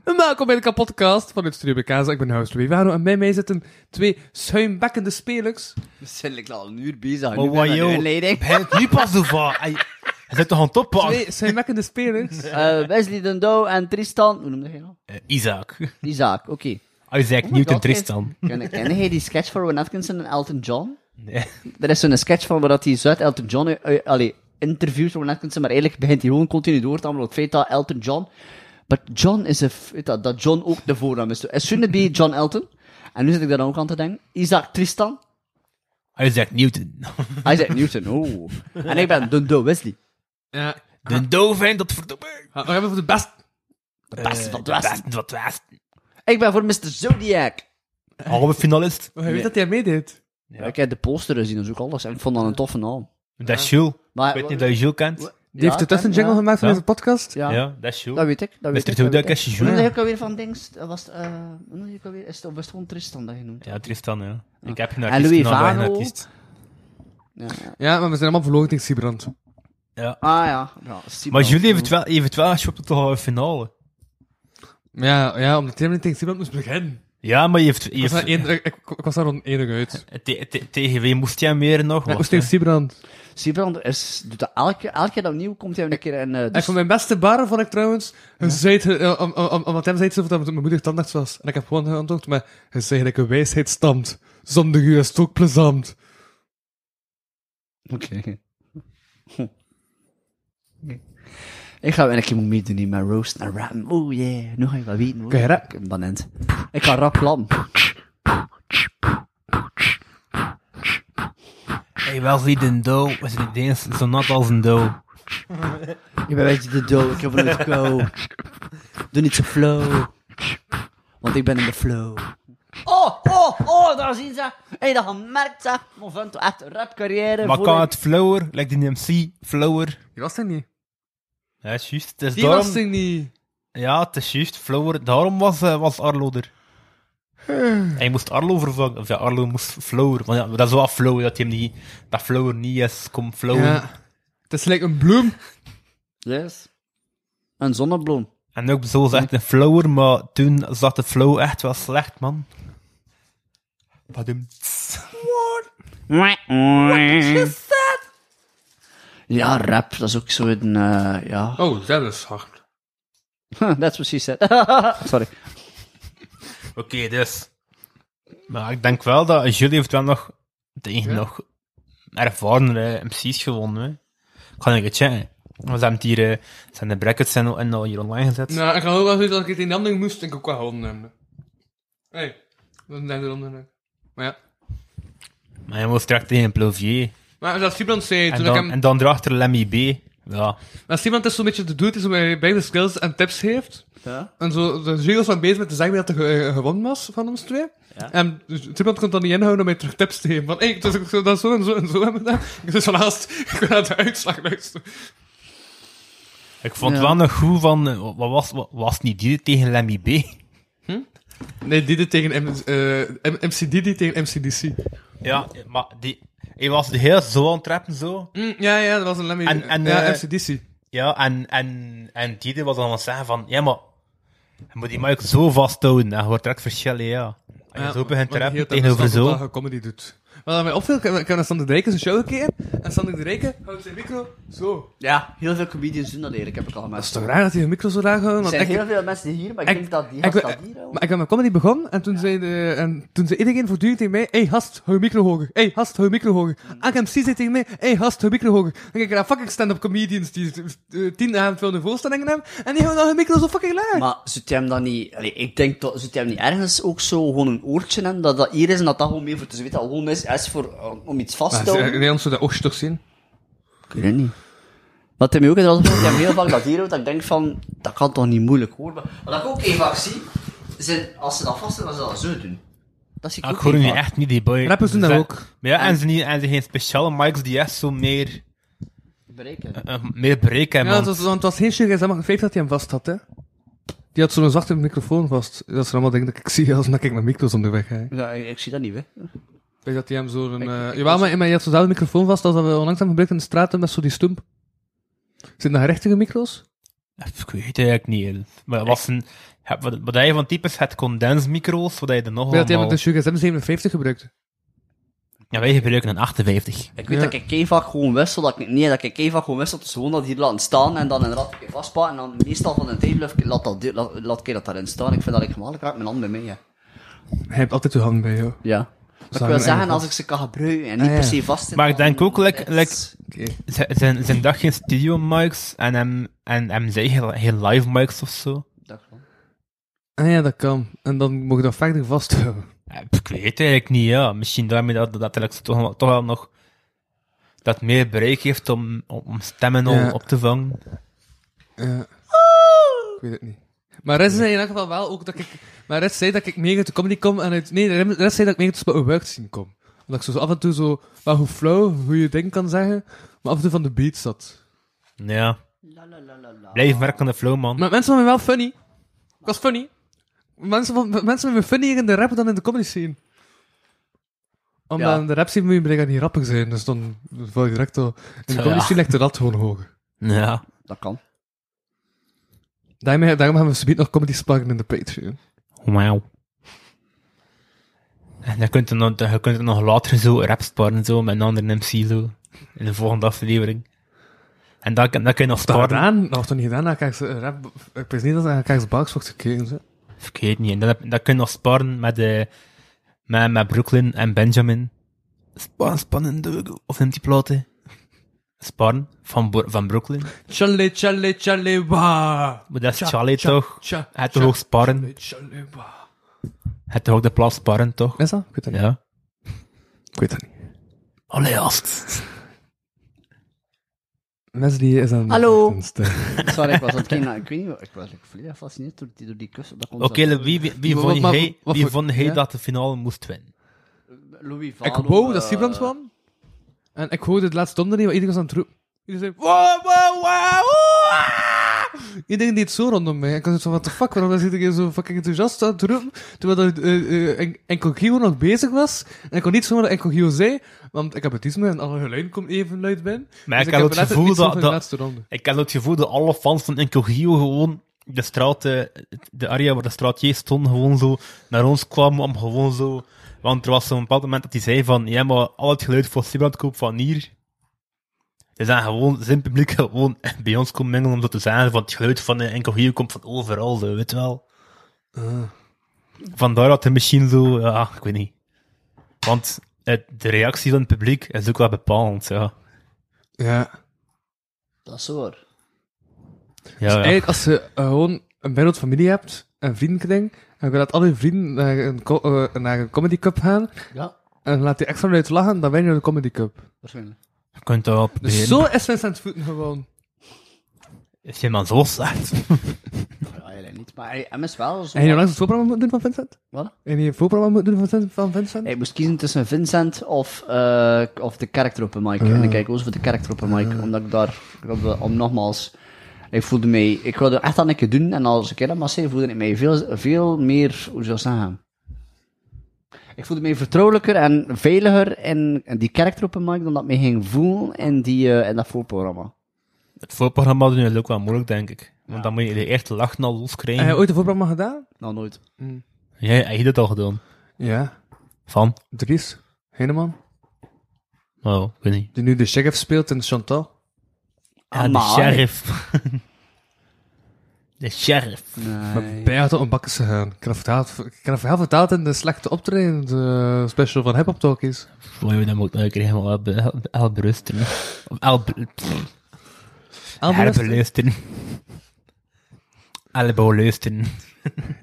Speaker 5: En welkom bij de podcast vanuit Studio Bekaza. Ik ben host Louis Wano en bij mij zitten twee schuimbekkende spelers.
Speaker 4: We zijn like al een uur bezig.
Speaker 3: Maar Oh, wat joh, begin het nu pas zo van. Hij hij zit toch aan het toppen? aan-
Speaker 5: Twee schuimbekkende spelers.
Speaker 4: Eh, Wesley Dendo en Tristan... Hoe noemde hij nou?
Speaker 3: Eh, Isaac.
Speaker 4: Isaac, oké.
Speaker 3: Isaac
Speaker 4: Oh my
Speaker 3: Newton
Speaker 4: God,
Speaker 3: Tristan.
Speaker 4: Ken, ken jij die sketch van Rowan Atkinson en Elton John?
Speaker 3: Nee.
Speaker 4: Er is zo'n sketch van waar dat hij Zuid Elton John eh, eh, allee, interviewt Rowan Atkinson, maar eigenlijk begint hij gewoon continu door te hameren op het feit dat Elton John... But John is a... f- weet Dat, dat John ook de voornaam is. Dus shouldn't it be John Elton? En nu zit ik daar ook aan te denken. Isaac Tristan.
Speaker 3: Isaac Newton.
Speaker 4: Isaac Newton, oh. En ik ben Dundo Wesley.
Speaker 5: Ja,
Speaker 4: Ah.
Speaker 3: De doof dat verdomme.
Speaker 5: we hebben voor de best.
Speaker 4: De beste
Speaker 3: Eh,
Speaker 4: van het
Speaker 3: de
Speaker 4: Westen.
Speaker 3: beste van het Westen.
Speaker 4: Ik ben voor Mr. Zodiac.
Speaker 3: Halve finalist.
Speaker 5: Oh, hij weet dat hij meedeed.
Speaker 3: Ja.
Speaker 4: Ik heb de poster gezien, dus ook alles. En ik vond dat een toffe naam.
Speaker 3: Dat is Jules.
Speaker 4: Maar-
Speaker 3: Ik weet niet dat je Jules kent.
Speaker 5: Die heeft de tussenjingle gemaakt van
Speaker 3: Ja.
Speaker 5: deze podcast.
Speaker 4: Ja,
Speaker 3: Ja, dat is
Speaker 4: dat
Speaker 3: Jules.
Speaker 4: weet ik. Dat weet
Speaker 3: Mr.
Speaker 4: ik, dat
Speaker 3: Zodiac
Speaker 4: weet
Speaker 3: is
Speaker 4: ik. Hoe noemde
Speaker 3: Jules.
Speaker 4: ik alweer van Dings? Dat was, eh, hoe noemde ik alweer? Is het of was het gewoon Tristan dat je noemt?
Speaker 3: Ja, Tristan, ja. Ik heb geen
Speaker 4: En
Speaker 3: artiest.
Speaker 4: Louis
Speaker 3: nou, dat je een
Speaker 4: Vano.
Speaker 3: artiest.
Speaker 4: Ja. ja.
Speaker 5: Ja, maar we zijn allemaal verloren tegen Sibrand.
Speaker 4: Ah ja. ja Sibrand.
Speaker 3: Maar jullie heeft wel, heeft wel geschopt tot de finale.
Speaker 5: Ja, ja, omdat hij niet tegen Sibrand moest beginnen.
Speaker 3: Ja, maar je heeft... je
Speaker 5: Ik was,
Speaker 3: heeft-
Speaker 5: daar één- ik, ik- ik was daar rond enig uit. Maar
Speaker 3: te- te- Tegen wie moest jij meer nog? eh,
Speaker 5: ik
Speaker 3: Wat,
Speaker 5: moest tegen
Speaker 3: hè?
Speaker 5: Sibrand.
Speaker 4: Sibrand is, doet dat elke, elke keer opnieuw, komt hij een keer en... eh,
Speaker 5: En
Speaker 4: dus-
Speaker 5: van mijn beste barren vond ik trouwens, hij zei het, eh, om- om- om- omdat hem zei het zo dat mijn moeder tandarts was. En ik heb gewoon geantwoord, maar hij zei dat ik een wijsheid stamt. Zonder u is het ook plezant.
Speaker 4: Oké. Hm. Ik ga weer een keer moeten meedoen hier met roast en rap. Oeh, yeah. Nu ga je wel weten hoor.
Speaker 5: Kun je rap?
Speaker 4: Ik heb een banant. Ik ga rap klappen.
Speaker 3: Hey, wel niet een do, is het eens zo nat als een do.
Speaker 4: Ik ben een beetje de dood. Ik heb een go. Doe niet zo flow. Want ik ben in de flow. Oh, oh, oh, daar zien ze. Hé, hey, dat gemerkt ze. Mijn vent doet echt een rapcarrière.
Speaker 3: Maar
Speaker 4: voor
Speaker 3: kan
Speaker 4: een-
Speaker 3: het flower, like die MC, flower.
Speaker 5: Die was er niet.
Speaker 3: Ja, het is juist. Het is
Speaker 5: Die
Speaker 3: daarom-
Speaker 5: was er niet.
Speaker 3: Ja, het is juist, flower. Daarom was, eh, was Arlo er. Hij moest Arlo vervangen. Of ja, Arlo moest flower. Want ja, dat is wel flow, dat hij hem niet... Dat flower niet is, kom
Speaker 5: Oh.
Speaker 3: flowen.
Speaker 5: Ja. Het is gelijk een bloem.
Speaker 4: Yes. Een zonnebloem.
Speaker 3: En ook zo is echt een flower, maar toen zat de flow echt wel slecht, man. Padum.
Speaker 4: Ja, rap, dat is ook zo'n, eh ja.
Speaker 5: Oh, dat is hard.
Speaker 4: That's what she said. Sorry.
Speaker 3: Oké, dus. Maar ik denk wel dat Julie heeft wel nog tegen
Speaker 5: Ja.
Speaker 3: nog ervaren MC's gewonnen. Hè. Ik ga even checken. Want ze hebben het hier, eh, zijn de brackets zijn al, en al hier online gezet.
Speaker 5: Nou, ik ga ook wel zeggen dat ik het in de andere moest en ik ook wel honden hebben. Hé, hey, dat is een derde ronde. Maar ja.
Speaker 3: Maar je moest direct tegen Plovier.
Speaker 5: Maar dat Sibrand zei,
Speaker 3: En
Speaker 5: toen ik
Speaker 3: dan,
Speaker 5: hem...
Speaker 3: en dan erachter Lemmy B. Ja.
Speaker 5: Als iemand dus zo'n beetje de dude is om bij beide skills en tips heeft,
Speaker 4: Ja?
Speaker 5: en zo de jury was van bezig met te zeggen dat er ge- eh, gewonnen was van ons twee, en dus iemand kon dan niet inhouden om mij terug tips te geven. Van, hé, hey, dus ik zou dat zo en zo en zo hebben gedaan. Ik dus van haast, ik wil naar de uitslag luisteren.
Speaker 3: Ik vond
Speaker 4: Ja.
Speaker 3: wel nog goed van, eh, wat was, wat, was niet die tegen Lemmy B?
Speaker 5: Nee, Didi tegen M, eh, M- MC Didi tegen MCDC.
Speaker 3: Ja, maar die, hij was de heel zo aan het rappen zo.
Speaker 5: Mm, ja, ja, dat was een Lemmy.
Speaker 3: En- en,
Speaker 5: ja,
Speaker 3: eh,
Speaker 5: MCDC.
Speaker 3: Ja, en, en, en Didi was dan aan het zeggen van, ja maar, je moet die mic zo vasthouden, en je wordt direct verschillen, ja. En je zo begint te rappen tegenover zo.
Speaker 5: Wat comedy doet. Wat mij opviel, ik heb ik heb naar Sander de Rijken zijn show gekeken, en Sander de Rijken houdt zijn micro zo.
Speaker 4: ja, heel veel comedians doen dat eigenlijk, heb ik al
Speaker 5: Dat is
Speaker 4: gemerkt.
Speaker 5: toch raar dat hij een micro zo raar houdt?
Speaker 4: Er
Speaker 5: want
Speaker 4: zijn
Speaker 5: ik-
Speaker 4: heel veel mensen hier, maar ik,
Speaker 5: ik-
Speaker 4: denk dat die
Speaker 5: ik-
Speaker 4: gast dat hier hoor.
Speaker 5: Maar ik ben met comedy begon en toen, zei, de, en toen zei iedereen voortdurend tegen mij: Hey, hast, hou je micro hoger. Hey, hast, hou je micro hoger. AKMC zei tegen mij: Hey, hast, hou je micro hoger. Dan kijk ik naar fucking stand-up comedians die eh, tien avond veel voorstellingen hebben en die houden dan hun micro zo fucking laag.
Speaker 4: Maar zit hij hem dan niet... Allee, ik denk dat zit hij hem niet ergens ook zo gewoon een oortje hebben, dat dat hier is en dat dat gewoon mee voor... Dus weet dat gewoon is, is voor, eh, om iets vast te houden.
Speaker 5: ons zou dat oogst toch zien?
Speaker 4: Ik weet het niet. Wat hij mij ook is, dat hij hem heel vaak dat hier houdt, dat ik denk van, dat kan toch niet moeilijk hoor. Maar wat ik ook heel vaak zie, zijn, als ze dat vasthouden, dan ze dat zo doen. Dat zie ik
Speaker 3: Ah, Ik
Speaker 4: ook
Speaker 3: hoor
Speaker 4: heel
Speaker 3: nu
Speaker 4: vaak.
Speaker 3: echt niet die boy.
Speaker 5: Rappers doen dat
Speaker 3: Ze-
Speaker 5: ook.
Speaker 3: Maar Ja, en ze, niet, en ze geen speciale mics die echt zo meer,
Speaker 4: Bereiken.
Speaker 3: eh, meer break hebben.
Speaker 5: Ja, het
Speaker 3: want-
Speaker 5: was, want het was geen sugar, dat mag dat hij hem vast had, hè? Die had zo'n zachte microfoon vast. Dat ze allemaal denken dat ik zie als dat ik mijn micro's onderweg ga. Ik
Speaker 4: Ja, ik, ik zie dat niet, hè.
Speaker 5: weet dat hij hem zo'n. een. eh,
Speaker 4: Ik- ik-
Speaker 5: jawel, maar, maar je had zo'n microfoon vast als dat we onlangs hebben gebruikt in de straten met zo die stump. Zitten daar rechtige micro's?
Speaker 3: Ik weet het eigenlijk niet. heel. Maar dat was een, ja, wat, wat hij van type is, het condensmicro's, wat hij er nog
Speaker 5: Ik weet dat hij
Speaker 3: allemaal...
Speaker 5: met de Sugar 57 gebruikt. dus-
Speaker 3: Ja, wij gebruiken een 58.
Speaker 4: Ik weet
Speaker 5: Ja.
Speaker 4: dat ik kei vaak gewoon wissel, dat ik niet, dat ik kei vaak gewoon wissel, dus gewoon dat hier laten staan en dan inderdaad een keer vastpakken en dan meestal van een tijdluf laat, dat, deur- laat, laat ik dat daarin staan. Ik vind dat ik gemakkelijk raak mijn hand bij mij, ja.
Speaker 5: Hij hebt altijd uw hand bij jou.
Speaker 4: ja. Maar ik
Speaker 5: Zou
Speaker 4: wil
Speaker 5: je
Speaker 4: zeggen,
Speaker 5: eigenlijk
Speaker 4: als ik ze kan gebruiken en niet
Speaker 5: Ah, ja.
Speaker 4: per se vast
Speaker 3: Maar ik denk ook, like- like-
Speaker 5: Oké.
Speaker 3: Z- Zijn, zijn dag geen studio mics en hem, en hem zijn geen, geen live mics of zo?
Speaker 5: Ah ja, dat kan. En dan mogen we dat verder vasthouden.
Speaker 3: Ja, pff, Ik weet het eigenlijk niet, ja. Misschien daarmee dat, dat Alex toch, wel- toch wel nog dat meer bereik heeft om, om, om stemmen al
Speaker 5: Ja.
Speaker 3: op te vangen.
Speaker 5: Ja. Ik weet het niet. Maar Red zei in elk geval wel ook dat ik... Maar Red zei dat ik meer uit de comedy kom en uit... Nee, Red zei dat ik meer uit de work scene kom. Omdat ik zo af en toe zo... Maar hoe flow, hoe je ding kan zeggen. Maar af en toe van de beat zat.
Speaker 3: Ja. Blijf werken aan de flow, man.
Speaker 5: Maar mensen vonden me wel funny. Ik was funny. Mensen vonden mensen vonden me funnier in de rap dan in de comedy scene. Omdat
Speaker 4: Ja.
Speaker 5: in de rap scene moet je blijkbaar niet rappig zijn, dus dan val je direct al... In de
Speaker 3: Ja.
Speaker 5: comedy scene ligt de lat gewoon hoger.
Speaker 3: Ja.
Speaker 4: Dat kan.
Speaker 5: Daarom, daarom gaan we subiet nog comedies plakken in de Patreon.
Speaker 3: Wauw. En dan kunt u nog, dan, je kunt er nog later zo rap sparen, zo, met een andere MC, zo. In de volgende aflevering. En dan, kan- dan kun je nog
Speaker 5: Dat
Speaker 3: sparen.
Speaker 5: gedaan? Nou, toch niet gedaan? Dan krijg je rap... Ik weet niet dat aan Kijk's Box wordt gekeken, zo.
Speaker 3: Verkeerd niet. En dan, heb- dan kun je nog sparen met, eh met, met Brooklyn en Benjamin. Sparen, spannende, of neemt die platen? Sparen van, Bo- van Brooklyn.
Speaker 5: Challe, challe, challe, wa.
Speaker 3: Maar dat is
Speaker 5: Tja,
Speaker 3: Charlie
Speaker 5: tja,
Speaker 3: toch?
Speaker 5: tja,
Speaker 3: Hij had
Speaker 5: tja.
Speaker 3: toch ook sparren?
Speaker 5: Challe, challe, wa.
Speaker 3: Hij had toch ook de plaats sparren, toch?
Speaker 5: Is dat? Ik weet dat niet.
Speaker 3: Ja.
Speaker 5: Ik weet dat niet.
Speaker 3: Allee, gast.
Speaker 5: Leslie is aan de
Speaker 4: Hallo.
Speaker 5: ochtendster.
Speaker 4: Sorry, ik was aan het kijken naar- ik weet niet, wat- ik was like, volledig gefascineerd door die, door die kussen. Dat komt
Speaker 3: Oké,
Speaker 4: dat-
Speaker 3: wie, wie, wie
Speaker 5: Maar-
Speaker 3: vond
Speaker 5: maar-
Speaker 3: jij,
Speaker 5: wat
Speaker 3: wie
Speaker 5: voor-
Speaker 3: vond jij
Speaker 5: ja?
Speaker 3: dat de finale moest winnen?
Speaker 4: Louis
Speaker 5: Ik
Speaker 4: Valo,
Speaker 5: wou dat
Speaker 4: eh,
Speaker 5: Sibrand kwam. En ik hoorde het laatste donder niet, want iedereen was aan het roepen. Iedereen zei, wow, wow, wow, wow. Iedereen deed zo rondom mij. Ik was zo van, what the fuck, waarom is iedereen zo fucking enthousiast aan het roepen? Terwijl dat, eh, eh, en- enkel Gio nog bezig was. En ik kon niet zomaar dat enkel Gio zei, want ik heb het iets meer en alle geluiden komt even luid binnen.
Speaker 3: Maar ik
Speaker 5: ik
Speaker 3: had
Speaker 5: heb
Speaker 3: het
Speaker 5: letterlijk
Speaker 3: gevoel
Speaker 5: niets
Speaker 3: dat-
Speaker 5: meer van de
Speaker 3: dat-
Speaker 5: laatste ronde.
Speaker 3: Ik had het gevoel dat alle fans van Enkel Gio gewoon de straat, eh, de area waar de straatjes stond, gewoon zo naar ons kwamen om gewoon zo... Want er was zo'n bepaald moment dat hij zei van, ja, maar al het geluid voor Sibrand komt van hier. Dus dan gewoon, zijn publiek gewoon bij ons komt mengelen om zo te zeggen van het geluid van eh, Enkel Gio komt van overal, zo, weet je wel.
Speaker 5: Ah.
Speaker 3: Vandaar dat hij misschien zo, ja, ik weet niet. Want het, de reactie van het publiek is ook wel bepalend, ja.
Speaker 5: Ja.
Speaker 4: Dat is hoor.
Speaker 3: Ja, ja.
Speaker 5: Dus Eigenlijk, als je eh, gewoon een bijloot familie hebt, een vriendenkring, en je laat al je vrienden naar een, co- eh, naar een comedy cup gaan,
Speaker 4: Ja,
Speaker 5: en laat die extra luid lachen, dan win je de comedy cup.
Speaker 4: waarschijnlijk.
Speaker 3: Je kunt dat wel proberen.
Speaker 5: Dus zo is Vincent aan het voeten gewoon.
Speaker 3: Is je man zo slecht?
Speaker 4: Ja, eigenlijk niet. Maar hij, hem is wel zo...
Speaker 5: En je langs het voorprogramma moeten doen van Vincent?
Speaker 4: Wat?
Speaker 5: En je voorprogramma moeten doen van Vincent? Van Vincent?
Speaker 4: Hij moest kiezen tussen Vincent of, eh, of de character open mic.
Speaker 5: Ah.
Speaker 4: En dan kijk ik ook voor de character open mic. Omdat ik daar... ik wilde- om nogmaals... Ik voelde mij... Ik wilde echt aan een keer doen. En als ik dat maar zei, voelde ik mij veel, veel meer... Hoe zou ik zeggen? Ik voelde mij vertrouwelijker en veiliger in, in die character open mic dan dat ik mij ging voelen in, die, eh, in dat voorprogramma.
Speaker 3: Het voorprogramma doen is ook wel moeilijk, denk ik. Want dan moet je de eerste lachen al
Speaker 5: Heb
Speaker 3: loskrijgen.
Speaker 5: je ooit een voorprogramma gedaan?
Speaker 4: Nou, nooit.
Speaker 3: Jij heb je dat al gedaan?
Speaker 5: Ja.
Speaker 3: Van?
Speaker 5: Dries Heineman,
Speaker 3: Oh, ik weet niet.
Speaker 5: die nu de sheriff speelt in Chantal.
Speaker 3: Ja, de
Speaker 4: Amai.
Speaker 3: sheriff. de sheriff.
Speaker 5: Maar bij had op een bakkes gegaan. Ik heb vertaald- ik heb verhaal vertaald in de slechte optreden de special van Hip Hop Talkies.
Speaker 3: Voor je dan moet ik nou een keer helemaal elbe- el- elberusteren. Of elbe-
Speaker 5: Elbow,
Speaker 3: herbeluisteren. Elbow luisteren.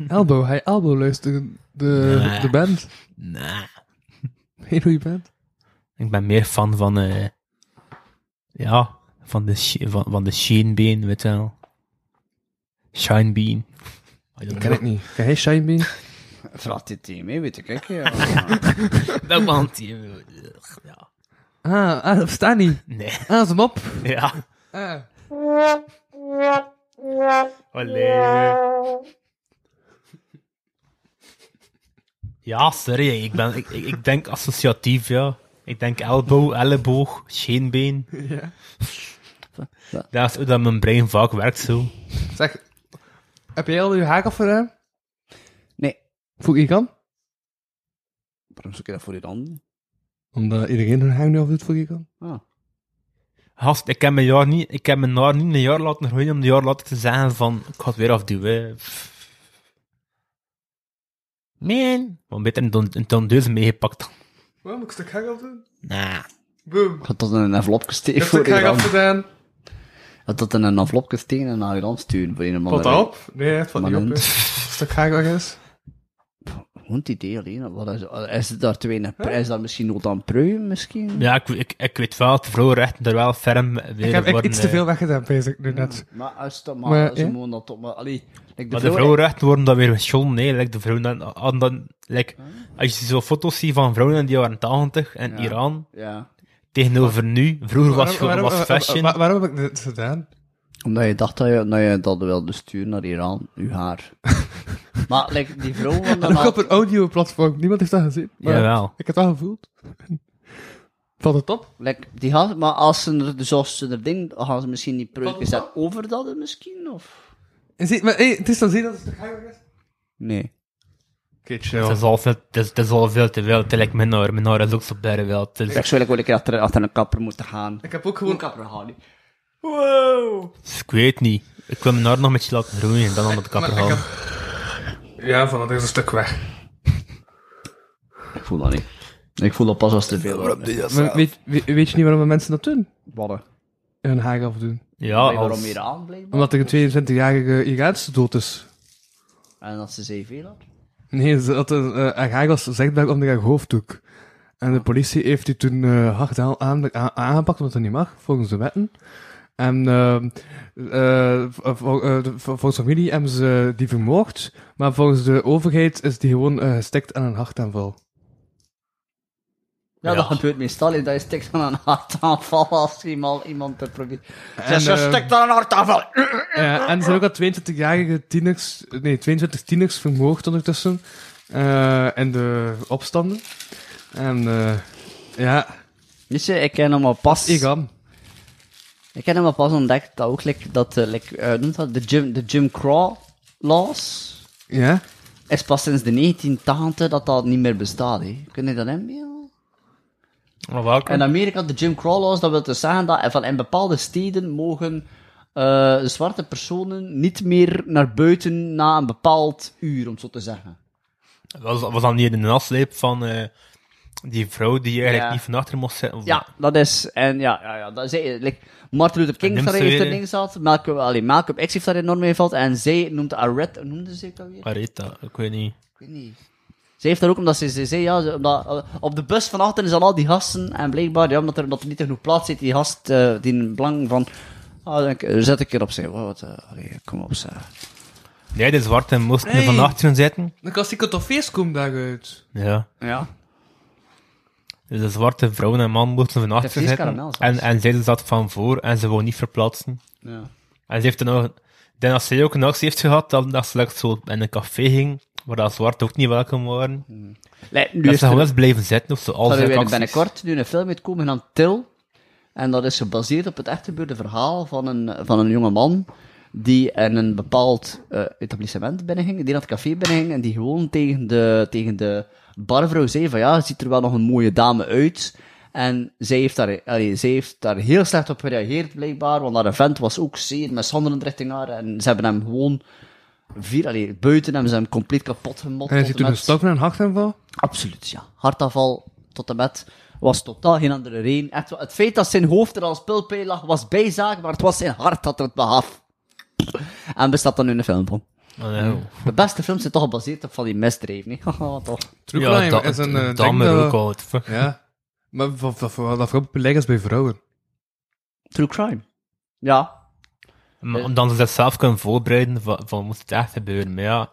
Speaker 5: elbow, hij elbow luisteren. De,
Speaker 3: Nee.
Speaker 5: de band.
Speaker 3: Nah.
Speaker 5: Heel goede band.
Speaker 3: Ik ben meer fan van... eh ja, van de, sh- van, van de Shane Bean, weet je wel. Shine Bean. I don't know.
Speaker 5: niet. Ken jij Shine Bean?
Speaker 4: Vraag dit team, hè, weet ik. Ik,
Speaker 3: Welk man die- Ja.
Speaker 5: Ah, ah, dat staat niet.
Speaker 3: Nee.
Speaker 5: Ah, dat is hem op.
Speaker 3: Ja.
Speaker 5: Ah.
Speaker 3: Allee. Ja, sorry. Ik, ben, ik, ik, ik denk associatief, ja. Ik denk elbow, elleboog, scheenbeen.
Speaker 4: Ja.
Speaker 3: Dat is hoe dat mijn brein vaak werkt, zo.
Speaker 5: Zeg, heb jij al je haak afgedaan?
Speaker 4: Nee.
Speaker 5: Voel je kan?
Speaker 4: Waarom zoek je dat voor je dan?
Speaker 5: Omdat iedereen hun haak nu afdoet, voel je kan?
Speaker 4: Ah.
Speaker 3: Gast, ik heb mijn jaar niet, ik heb mijn haar niet een jaar laten groeien om een jaar later te zeggen van, ik ga het weer afduwen. Pff. Man. Maar beter een, don- een tondeuze meegepakt dan.
Speaker 5: Waarom moet ik een stuk haak afdoen?
Speaker 3: Nah.
Speaker 5: Boom.
Speaker 4: Ik had dat in een envelop gestegen
Speaker 5: Heeft
Speaker 4: voor
Speaker 5: ik
Speaker 4: je
Speaker 5: haak
Speaker 4: dan.
Speaker 5: afgedaan?
Speaker 4: Ik had dat in een envelop gestegen en naar je dan sturen voor een of
Speaker 5: Valt
Speaker 4: andere...
Speaker 5: dat op? Oh, Nee, het valt niet op. hè.
Speaker 4: Moment.
Speaker 5: Een stuk haak weg is.
Speaker 4: Gewoon het idee alleen. Wat is, is het daar te weinig... pre- Is dat misschien nood aan pruim, misschien?
Speaker 3: Ja, ik, ik, ik weet wel, de vrouwenrechten er wel ferm weer
Speaker 5: Ik heb echt
Speaker 3: worden,
Speaker 5: iets te
Speaker 3: eh,
Speaker 5: veel weggedaan, bezig nu net.
Speaker 4: Maar als dat maar...
Speaker 5: Maar,
Speaker 4: ze
Speaker 5: ja.
Speaker 4: mogen dat toch maar... Allee, like
Speaker 3: Maar de vrouwenrechten worden dan weer geschonden, nee. Like de vrouwen dan, aan dan, like, als je zo foto's ziet van vrouwen in de jaren 80 in Iran,
Speaker 4: Ah. eh, Ja.
Speaker 3: tegenover nu, vroeger
Speaker 5: Waarom-
Speaker 3: was, gewoon-
Speaker 5: waarom-
Speaker 3: was
Speaker 5: waar-
Speaker 3: fashion.
Speaker 5: waar- Waarom heb ik dit gedaan?
Speaker 4: Omdat je dacht dat je dat, je dat wilde sturen naar Iran. Uw haar. Maar like, die vrouw van de
Speaker 5: En ook op
Speaker 4: maat...
Speaker 5: een audio-platform. Niemand heeft dat gezien. Maar
Speaker 3: Jawel.
Speaker 5: Ik heb dat gevoeld. Valt het op?
Speaker 4: Like, die had, maar als ze er, dus als ze er ding, gaan ze misschien die preuken zetten over dat er misschien, of?
Speaker 5: En zie, maar hey, het is dan zien dat het een geheim is.
Speaker 4: Nee.
Speaker 3: Oké, chill. Het is al veel- het is- het is al veel te wild. Like, minor, minor is ook zo bij de wild. Het is-
Speaker 4: Ik zou eigenlijk wel een keer achter, achter een kapper moeten gaan.
Speaker 5: Ik heb ook
Speaker 4: Gewoon
Speaker 5: gewoon...
Speaker 4: kapper gaan, hè. Wow!
Speaker 3: Ik weet niet. Ik wil minor nog met je laten groeien en dan aan de
Speaker 5: Maar
Speaker 3: kapper
Speaker 5: ik
Speaker 3: halen.
Speaker 5: Ja, van dat is een stuk weg.
Speaker 4: Ik voel dat niet. Ik voel dat pas als er veel wordt.
Speaker 5: weet, weet, weet je niet waarom mensen dat doen?
Speaker 4: Wadden.
Speaker 5: Hun haag afdoen.
Speaker 3: Ja,
Speaker 4: Waarom
Speaker 3: als...
Speaker 4: hier aan blijkbaar?
Speaker 5: Omdat er een 22-jarige Iraanse dood is.
Speaker 4: En dat ze zeven had.
Speaker 5: Nee, ze had een eh, haar haag was zichtbaar onder haar hoofddoek. En de politie heeft die toen eh, hard aan, aan- aan- aangepakt, omdat dat niet mag, volgens de wetten. En ehm, eh, vol- vol- eh, de- vol- volgens de familie hebben ze die vermoord, maar volgens de overheid is die gewoon eh, gestikt aan een hartaanval.
Speaker 4: Ja,
Speaker 3: Ja.
Speaker 4: dat gebeurt meestal. hè. Dat is stikt aan een hartaanval als iemand, iemand te probeert. Ze
Speaker 5: En,
Speaker 4: ze
Speaker 5: eh,
Speaker 4: stikt aan een hartaanval.
Speaker 5: Ja, en er zijn ook al 22-jarige tieners, nee, 22 tieners vermoord ondertussen. eh in de opstanden. En eh, ja,
Speaker 4: Weet je, ik ken hem al pas.
Speaker 5: ik kan.
Speaker 4: Ik heb hem al pas ontdekt dat ook like, dat, eh, like, eh, noemt dat, de, Jim, de Jim Crow laws
Speaker 5: Ja?
Speaker 4: is pas sinds de 1980 dat dat niet meer bestaat. Hè. Kun je dat inbeelden?
Speaker 3: Maar welke?
Speaker 4: In Amerika, de Jim Crow laws, dat wil dus zeggen dat eh, van in bepaalde steden mogen eh, zwarte personen niet meer naar buiten na een bepaald uur, om het zo te zeggen.
Speaker 3: Was, was dat niet in de nasleep van eh, die vrouw die eigenlijk
Speaker 4: Ja.
Speaker 3: niet van achter mocht zitten? Of
Speaker 4: Ja, dat is, en ja, ja, ja dat is, eh, like, Martin Luther King
Speaker 3: En
Speaker 4: heeft
Speaker 3: noemt
Speaker 4: daar
Speaker 3: ze
Speaker 4: heeft er
Speaker 3: weer-
Speaker 4: ding zat, Malcolm, allee, Malcolm X heeft daar enorm mee valt, en zij noemt Arret, hoe noemde ze het alweer?
Speaker 3: Areta, ik weet niet.
Speaker 4: Ik weet niet. Ze heeft daar ook, omdat ze, ze zei, ja, ze- omdat, eh, op de bus van achteren zijn al die gasten, en blijkbaar, ja, omdat er, omdat er niet genoeg plaats zit, die gast, eh, die in belang van, ah, denk, eh, zet ik erop, zei, wat, eh, allee, kom op, zeg.
Speaker 3: Nee, de zwarten moesten
Speaker 5: Nee.
Speaker 3: er van achteren zitten.
Speaker 5: Dan kan die toffees komen daaruit.
Speaker 3: Ja.
Speaker 4: Ja.
Speaker 3: Dus de zwarte vrouwen en man moesten van achter
Speaker 4: vlees
Speaker 3: zitten.
Speaker 4: karamel zelfs.
Speaker 3: En, en zij zat van voor en ze wou niet verplaatsen.
Speaker 4: Ja.
Speaker 3: En ze heeft dan ook, ik denk dat zij ook een actie heeft gehad, dat, dat ze like, zo in een café ging, waar dat zwart ook niet welkom waren.
Speaker 5: Mm.
Speaker 4: Lijkt nu
Speaker 3: dat
Speaker 4: is
Speaker 3: ze
Speaker 4: er,
Speaker 3: gewoon eens blijven zitten of zo. Als
Speaker 4: zal er
Speaker 3: er
Speaker 4: weer
Speaker 3: acties-
Speaker 4: binnenkort nu een film uitkomen genaamd Til, en dat is gebaseerd op het echt gebeurde verhaal van een, van een jonge man, die in een bepaald eh, etablissement binnenging, die naar het café binnenging, en die gewoon tegen de, tegen de barvrouw zei van, ja, ziet er wel nog een mooie dame uit, en zij heeft, daar, allee, zij heeft daar heel slecht op gereageerd, blijkbaar, want haar vent was ook zeer mishandelend richting haar, en ze hebben hem gewoon vier, allee, buiten hebben ze hem compleet kapot gemot.
Speaker 5: En hij
Speaker 4: tot
Speaker 5: zit
Speaker 4: en
Speaker 5: toen een
Speaker 4: met-
Speaker 5: stok naar een hartaanval.
Speaker 4: Absoluut, ja. Hartaanval tot en met was totaal geen andere reden. Echt, wel, het feit dat zijn hoofd er als pulpij lag, was bijzaak, maar het was zijn hart dat het behaf. En bestaat dan nu een film van.
Speaker 3: Oh, nou.
Speaker 4: De beste films zijn toch gebaseerd op van die misdrijven, hè? Haha, toch.
Speaker 5: True
Speaker 3: Ja,
Speaker 5: crime
Speaker 3: dat
Speaker 5: is een eh, ding
Speaker 3: Dahmer
Speaker 5: dat-
Speaker 3: ook al. het-
Speaker 5: Ja. Maar wat voor, voor, dat vooral populair is bij vrouwen.
Speaker 4: True crime. Ja.
Speaker 3: Maar omdat ze dat zelf kunnen voorbereiden, van, van moet het echt gebeuren. Maar ja.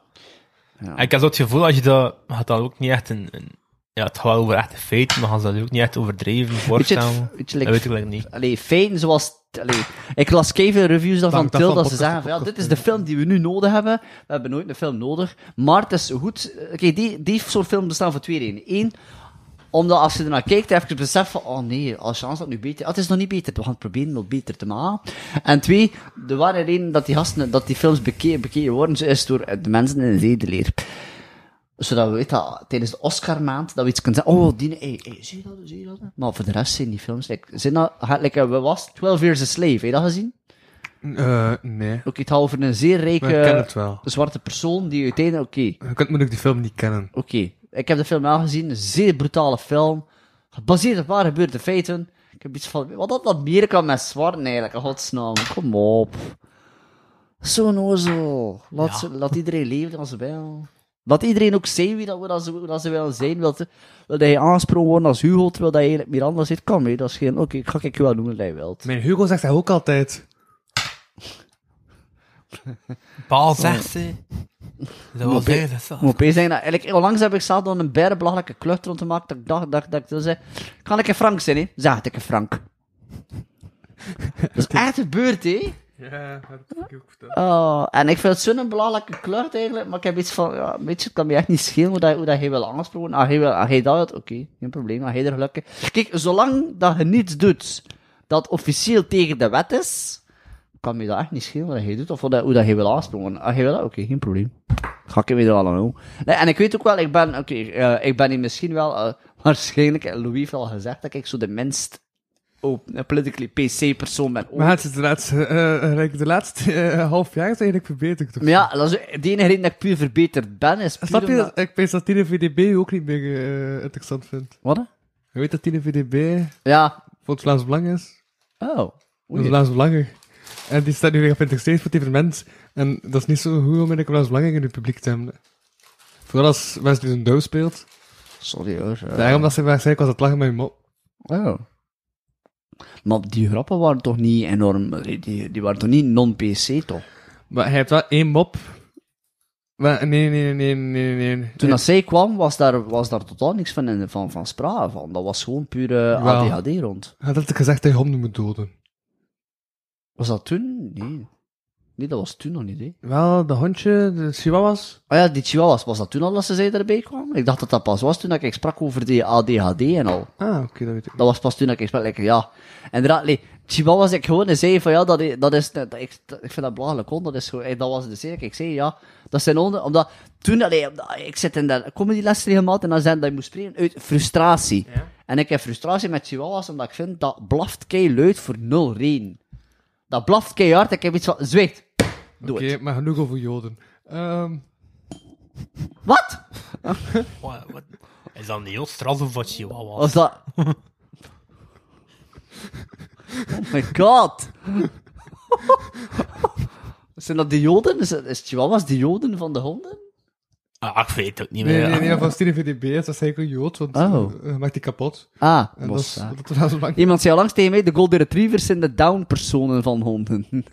Speaker 3: En ik heb zo het gevoel, als je dat, gaat dat ook niet echt een, een- ja, het gaat wel over echte feiten, maar gaan ze dat ook niet echt overdreven
Speaker 4: Weet je,
Speaker 3: voorstellen.
Speaker 4: het- weet je,
Speaker 3: dat
Speaker 4: like-
Speaker 3: weet ik eigenlijk niet.
Speaker 4: Allee, feiten zoals... Allee, ik las keiveel reviews daarvan,
Speaker 5: Dank, dat
Speaker 4: Til,
Speaker 5: van
Speaker 4: dat ze
Speaker 5: podcast
Speaker 4: zeggen van,
Speaker 5: tot
Speaker 4: ja, dit is
Speaker 5: podcast.
Speaker 4: de film die we nu nodig hebben. We hebben nooit een film nodig. Maar het is goed... Oké, die, die soort films bestaan voor twee redenen. Eén, omdat als je ernaar kijkt, heb je het besef van, oh nee, als chance dat nu beter... ah, het is nog niet beter, we gaan het proberen wel beter te maken. En twee, de ware reden dat die, gasten, dat die films bekeken, bekeken worden, is door eh, de mensen in de zedeleer zodat we weten dat tijdens de Oscar-maand dat we iets kunnen zeggen. Oh, die, hey, hey, zie je dat? Zie je dat? Maar voor de rest zijn die films. Like, zijn dat, ha- like, eh, wat was het? 12 Years a Slave, heb je dat gezien?
Speaker 5: Eh, nee.
Speaker 4: Oké, het gaat over een zeer
Speaker 5: Maar ik ken het
Speaker 4: rijke
Speaker 5: wel.
Speaker 4: zwarte persoon die uiteindelijk. Oké,
Speaker 5: Je kunt moeilijk die film niet kennen.
Speaker 4: oké. Ik heb de film wel gezien. Een zeer brutale film. Gebaseerd op waar gebeurde feiten. Ik heb iets van. Wat had Amerika met zwarten eigenlijk? in Godsnaam, kom op. Zo'n ozel. Laat, ze- laat iedereen leven als ze wil. Laat iedereen ook zijn wie dat, we- dat, ze, dat ze willen zijn. Wil, te- wil dat je aangesproken wordt als Hugo, terwijl dat je eigenlijk meer anders zit. Kan mee, dat is geen... Oké, ik ga ik je wel doen wat jij wilt.
Speaker 5: Mijn Hugo zegt dat ook altijd.
Speaker 3: Paal zegt ze. Dat was
Speaker 4: be-
Speaker 3: eigenlijk zo.
Speaker 4: Ik moet opeens zeggen, dat, eigenlijk, onlangs heb ik zelf dan een bijna belachelijke klucht rond te maken, dat ik dacht, dat, dat ik toen zei, kan ik een Frank zijn, hè? Zeg het, ik een Frank. Dat is echt gebeurd, hè?
Speaker 5: Ja, dat heb ik ook verteld.
Speaker 4: Oh, en ik vind het zo'n belangrijke kleur eigenlijk, maar ik heb iets van, ja, weet je, het kan me echt niet schelen hoe, dat, hoe dat hij wil aansproken. Als hij, wil, als hij dat wil, oké, geen probleem, als hij er gelukkig... Kijk, zolang dat je niets doet dat officieel tegen de wet is, kan me dat echt niet schelen wat hij doet, of hoe dat, hoe dat hij wil aansproken. Als hij wil dat, oké, geen probleem. Ga ik hem weer al aan doen. Nee, en ik weet ook wel, ik ben, oké, eh, ik ben hier misschien wel, eh, waarschijnlijk, eh, Louis heeft al gezegd, dat ik zo de minst open, eh, politically PC persoon ben ooit.
Speaker 5: Maar het is de laatste, eh, eh, de laatste eh, half jaar is eigenlijk verbeterd. Toch?
Speaker 4: Maar ja, dat is de enige reden dat ik puur verbeterd ben, is puur
Speaker 5: Snap je?
Speaker 4: omdat-
Speaker 5: dat- Ik weet dat Tine VDB ook niet meer eh, interessant vindt.
Speaker 4: Wat? hè?
Speaker 5: Je weet dat Tine VDB
Speaker 4: Ja.
Speaker 5: voor het Vlaams Belang is.
Speaker 4: Oh.
Speaker 5: Dat is Vlaams Belang. En die staat nu weer geïnteresseerd voor het evenement. En dat is niet zo goed om in een Vlaams Belang in het publiek te hebben. Vooral als West dus een doos speelt.
Speaker 4: Sorry hoor. eh.
Speaker 5: Daarom dat ze waarschijnlijk was het lachen met je mop.
Speaker 4: Oh. Maar die grappen waren toch niet enorm... eh, Die, die waren toch niet non-PC, toch?
Speaker 5: Maar hij heeft wel één mop. Maar nee, nee, nee, nee, nee. nee.
Speaker 4: Toen dat zij kwam, was daar, was daar totaal niks van, in- van, van sprake van. Dat was gewoon puur eh,
Speaker 5: Jawel.
Speaker 4: ADHD rond.
Speaker 5: Hij had gezegd dat hij honden moet doden.
Speaker 4: Was dat toen? Nee. Nee, dat was toen nog niet, hè.
Speaker 5: Wel, de hondje, de chihuahuas.
Speaker 4: Ah ja, die chihuahuas, was dat toen al dat ze zij erbij kwamen? Ik dacht dat dat pas was toen dat ik sprak over die ADHD en al.
Speaker 5: Ah, oké, dat weet ik.
Speaker 4: Dat was pas toen dat ik sprak, lekker, ja. Inderdaad, nee, Chihuahua was ik gewoon en zei van, ja, dat, i- dat is, dat, ik, dat- ik vind dat belachelijk hond, dat is gewoon, eh, dat was de zeker. Ik zei, ja, dat zijn honden, omdat, toen, allee, omdat- ik zit in de comedyles regelmatig en dan zei dat je moet spreken uit frustratie. En ik heb frustratie met Chihuahuas, omdat ik vind dat blaft kei luid voor nul reden. Dat blaft keihard, ik heb iets van, zwicht,
Speaker 5: Oké,
Speaker 4: doe het.
Speaker 5: maar genoeg over Joden. Ehm,
Speaker 4: Wat?
Speaker 3: Wat, wat- Is dat een heel stras of wat chihuahua?
Speaker 4: Was dat... Oh my god! Zijn dat de joden? Is, is Chihuahuas de joden van de honden?
Speaker 3: Ah, ik weet het ook niet
Speaker 5: nee,
Speaker 3: meer.
Speaker 5: nee, nee, van Stine VDB is dat zeker een Jood, want
Speaker 4: Oh.
Speaker 5: eh, hij maakt die kapot.
Speaker 4: Ah,
Speaker 5: En dat
Speaker 4: was
Speaker 5: is,
Speaker 4: dat.
Speaker 5: dat is wel zo lang.
Speaker 4: Iemand zei al langs tegen mij, de golden retrievers zijn de down-personen van honden.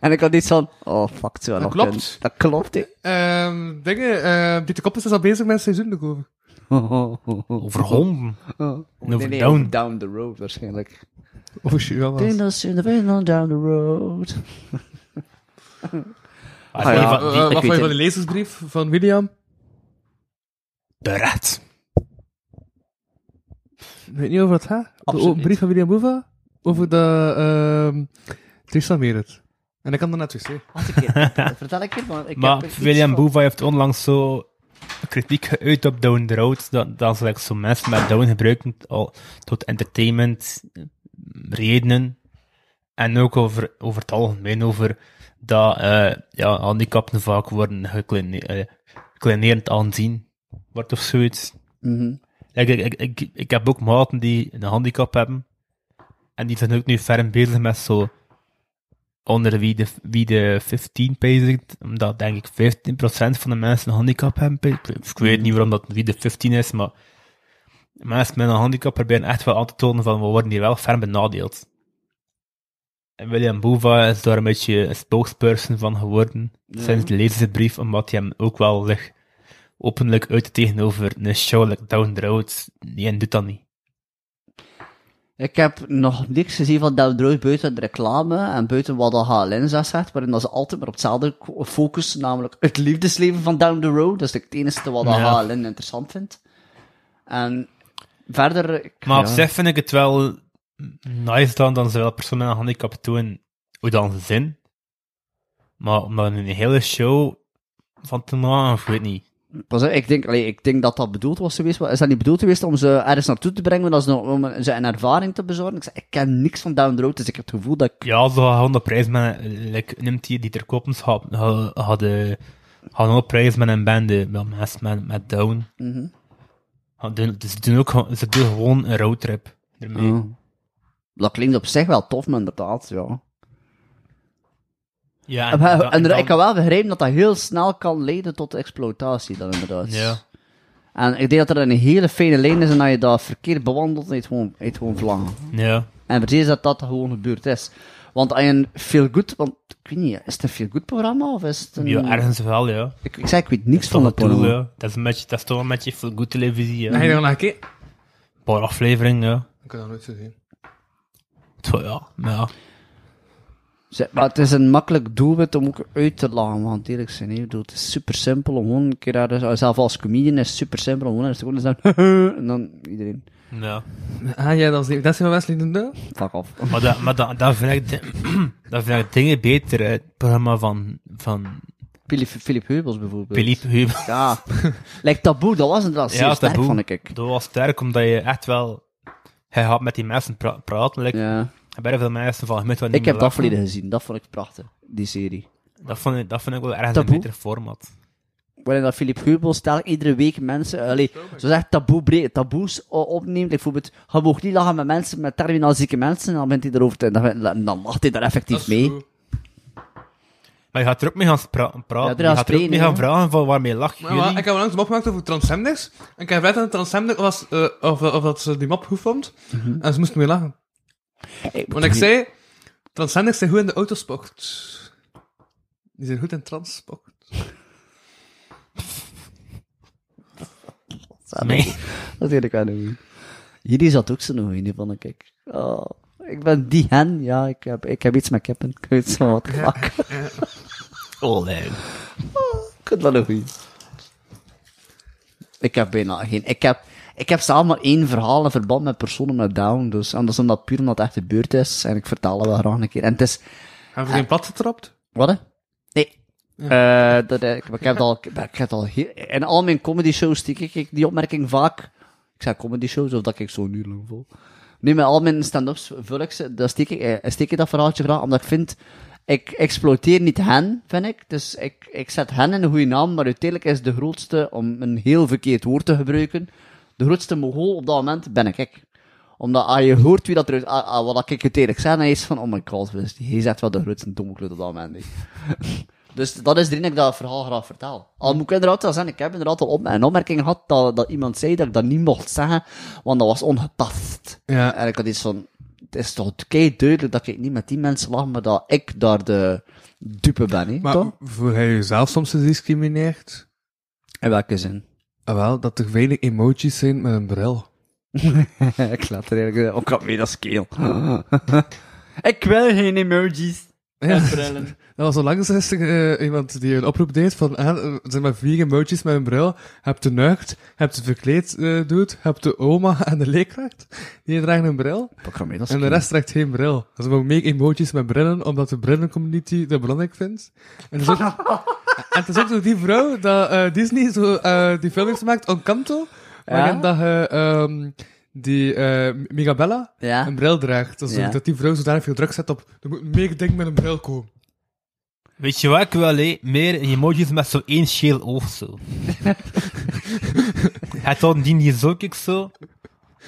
Speaker 4: en ik had iets van, oh fuck, het zou
Speaker 5: Dat
Speaker 4: nog
Speaker 5: klopt.
Speaker 4: kunnen. Dat klopt, hè.
Speaker 5: Ehm, dingen, ehm, Pieter Koppers is al bezig met zijn seizoen te komen.
Speaker 3: Over honden.
Speaker 4: Nee, nee,
Speaker 3: down.
Speaker 4: over down the road waarschijnlijk.
Speaker 5: Over Chihuahuas.
Speaker 4: Dinders in the wind down the road.
Speaker 3: Ah,
Speaker 4: ja,
Speaker 3: die van-
Speaker 5: Eh,
Speaker 3: die-
Speaker 4: weet
Speaker 5: wat vond je van
Speaker 4: het.
Speaker 5: de lezersbrief van William?
Speaker 3: Bereid.
Speaker 5: Ik weet niet over wat gaat. De
Speaker 4: Absoluut
Speaker 5: o- brief
Speaker 4: niet.
Speaker 5: van William Boeva over de ehm Tristan Meret. En ik kan dan naar het wc.
Speaker 4: Had ik hier- Vertel ik het, want ik heb
Speaker 3: Maar
Speaker 4: er iets
Speaker 3: William
Speaker 4: van.
Speaker 3: Boeva heeft onlangs zo kritiek geuit op Down the Road, dat, dat ze like, zo mensen met Down gebruiken al, tot entertainment eh, redenen. En ook over, over het algemeen over dat eh ja, handicapten vaak worden gekline- eh, gekleinerend aanzien, wordt of zoiets.
Speaker 4: Mhm.
Speaker 3: Ik, ik, ik, ik, ik heb ook maten die een handicap hebben. En die zijn ook nu ferm bezig met zo. Onder wie de, wie de 15 bezigt. Omdat denk ik 15% van de mensen een handicap hebben. Ik, ik weet niet waarom dat wie de 15 is, maar. Mensen met een handicap proberen echt wel aan te tonen van we worden hier wel ferm benadeeld. En William Boeva is daar een beetje een spokesperson van geworden. Sinds de lezersbrief, omdat hij hem ook wel zich openlijk uit tegenover een show like Down the Road. Nee, en doet dat niet.
Speaker 4: Ik heb nog niks gezien van Down the Road buiten de reclame en buiten wat de HLN zegt, waarin dat ze altijd maar op hetzelfde ko- focus, namelijk het liefdesleven van Down the Road. Dat is het enige wat de
Speaker 3: Ja.
Speaker 4: HLN interessant vindt. En verder... Ik,
Speaker 3: Maar op
Speaker 4: ja.
Speaker 3: zich vind ik het wel nice dan, dan ze wel persoon met een handicap doen hoe dan ze zijn. Maar om daar een hele show van te maken, ik weet niet.
Speaker 4: Pas op, ik, denk, allee, ik denk dat dat bedoeld was geweest. maar Is dat niet bedoeld geweest om ze ergens naartoe te brengen, maar dat is nog- om ze een ervaring te bezorgen? Ik, zeg, ik ken niks van Down the Road, dus ik heb het gevoel dat ik...
Speaker 3: Ja, ze gaan gewoon de prijs met, like, neemt die Dieter Koppens, had- had- hadden, hadden ook prijs met een band, eh, wel mensen met, met Down.
Speaker 4: Mhm.
Speaker 3: Gaan doen- Dus ze doen ook gewoon- ze doen gewoon een roadtrip ermee.
Speaker 4: Ja. Dat klinkt op zich wel tof, maar inderdaad, ja.
Speaker 3: Ja,
Speaker 4: En, en,
Speaker 3: dan- dan-
Speaker 4: ik kan wel begrijpen dat dat heel snel kan leiden tot exploitatie, dan inderdaad.
Speaker 3: Ja.
Speaker 4: En ik denk dat er een hele fijne lijn is en dat je dat verkeerd bewandelt en je het gewoon, je het gewoon verlangen.
Speaker 3: Ja.
Speaker 4: En precies dat dat gewoon gebeurd is. Want als je een veel goed, want ik weet niet, is het een veel goed programma of is het een.
Speaker 3: ja, ergens wel, ja.
Speaker 4: Hmm. ik, ik zeg, ik weet niks van
Speaker 3: Van
Speaker 4: dat
Speaker 3: het doel,
Speaker 4: programma.
Speaker 3: ja. Dat is, een beetje, dat is toch een beetje veel goed televisie, ja.
Speaker 5: En hij dan naar keer.
Speaker 3: Een paar afleveringen, ja.
Speaker 5: Ik kan dat nooit zo zien.
Speaker 3: Zo, ja. Maar ja.
Speaker 4: Zeg, maar het is een makkelijk doelwit om ook uit te lachen, want eerlijk zijn, ik bedoel, het is super simpel om gewoon een keer daar, dus- zelf als comedian is het super simpel om gewoon eens te gewoon eens te zeggen, en dan iedereen,
Speaker 3: Ja.
Speaker 5: Ah ja, dat is die- dat is van Wesley de Deur.
Speaker 4: fuck off.
Speaker 3: Maar dat, maar dat, dat vind ik, di- dat vind ik dingen beter uit het programma van, van
Speaker 4: Philip, Philip Heubels bijvoorbeeld.
Speaker 3: Philippe Hubel.
Speaker 4: Ja. Lijkt taboe, dat was inderdaad zeer
Speaker 3: Ja,
Speaker 4: sterk,
Speaker 3: taboe.
Speaker 4: vond ik.
Speaker 3: Dat was sterk, omdat je echt wel... Hij gaat met die mensen pra- praten. Like,
Speaker 4: Ja.
Speaker 3: En bij veel mensen van, je moet wel niet
Speaker 4: Ik heb dat
Speaker 3: meer lachen.
Speaker 4: verleden gezien, dat vond ik prachtig, die serie.
Speaker 3: Dat vond ik, dat vond ik wel ergens
Speaker 4: Taboe?
Speaker 3: een beter format.
Speaker 4: waarin dat Philip Heubels stel iedere week mensen, allee, zo zegt taboe breed, taboes o- opneemt. Like, bijvoorbeeld, je mag niet lachen met mensen, met terminaal zieke mensen, en dan bent hij erover te, dan, dan lacht hij daar effectief mee.
Speaker 3: Maar je gaat er ook mee gaan spra- praten.
Speaker 4: Ja, er
Speaker 3: je gaat er ook
Speaker 4: spreken,
Speaker 3: mee gaan
Speaker 4: hè.
Speaker 3: vragen van waarmee lach
Speaker 5: Maar wel,
Speaker 3: jullie.
Speaker 5: ik heb onlangs een mop gemaakt over transgenders. En ik heb gevraagd aan een transgender was, eh, of, of dat ze die mop goed vond.
Speaker 4: Mhm.
Speaker 5: En ze moesten mee lachen. Want ik zei, transgenders zijn goed in de autosport. Die zijn goed in transport.
Speaker 3: Nee.
Speaker 4: Dat weet ik wel niet. Jullie zat ook zo'n goeie, die vond ik. ik. Oh, ik ben die hen, ja, ik heb, ik heb iets met kippen, ik weet zo wat vlak. Oh,
Speaker 3: Olé.
Speaker 4: Ik vind dat een goeie. Ik heb bijna geen, ik heb, ik heb zelf maar één verhaal in verband met personen met down, dus, en dat is omdat puur omdat het echt gebeurd is, en ik vertel dat wel graag een keer. En het is,
Speaker 5: Hebben we geen plat getrapt?
Speaker 4: Wat? hè? Nee. Eh, dat, eh, ik, ik heb het al, ik heb het al heel, in al mijn comedy shows die ik, ik die opmerking vaak. Ik zeg comedy shows of dat ik zo nu lang vol. Nu met al mijn stand-ups vul ik ze, dan steek ik, eh, steek ik dat verhaaltje graag, omdat ik vind, ik exploiteer niet hen, vind ik. Dus ik, ik zet hen in een goede naam, maar uiteindelijk is de grootste, om een heel verkeerd woord te gebruiken, de grootste mogol op dat moment ben ik. ik. Omdat ah, je hoort wie dat er is, ah, ah, wat ik uiteindelijk zeg, en hij is van, oh my god, dus hij is echt wel de grootste domkloot op dat moment. hè. Dus dat is de reden dat ik dat verhaal graag vertel. Al moet ik inderdaad wel zeggen, ik heb inderdaad al op, een opmerking gehad dat, dat iemand zei dat ik dat niet mocht zeggen, want dat was ongepast.
Speaker 5: Ja.
Speaker 4: En ik had iets van, het is toch kei duidelijk dat ik niet met die mensen lach, maar dat ik daar de dupe ben, hè,
Speaker 5: Maar
Speaker 4: toch?
Speaker 5: voel jij jezelf soms gediscrimineerd?
Speaker 4: In welke zin?
Speaker 5: Ah, wel, dat er weinig emojis zijn met een bril.
Speaker 4: ik laat er eigenlijk... Oh, ik had weer dat scale. ik wil geen emojis.
Speaker 5: Ja, dat was onlangs gisteren eh, iemand die een oproep deed van, ah, er zijn maar vier emojis met een bril. Heb de nucht, heb de verkleed eh doet, heb de oma en de leerkracht. Die dragen een bril.
Speaker 4: Ik ga mee dat
Speaker 5: En de rest trekt geen bril. Dat is wel meer emojis met brillen, omdat de brillencommunity dat belangrijk vindt. En het is ook, en het is ook zo die vrouw dat eh, Disney zo, eh, die film heeft gemaakt, Encanto, waarin
Speaker 4: Ja?
Speaker 5: dat je ehm, die eh, Migabella
Speaker 4: Ja.
Speaker 5: een bril draagt. Dat, is zo-
Speaker 4: Ja.
Speaker 5: dat die vrouw zodanig veel druk zet op, er moet meer ding met een bril komen.
Speaker 3: Weet je wat ik wel hé? Meer emojis met zo één scheel oog zo. het had een dien die is ook ik zo.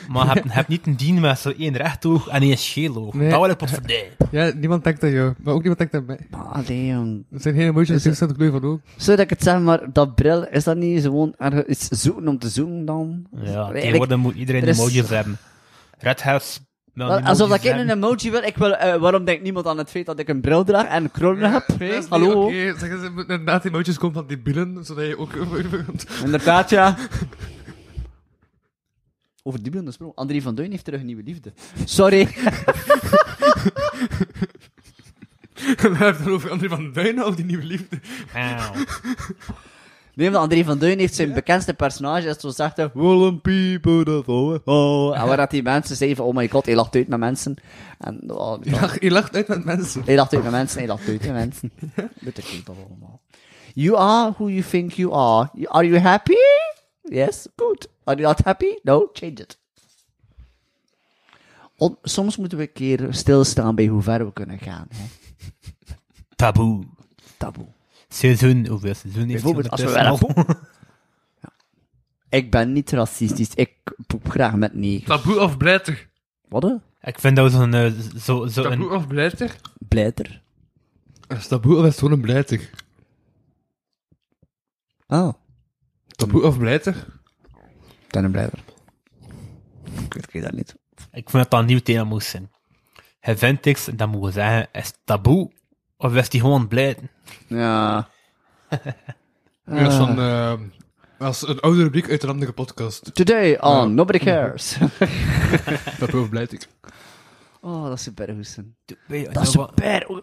Speaker 3: Maar heb, heb niet een dien met zo één recht oog en één scheel oog.
Speaker 5: Nee.
Speaker 3: Dat wil ik pas verdijen.
Speaker 5: Ja, niemand denkt aan jou, maar ook niemand denkt aan mij.
Speaker 4: Maar allee, Ah, jong.
Speaker 5: Er zijn geen emojis, ik zet de kleur van ook.
Speaker 4: Zou dat ik het zeg, maar dat bril, is dat niet gewoon ergens iets zoeken om te zoeken dan?
Speaker 3: Ja,
Speaker 4: Allee,
Speaker 3: tegenwoordig moet iedereen
Speaker 4: er is-
Speaker 3: emojis hebben. Red House. wil
Speaker 4: Wel, Alsof dat
Speaker 3: emojis
Speaker 4: ik een
Speaker 3: hebben.
Speaker 4: emoji wil, ik wil eh, waarom denkt niemand aan het feit dat ik een bril draag en een krullen heb?
Speaker 5: Dat is niet
Speaker 4: Hallo?
Speaker 5: Oké, Zeggen ze moeten inderdaad emojis komen van die billen, zodat je ook...
Speaker 4: Inderdaad, ja. Over die gesproken. André van Duin heeft terug een nieuwe liefde. Sorry.
Speaker 5: We hebben het over André van Duinen of die nieuwe liefde.
Speaker 3: Auw.
Speaker 4: Nee, maar André van Duin heeft zijn bekendste personage, is zo zegt hij, Willem people that oh, oh. En waar dat die mensen zeiden van, oh my god, hij lacht uit met mensen. En, oh,
Speaker 5: Je lacht, je lacht uit met mensen.
Speaker 4: Hij dacht uit met mensen, hij dacht uit met mensen. Doet dat niet allemaal. You are who you think you are. You- Are you happy? Yes, good. Are you not happy? No, change it. Om- soms moeten we een keer stilstaan bij hoe ver we kunnen gaan. Hè?
Speaker 3: Taboe.
Speaker 4: Taboe.
Speaker 3: Seizoen, hoeveel seizoen heeft
Speaker 4: Bijvoorbeeld als we
Speaker 3: ondertussen
Speaker 4: wel-
Speaker 3: al?
Speaker 4: Ik ben niet racistisch. Ik poep graag met negen.
Speaker 5: Taboe of blijter?
Speaker 4: Wat? hè?
Speaker 3: Ik vind dat zo'n... eh, Zo, zo een,
Speaker 5: of blijter?
Speaker 4: Blijter.
Speaker 5: Is taboe of is het gewoon een blijter?
Speaker 4: Oh,
Speaker 5: Taboe of blijter?
Speaker 4: ik ben een blijter. Ik weet- ik weet dat niet.
Speaker 3: ik vind dat dat een nieuw thema moest zijn. Hij vindt iets, en dan moeten we zeggen, is het taboe? Of is die gewoon blijten?
Speaker 4: Ja.
Speaker 5: Ja, dat is van... eh, als een oude rubriek uit een andere podcast.
Speaker 4: Today on Nobody Cares.
Speaker 5: Taboe of blijter?
Speaker 4: oh, dat is super goed.
Speaker 3: Weet je,
Speaker 4: Dat is
Speaker 3: wat-
Speaker 4: super.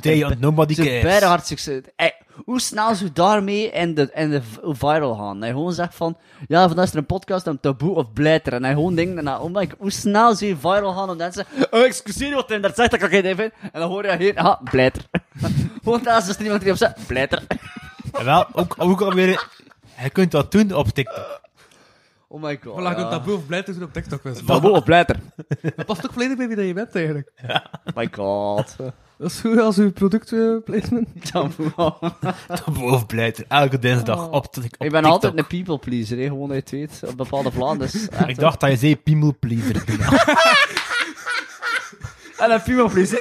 Speaker 3: Today on Nobody
Speaker 4: Ze hebben bijna
Speaker 3: Cares.
Speaker 4: hard succes. Ey, hoe snel ze daarmee in de, in de v- viral gaan. Dat je gewoon zegt van, ja, vandaag is er een podcast aan taboe of blijter. En hij gewoon denkt daarna, oh my god, hoe snel ze viral gaan. En dan zeggen oh, excuseer wat hij daar zegt, dat kan ik niet even. En dan hoor je hier, ah, blijter. gewoon daar is er iemand die op zegt, blijter.
Speaker 3: En wel, ook, ook alweer... Je kunt dat doen op TikTok.
Speaker 4: Oh my god.
Speaker 5: Voilà, ik
Speaker 4: ja.
Speaker 5: heb taboe of blij te doen op TikTok. Dat
Speaker 4: Taboe of blijter.
Speaker 5: past ook volledig bij wie dat je bent, eigenlijk.
Speaker 4: Oh my god.
Speaker 5: Dat is goed als uw eh, productplacement.
Speaker 4: Taboe.
Speaker 3: Boven pleiten, elke dinsdag op, tik- op
Speaker 4: Oh. ik ben
Speaker 3: TikTok.
Speaker 4: altijd een people pleaser, hè, gewoon dat je het weet. Op bepaalde vlaanders.
Speaker 3: Ik dacht dat je zei piemel pleaser. Dina.
Speaker 4: En een people pleaser.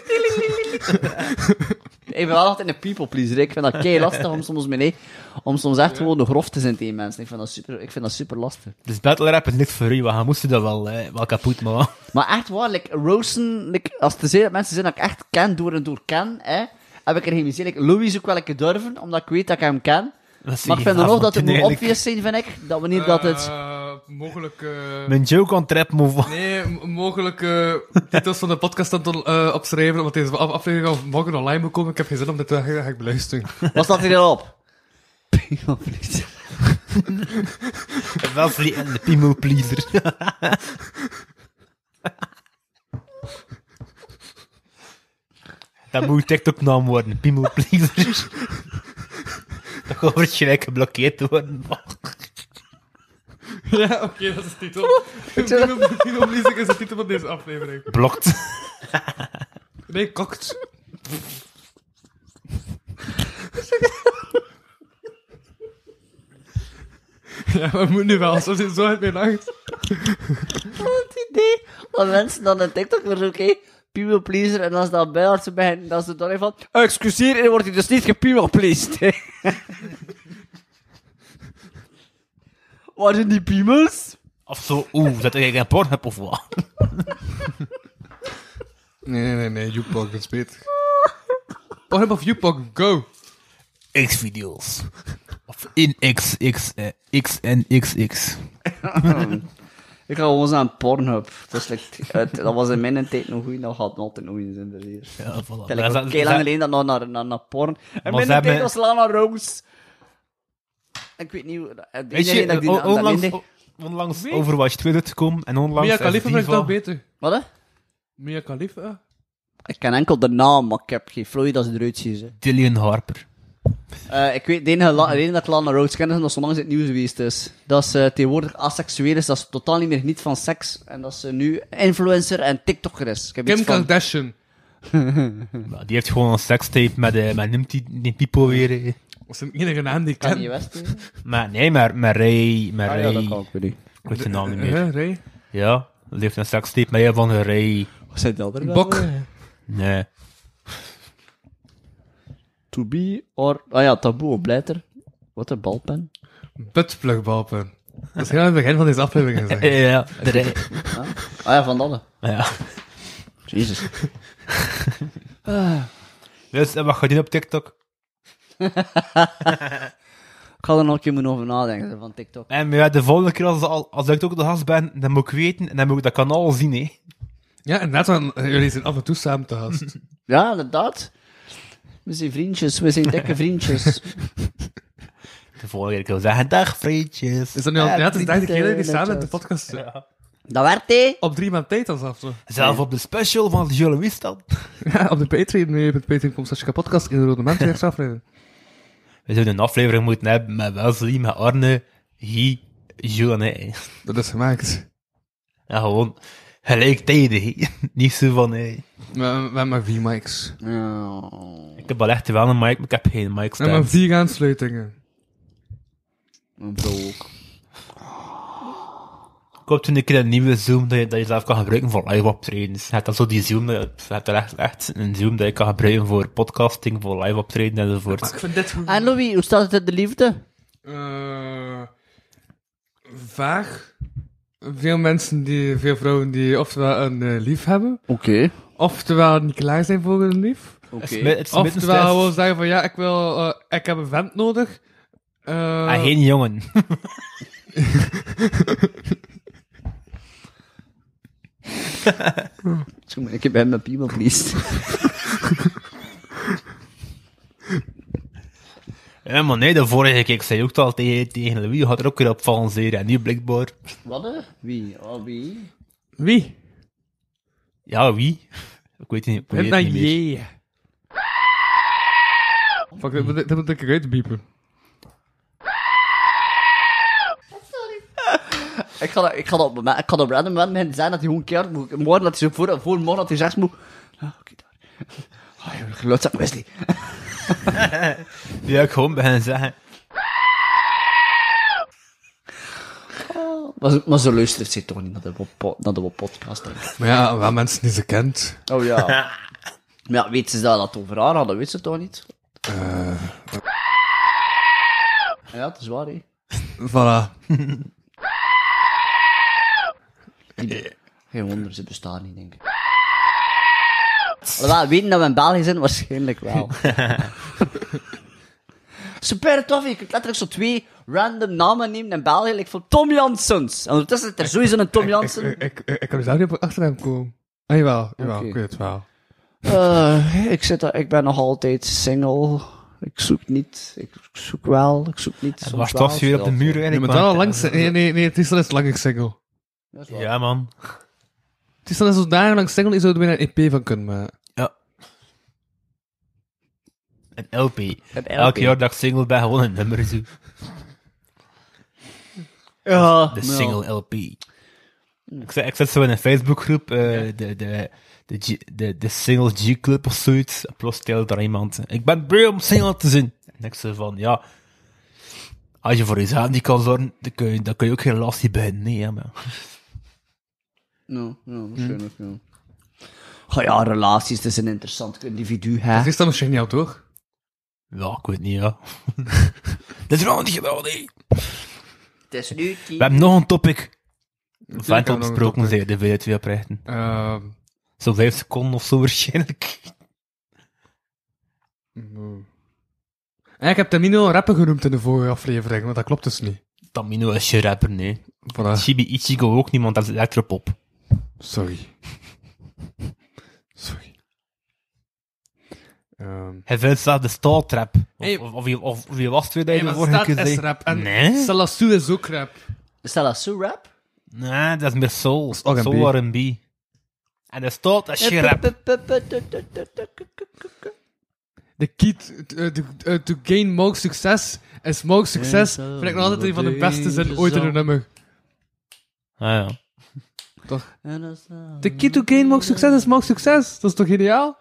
Speaker 4: ik ben wel altijd een people pleaser. Ik vind dat kei lastig om soms mee, nee, om soms echt gewoon de grof te zijn tegen mensen. Ik vind dat super, ik vind dat super lastig.
Speaker 3: dus battle rap is niks voor u, we moesten dat wel, eh, wel kapot maken.
Speaker 4: Maar echt waar, like, Rosen, like, als er zeer mensen zijn dat ik echt ken, door en door ken, hè, heb ik er geen zin. Like, Louis ook wel een keer durven, omdat ik weet dat ik hem ken.
Speaker 3: Dat
Speaker 4: Maar ik vind dan nog dat het moet
Speaker 3: eigenlijk.
Speaker 4: obvious zijn, vind ik. Dat wanneer dat het...
Speaker 5: Eh, Mogelijk...
Speaker 3: Mijn joke on trap move.
Speaker 5: Nee, m- mogelijk eh, titels van de podcast dan eh, opschrijven, want deze af- aflevering al morgen online moet komen. Ik heb geen zin om dit te gaan, ga ik beluisteren.
Speaker 4: Wat staat hier dan op? People pleaser.
Speaker 3: Wel vliegende piemel pleaser. dat moet TikTok naam worden, piemel pleaser. dat gaat waarschijnlijk geblokkeerd worden.
Speaker 5: ja, oké, dat is de titel. Tino Bliesek is de titel van deze aflevering.
Speaker 3: Blokt.
Speaker 5: Nee, kokt. ja, we moeten nu wel, zo zit zo uit mijn nacht.
Speaker 4: het idee dat mensen dan een TikTok verzoeken, oké, people pleaser, en als dat bij ze beginnen, dan is het dan even van, "Oh, excuseer, en wordt hij dus niet gepeople pleased. hè." Waar zijn die piemels?
Speaker 3: Of zo, oeh, dat ik een pornhub of wat?
Speaker 5: Nee, nee, nee, nee, Jukebox, dat speet. Oh, heb of Jukebox, go!
Speaker 3: X-video's. Of in X, X, eh, X en XX.
Speaker 4: Ik ga gewoon aan Pornhub. Dat, is like- het- dat was in mijn tijd nog goed, dat gaat altijd nog eens in de leer.
Speaker 3: Ja, Ah, voilà.
Speaker 4: Ik heb heel lang geleden dat nog naar, naar, naar porn. En
Speaker 3: ze
Speaker 4: mijn
Speaker 3: hebben-
Speaker 4: tijd was Lana Rose. Ik weet niet hoe... eh, de
Speaker 3: Weet
Speaker 4: enige
Speaker 3: je,
Speaker 4: dat ik die
Speaker 3: on-
Speaker 4: naam- dat
Speaker 3: onlangs,
Speaker 4: meende-
Speaker 3: on- onlangs Overwatch 2 te komen en onlangs
Speaker 5: Mia
Speaker 3: is
Speaker 5: Khalifa
Speaker 3: die
Speaker 5: vind ik
Speaker 3: van-
Speaker 5: toch beter.
Speaker 4: Wat, hè?
Speaker 5: Mia Khalifa?
Speaker 4: Ik ken enkel de naam, maar ik heb geen flauw dat ze eruit zien. Ze.
Speaker 3: Dillian Harper.
Speaker 4: Eh, ik weet, de enige la- reden dat ik Lana Rhodes ken, is omdat ze onlangs in het nieuws geweest is. Dat ze tegenwoordig asexueel is, dat ze totaal niet meer geniet van seks. En dat ze nu influencer en tiktoker is. Ik heb
Speaker 5: Kim
Speaker 4: iets van...
Speaker 5: Kardashian.
Speaker 3: Ja, die heeft gewoon een sekstape met, eh met noemt die, die people weer. eh.
Speaker 5: Dat is de enige naam die ik
Speaker 4: Kanye
Speaker 5: ken.
Speaker 4: West, hè?
Speaker 3: Maar nee, maar, maar Ray, maar
Speaker 4: Ah, ja,
Speaker 3: Ray,
Speaker 4: dat kan Eh, ik weer niet.
Speaker 3: ik weet de naam niet meer.
Speaker 5: Ja, Ray.
Speaker 3: Ja, die heeft een sekstape met een van de Ray.
Speaker 4: Wat zijn dat er
Speaker 5: Bok.
Speaker 3: Nee.
Speaker 4: To be or... Ah ja, taboe of blijter. Wat een balpen.
Speaker 5: Buttplugbalpen. Dat is heel aan het begin van deze aflevering gezegd.
Speaker 4: Eh.
Speaker 3: Ja, de Ray.
Speaker 4: Ah ja, van Dalle.
Speaker 3: Ja.
Speaker 4: Jezus.
Speaker 3: Dus eh, wat ga je doen op TikTok?
Speaker 4: Ik ga er nog een keer moeten over nadenken, van TikTok.
Speaker 3: En ja, de volgende keer als, al- als ik ook de gast ben, dan moet ik weten en dan moet ik dat kanaal zien, hè.
Speaker 5: Ja, en net want jullie zijn af en toe samen te gast.
Speaker 4: Ja, inderdaad. We zijn vriendjes, we zijn dikke vriendjes.
Speaker 3: De volgende keer kan ik zeggen, dag vriendjes.
Speaker 5: Is dat nu al, ja, het is de derde
Speaker 4: niet,
Speaker 5: keer dat
Speaker 4: eh,
Speaker 5: jullie samen in de
Speaker 4: netjes.
Speaker 5: podcast zitten.
Speaker 4: dat werd hij.
Speaker 5: Op drie maand tijd als af. zo.
Speaker 3: Zelf op de special van Jules Louis dan.
Speaker 5: Ja, op de Patreon, nu met Patreon.com slash podcast in de Rode Maand, direct aflevering.
Speaker 3: We zouden een aflevering moeten hebben met Wesley, met Arne, Guy, Jules en hij.
Speaker 5: Dat is gemaakt.
Speaker 3: En gewoon gelijktijdig. hè. Niet zo van, hé.
Speaker 5: We, we hebben maar vier mics. We
Speaker 3: Ik heb wel echt wel een mic, maar ik heb geen mic
Speaker 5: hebben maar
Speaker 3: stand.
Speaker 5: vier aansluitingen.
Speaker 4: Mijn bro ook.
Speaker 3: Ik hoop toen een keer een nieuwe Zoom dat je, dat je zelf kan gebruiken voor live optredens. Je hebt dan zo die Zoom, dat je, je hebt er echt, echt een Zoom dat je kan gebruiken voor podcasting, voor live optreden enzovoort.
Speaker 5: vind dit goed.
Speaker 4: En Louis, hoe staat het in de liefde?
Speaker 5: Eh, vaag. Veel mensen, die, veel vrouwen die oftewel een eh, lief hebben,
Speaker 4: Oké.
Speaker 5: oftewel niet klaar zijn voor een lief.
Speaker 3: Het is mi- het is middenstress.
Speaker 5: Oftewel gewoon zeggen van ja, ik wil, eh, ik heb een vent nodig. Eh,
Speaker 3: En Ah, geen jongen.
Speaker 4: Sorry, maar Ik heb hem met people pleased.
Speaker 3: Ja, maar nee, de vorige keer ik zei ook al tegen, tegen Louis, had er ook weer op vallen zeer. En nu blijkbaar,
Speaker 4: Wat? eh? Wie? Oh, wie?
Speaker 5: Wie?
Speaker 3: ja, wie? Ik weet het niet, ik weet
Speaker 5: En
Speaker 3: het
Speaker 5: dan
Speaker 3: niet meer.
Speaker 5: je. Fuck, dat moet, dat moet ik eruit biepen.
Speaker 4: Ik ga, dat- ik ga dat op, moment- ik ga dat op random moment mensen zeggen dat hij gewoon keihard moet. Morgen dat hij zo voor, voor morgen dat hij zegt moet. Ah, oké, daar. Ah, joh, geloodzak Wesley.
Speaker 3: Ja, ik gewoon bij hen zeggen.
Speaker 4: Maar, zo- maar zo luistert ze toch niet naar de, wo- naar de wo- podcast, denk ik.
Speaker 5: Maar ja, wel mensen die ze kent.
Speaker 4: Oh ja. Maar ja, weet ze dat dat over haar hadden? Weet ze toch niet? Eh. Ja, dat is waar, hè.
Speaker 5: Voilà.
Speaker 4: Geen wonder, ze bestaan niet, denk ik. Alhoewel, weten dat we in België zijn, waarschijnlijk wel. Super tof, je kunt letterlijk zo twee random namen nemen in België, like van Tom Janssens. En ondertussen zit er sowieso een Tom
Speaker 5: Ik,
Speaker 4: Janssen.
Speaker 5: ik, ik, ik kan dus daar niet op achter hem komen. Ah, jawel, jawel,
Speaker 4: Oké.
Speaker 5: ik weet het wel.
Speaker 4: Eh, ik, zit, daar- ik ben nog altijd single. Ik zoek niet, ik zoek wel, ik zoek niet. soms
Speaker 3: Was
Speaker 4: wel,
Speaker 3: toch weer op de
Speaker 4: stel.
Speaker 3: muur
Speaker 5: Je
Speaker 3: eigenlijk?
Speaker 5: moet wel al
Speaker 3: want-
Speaker 5: langs... Nee, nee, nee, het is al eens lang ik single.
Speaker 4: Dat is waar.
Speaker 3: Ja, man.
Speaker 5: Het is al eens dagenlang single, je zou er weer een EP van kunnen maken.
Speaker 3: Ja. Een LP.
Speaker 4: Een LP.
Speaker 3: Elk jaar dat ik single ben, gewoon een nummer zo.
Speaker 4: Ja,
Speaker 3: De
Speaker 4: maar ja.
Speaker 3: single LP. Ik zit, ik zit zo in een Facebookgroep, eh, de, de, de, G- de, de single G-club of zoiets. En plots stelde daar iemand, ik ben beu om single te zijn. En ik zei van, ja, als je voor jezelf niet kan zorgen, dan kun je, dan kun je ook geen last hier bij. Nee, hè, man.
Speaker 4: Nou, ja, waarschijnlijk, ja. Goh, ja, relaties, het is een interessant individu, hè.
Speaker 5: Het is dan misschien jou toch?
Speaker 3: Ja, ik weet niet, ja. Dat is wel niet gedaan, nee.
Speaker 4: Het is nu tien.
Speaker 3: We hebben nog een topic. Vent
Speaker 5: hebben we nog een
Speaker 3: besproken,
Speaker 5: topic.
Speaker 3: zei de VL2 oprechten.
Speaker 5: Ehm...
Speaker 3: Zo'n vijf seconden of zo waarschijnlijk.
Speaker 5: En eh, ik heb Tamino een rapper genoemd in de vorige aflevering, want dat klopt dus niet.
Speaker 3: Tamino is je rapper, nee.
Speaker 5: Voilà.
Speaker 3: Chibi Ichigo ook niet, want dat is elektropop.
Speaker 5: Sorry. Sorry. Ehm
Speaker 3: Hij vindt zelfs de staaltrap. Of,
Speaker 5: Hey.
Speaker 3: of, of, je- of, of je was twee dagen
Speaker 5: maar
Speaker 3: vorige
Speaker 5: staat
Speaker 3: keer
Speaker 5: is
Speaker 3: zei-
Speaker 5: rap en
Speaker 3: Nee?
Speaker 5: Salasu is ook rap.
Speaker 4: Is dat een Sue-rap?
Speaker 3: Nee, dat is meer soul.
Speaker 5: ook een
Speaker 3: Soul R&B. En de staat is je rap.
Speaker 5: De kid eh, to, eh, to gain more succes is more succes. Vind ik nog altijd een van de beste zin ooit in een nummer.
Speaker 3: Ah, ja.
Speaker 5: The kid to gain more succes is more succes. Dat is toch ideaal?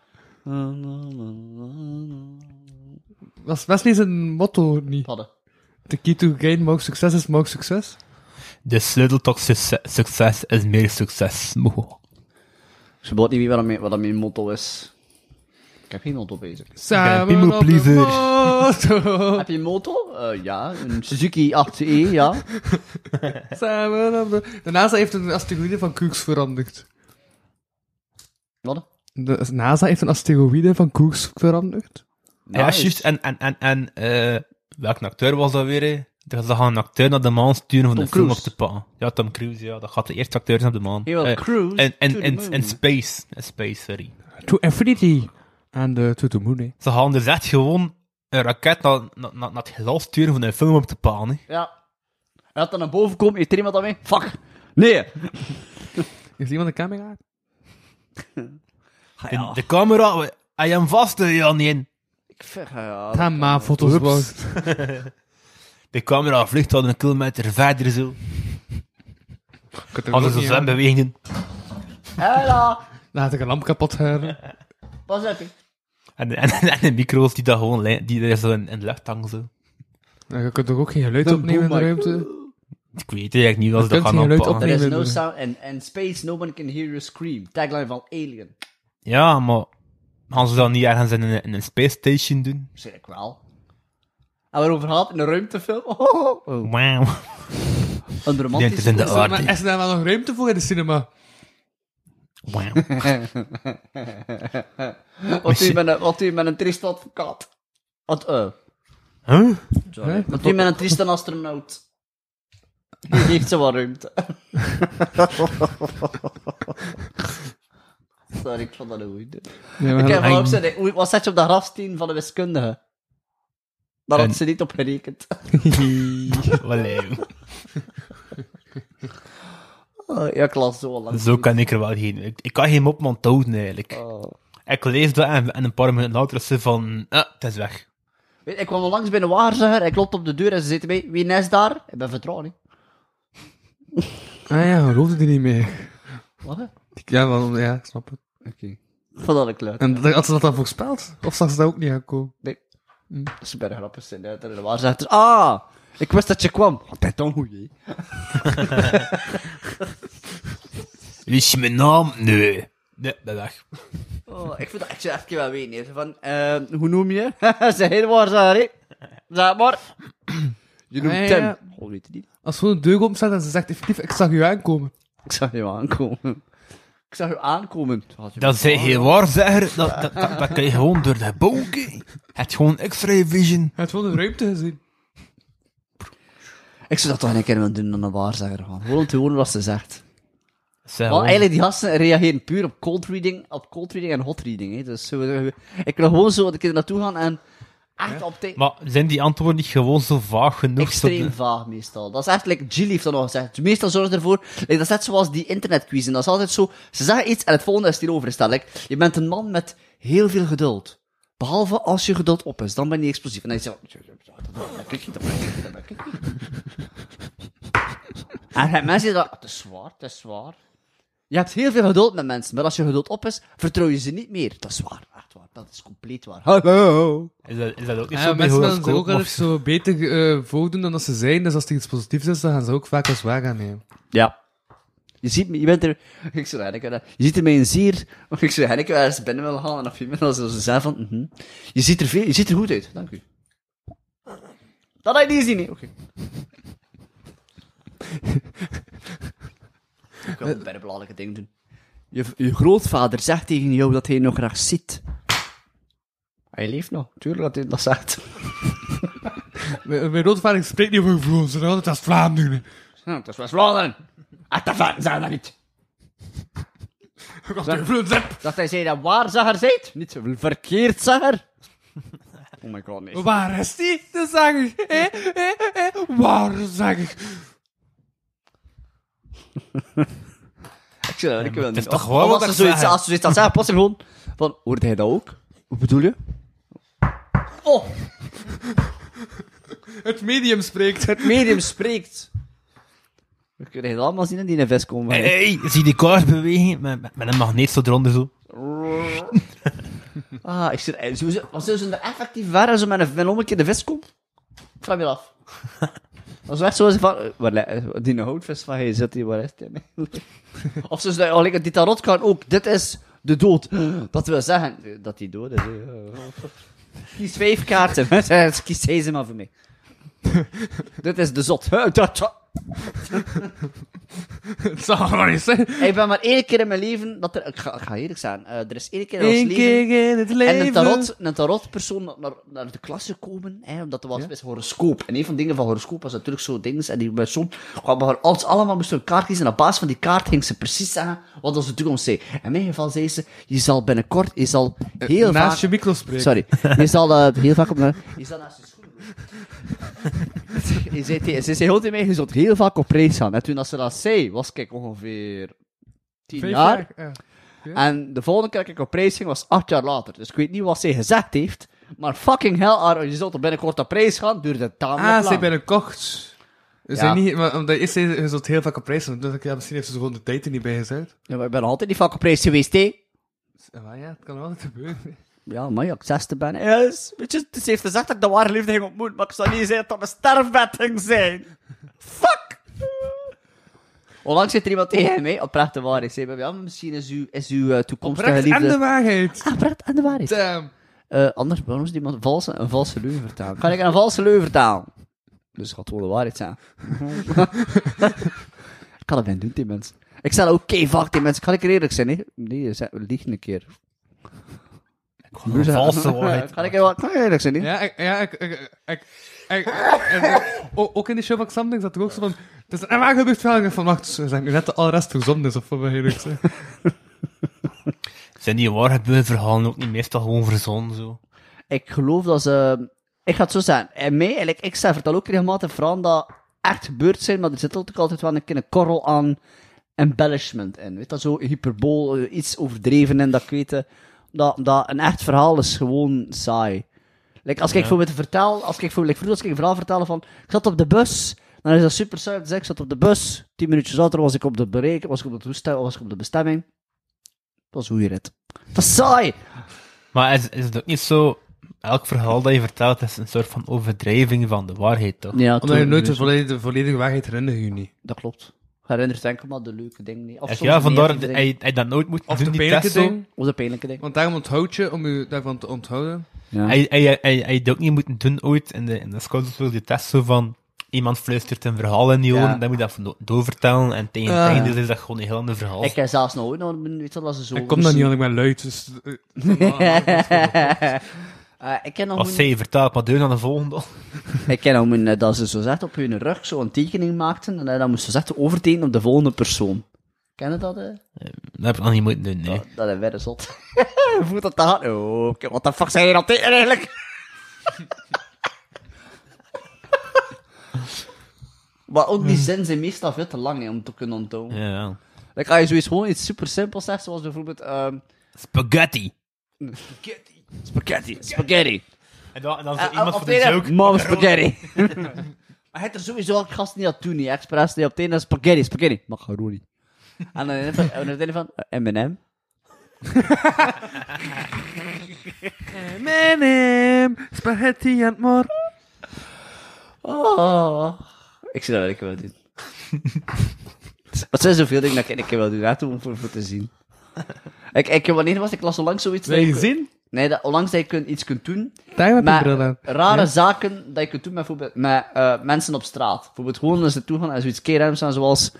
Speaker 5: Dat is best niet zijn motto niet.
Speaker 4: Padden.
Speaker 5: The key to gain more succes is more succes.
Speaker 3: De sleutel tot succes, succes is meer succes. Moe.
Speaker 4: Ze weet niet wie wat dat mijn- wat dat mijn motto is. Ik heb geen motto bezig.
Speaker 5: Samen
Speaker 3: people
Speaker 5: op de
Speaker 3: pleaser.
Speaker 5: motor.
Speaker 4: Heb je een motto? Eh, ja, een Suzuki 8e, ja.
Speaker 5: Samen op de... De NASA heeft een asteroïde van koers veranderd.
Speaker 4: Wat?
Speaker 5: De NASA heeft een asteroïde van koers veranderd.
Speaker 3: Ja, juist. En, en, en, en eh, welke acteur was dat weer? hè? Dat ze gaan een acteur naar de maan sturen om
Speaker 4: Tom
Speaker 3: de film op
Speaker 4: Cruise.
Speaker 3: te pakken. Ja, Tom Cruise, ja. Dat gaat de eerste acteur zijn op de maan.
Speaker 4: Heel
Speaker 3: Eh,
Speaker 4: cruise
Speaker 3: En,
Speaker 4: to
Speaker 3: en,
Speaker 4: the moon.
Speaker 3: en, en space. Eh, Space, sorry.
Speaker 5: To infinity. En de to the moon, hè.
Speaker 3: Ze gaan dus echt gewoon een raket naar, naar, naar het heelal sturen om een film op te pakken. hè.
Speaker 4: Ja. En dat dan naar boven komt, heeft er iemand aan mee? Fuck. Nee.
Speaker 5: Is iemand een camera?
Speaker 4: Ah,
Speaker 3: De,
Speaker 4: ja.
Speaker 3: de camera, we- hij hem vast, eh, hè, ja, niet in.
Speaker 4: Ik ver- ja,
Speaker 5: Ga maar, foto's
Speaker 3: Oeps. De camera vliegt al een kilometer verder zo. Als ze zijn bewegingen.
Speaker 4: Hela.
Speaker 5: Laat ik een lamp kapot hebben.
Speaker 4: Pas op. hè.
Speaker 3: En, en, en de micro's die daar gewoon li- die daar zo in, in de lucht hangen zo.
Speaker 5: Nou, je kunt toch ook geen geluid
Speaker 4: De
Speaker 5: opnemen in de
Speaker 4: boemer.
Speaker 5: ruimte?
Speaker 3: Ik weet eigenlijk niet als ze
Speaker 5: Je
Speaker 3: dat
Speaker 5: kunt
Speaker 3: gaan
Speaker 5: geen geluid
Speaker 3: aanpakken.
Speaker 4: There is
Speaker 5: Nee,
Speaker 4: no
Speaker 5: nee, nee.
Speaker 4: sound and, and space, no one can hear you scream. Tagline van Alien.
Speaker 3: Ja, maar gaan ze dat niet ergens in een, in een space station doen?
Speaker 4: Waarschijnlijk wel. En waarover gaat het? In een ruimtefilm? Oh,
Speaker 3: Wauw.
Speaker 4: Een
Speaker 3: Die het is
Speaker 4: romantisch...
Speaker 3: in de
Speaker 5: Is er- maar
Speaker 3: aarde.
Speaker 5: Is er daar wel nog ruimte voor in de cinema?
Speaker 3: Wauw.
Speaker 4: Wat doe je met een, wat doe je met een triest advocaat? Wat, eh,
Speaker 3: Huh?
Speaker 4: sorry.
Speaker 5: Hè?
Speaker 4: Wat doe je met een trieste astronaut? Die geeft ze wat ruimte. sorry, ik vond dat een goeie.
Speaker 5: Nee,
Speaker 4: Ik heb
Speaker 5: maar
Speaker 4: wel ook zo'n- oei, Wat zet je op de grafsteen van de wiskundige? Daar
Speaker 3: En-
Speaker 4: had ze niet op gerekend.
Speaker 3: Wallay.
Speaker 4: Oh, ja, ik las zo lang.
Speaker 3: Zo kan ik er wel heen. Ik, ik kan geen mop man houden eigenlijk.
Speaker 4: Oh.
Speaker 3: Ik lees dat en, en een paar minuten later is ze van, ah, het is weg.
Speaker 4: Weet je, Ik kwam langs bij een waarzegger, ik klopte op de deur en ze zei bij wie is daar? Ik ben vertrouwd, hè.
Speaker 5: Ah ja, geloofde die niet meer.
Speaker 4: Wat, hè?
Speaker 5: Ja, wel, ja, ik snap het.
Speaker 4: Ik vond dat een kleur.
Speaker 5: En dat- had ze dat dan voorspeld? Of zag ze dat ook niet aankomen?
Speaker 4: Dat is bijna grappig, zijn uit de waarzegger. Ah, ik wist dat je kwam. Wat is dan goed, hè?
Speaker 3: Is je mijn naam? Nee. Nee, dat weg.
Speaker 4: Oh, ik vind dat echt zo even wel weten, hè. Zo Van, eh, hoe noem je? ze zijn geen waarzegger, hè. Zeg maar. Je noemt
Speaker 5: Ah, ja,
Speaker 4: Tim.
Speaker 5: ja.
Speaker 4: Oh, weet je niet.
Speaker 5: Als gewoon de deur openzet en ze zegt effectief, ik zag u aankomen.
Speaker 4: Ik zag je aankomen. Ik zag je aankomen.
Speaker 3: Dat zij geen waarzegger, dat, dat, dat, dat kan je gewoon door de gebouw kijken. Het gewoon x-ray vision.
Speaker 5: Hij had gewoon de ruimte gezien.
Speaker 4: Ik zou dat toch een keer willen doen dan een waarzegger gaan. Gewoon om te horen wat ze zegt. Want
Speaker 3: Zij gewoon-
Speaker 4: eigenlijk, die gasten reageren puur op cold reading, op cold reading en hot reading. Hè. Dus zo, ik wil gewoon zo dat ik er naartoe gaan en echt op tijd.
Speaker 3: Maar zijn die antwoorden niet gewoon zo vaag genoeg?
Speaker 4: Extreem
Speaker 3: zodat-
Speaker 4: vaag meestal. Dat is echt, like Jill heeft dat nog gezegd. Meestal zorgt ervoor, like, dat is net zoals die internetquiz. En dat is altijd zo, ze zeggen iets en het volgende is het hierover gesteld. Like, je bent een man met heel veel geduld. Behalve als je geduld op is, dan ben je explosief. En dan zeg je, dat kun je En dan mensen die dat, het is zwaar, het is zwaar. Je hebt heel veel geduld met mensen, maar als je geduld op is, vertrouw je ze niet meer. Dat is waar, echt waar. Dat is compleet waar. Hallo!
Speaker 3: Is dat, is dat ook niet
Speaker 5: Ja,
Speaker 3: zo bij
Speaker 5: mensen willen zich ook
Speaker 3: horoscoop?
Speaker 5: altijd
Speaker 3: of zo?
Speaker 5: zo beter eh voordoen dan dat ze zijn. Dus als er iets positiefs is, dan gaan ze ook vaak als waar gaan nemen.
Speaker 4: Ja. Je ziet me, je bent er, ik zou eigenlijk, wel- je ziet er mij een zeer, ik zou eigenlijk wel eens binnen willen gaan en op je middag zo zeggen van, mhm. je ziet er veel, je ziet er goed uit, dank u. Dat had ik niet zien, hè. oké. ik wil een bijna belangrijke ding doen. Je, je grootvader zegt tegen jou dat hij je nog graag ziet. Hij leeft nog, tuurlijk dat hij dat zegt.
Speaker 5: Mijn mijn roodvaring spreekt niet over gevoelens, ze zijn altijd als Vlaanderen.
Speaker 4: Hm, dat is West-Vlaanderen. Achtervaarten zijn dat niet.
Speaker 5: Ik had gevoelens heb.
Speaker 4: Dat hij zei dat waarzegger zijt, niet verkeerdzegger. Oh my god, nee.
Speaker 5: Waar is die? De zanger. Hé, hé, hé. Waar is de zanger?
Speaker 4: Ik zeg dat, ik wil
Speaker 3: het
Speaker 4: niet.
Speaker 3: is toch
Speaker 4: Of-
Speaker 3: gewoon
Speaker 4: of
Speaker 3: wat
Speaker 4: als
Speaker 3: ik
Speaker 4: ze zoiets,
Speaker 3: zeg.
Speaker 4: als ze zoiets dan zeggen, plots gewoon van, hoorde hij dat ook? Hoe bedoel je? Oh,
Speaker 5: Het medium spreekt.
Speaker 4: het medium spreekt. We kunnen het allemaal zien in die vest komen.
Speaker 3: Hey, hey, zie die kaars bewegen met, met- met een magneet zo eronder zo.
Speaker 4: Ah, ik zit, eh, zo- zo- wat zullen ze er effectief ver als ze met een met om een keer de vis komt? Ik vraag me dat af. Als we echt zo zijn van, eh, waar, li- eh, die houtvis van, hey, zit die, waar is die? of ze zeggen, oh, like, die tarot kan ook, dit is de dood. Dat wil zeggen, eh, dat die dood is. hè. Kies vijf kaarten, mensen, kies deze maar voor mij. dit is de zot. Huh, dat- dat-
Speaker 5: Het zal wel eens zijn.
Speaker 4: Ik ben maar één keer in mijn leven, dat er, ik, ga, ik ga eerlijk zijn, eh, er is één keer in ons
Speaker 5: Eén
Speaker 4: leven...
Speaker 5: keer in het leven.
Speaker 4: En een, tarot, een tarotpersoon naar- naar, naar de klasse komen, hè, omdat er was best horoscoop. En een van de dingen van horoscoop was natuurlijk zo dingen. En die persoon kwam haar als allemaal moesten een kaart kiezen. En op basis van die kaart ging ze precies zeggen wat onze toekomst zei. In mijn geval zei ze: Je zal binnenkort, je zal heel
Speaker 5: Eh, Naast
Speaker 4: vaak.
Speaker 5: je micro spreken.
Speaker 4: Sorry, je zal eh, heel vaak op. de- Je zal naast je schoenen. Je zei tegen- Ze zei heel tegen mij: Je zult heel vaak op reis gaan. En toen als ze dat zei, was ik ongeveer tien
Speaker 5: Vijf
Speaker 4: jaar.
Speaker 5: Ja.
Speaker 4: En de volgende keer dat ik op reis ging was acht jaar later. Dus ik weet niet wat zij gezegd heeft. Maar fucking hell, Aaron, je zult er binnenkort op reis gaan. Duurde het tamelijk
Speaker 5: Ah,
Speaker 4: lang.
Speaker 5: ze zijn binnenkort. Ze
Speaker 4: Ja.
Speaker 5: zijn niet, maar omdat eerst zei ze, ze zult heel vaak op reis zijn. Dus ik, ja, misschien heeft ze gewoon de tijd er niet bij gezet.
Speaker 4: Ja, maar ik ben altijd niet vaak op reis geweest, hè.
Speaker 5: Ja, Maar ja, het kan altijd gebeuren.
Speaker 4: Ja, maar ja, ik zesde ben. Yes. Weet je, ze heeft gezegd dat ik de ware liefde ging ontmoeten. Maar ik zou niet zeggen dat mijn sterfbed ging zijn. Fuck! Onlangs zit er iemand tegen mij. Oprecht de waarheid. Zei, ja, maar misschien is uw, is uw eh, toekomstige
Speaker 5: Oprecht en
Speaker 4: liefde... Ah,
Speaker 5: de waarheid. Ehm,
Speaker 4: Oprecht en de waarheid.
Speaker 5: Damn.
Speaker 4: Eh, anders, waarom is iemand valse, een valse leugen vertalen? Kan ik een valse leugen vertalen? Dus het gaat gewoon de waarheid zijn. ik kan dat ben doen, die mensen. Ik zeg ook kei vaak die mensen. Kan ik er eerlijk zijn, hè? Nee, ze liegen een keer.
Speaker 3: Een valse waarheid.
Speaker 4: Kan ik er wel kan ik eerlijk zijn, hè?
Speaker 5: Ja, ik, ja, ik, ik, ik, ik- ik- en, eh, o- ook in die show van Xamding zat er ook zo van, het is een waar gebeurd verhaal. Ik dacht van, wacht, ze zijn nu net de alrest gezond is, of wat wil je nu zeggen?
Speaker 3: Zijn die waarheid verhalen ook niet meestal gewoon verzonnen zo?
Speaker 4: Ik geloof dat ze... Ik ga het zo zeggen. En mij, eigenlijk, ik zelf vertel ook regelmatig verhaal dat echt gebeurd zijn, maar er zit ook altijd wel een keer een korrel aan embellishment in. Weet dat zo hyperbool, eh, iets overdreven en dat ik weet. eh, Dat, dat een echt verhaal is gewoon saai. Like, als ik bijvoorbeeld vertel, als ik bijvoorbeeld like, vroeger als ik een verhaal vertelde van, ik zat op de bus, dan is dat super saai. om te zeggen, Ik zat op de bus, tien minuutjes later was ik op de bereik, was ik op de toestel, was ik op de bestemming. Dat is hoe je rit. Dat is saai!
Speaker 3: Maar is, is het ook niet zo... Elk verhaal dat je vertelt is een soort van overdrijving van de waarheid, toch?
Speaker 4: Ja,
Speaker 5: Omdat je nooit de volledige, de volledige waarheid herinner je je niet.
Speaker 4: Dat klopt. Herinnert enkel maar de leuke dingen niet. Of
Speaker 3: Echt,
Speaker 4: soms
Speaker 3: ja,
Speaker 4: de
Speaker 3: vandaar dat
Speaker 4: negatieve
Speaker 3: hij,
Speaker 4: dingen.
Speaker 3: hij dat nooit moet
Speaker 5: Of
Speaker 3: doen,
Speaker 5: de
Speaker 3: die
Speaker 5: pijnlijke
Speaker 3: test zo.
Speaker 5: ding.
Speaker 4: Of de pijnlijke dingen.
Speaker 5: Want daarom onthoud je, om je daarvan te onthouden.
Speaker 3: Hij, hij, hij, hij, hij dat ook niet moeten doen ooit in de, in de scouts voor die test zo van iemand fluistert een verhaal in die
Speaker 4: Ja.
Speaker 3: oren, dan moet je dat van do- doorvertellen en tegen
Speaker 5: Ah.
Speaker 3: het einde is dat gewoon een heel ander verhaal.
Speaker 4: Ik heb zelfs nog ooit nog een minuut dat ze zo...
Speaker 5: Ik kom dan niet, want ik ben luid. Dus, eh, eh,
Speaker 4: Eh, ik ken nog
Speaker 3: Als
Speaker 4: een-
Speaker 3: zij vertelt, maar deur naar de volgende.
Speaker 4: ik ken nog een, eh, dat ze zo zegt op hun rug zo een tekening maakten en dat je dan moest ze zegt overtekenen op de volgende persoon. Ken je dat? eh?
Speaker 3: Dat heb ik nog niet moeten doen, nee.
Speaker 4: Dat, dat is weer een zot. Voelt dat dat? Oh, kijk, wat de fuck zijn je dat tegen eigenlijk? maar ook
Speaker 3: Hmm.
Speaker 4: die zin zijn meestal veel te lang hè, om te kunnen onthouden.
Speaker 3: Ja, ja.
Speaker 4: Dan kan je zoiets gewoon iets super simpels zeggen, zoals bijvoorbeeld ehm,
Speaker 3: Spaghetti.
Speaker 4: spaghetti. Spaghetti.
Speaker 3: En dan, en dan
Speaker 4: Eh, op het ene- Mom, spaghetti. maar het er sowieso al gasten die dat doen, niet expres. Die op het ene spaghetti, spaghetti. Macaroni. en dan in het- en op het ene van eh, M&M.
Speaker 5: Menem, M&M, spaghetti en mor.
Speaker 4: Oh. Ik zie dat wel een keer wel doen. Wat zijn zoveel dingen dat ik een keer wel doen, hè, om voor, voor te zien. Ik, ik, wanneer was ik las onlangs zoiets? dat je kon- Nee, dat, onlangs dat je kunt, iets kunt doen
Speaker 5: Daar heb je
Speaker 4: Maar
Speaker 5: bril aan.
Speaker 4: rare zaken dat je kunt doen met, bijvoorbeeld- met eh, mensen op straat. Bijvoorbeeld gewoon eens naartoe gaan en zoiets keer staan zoals...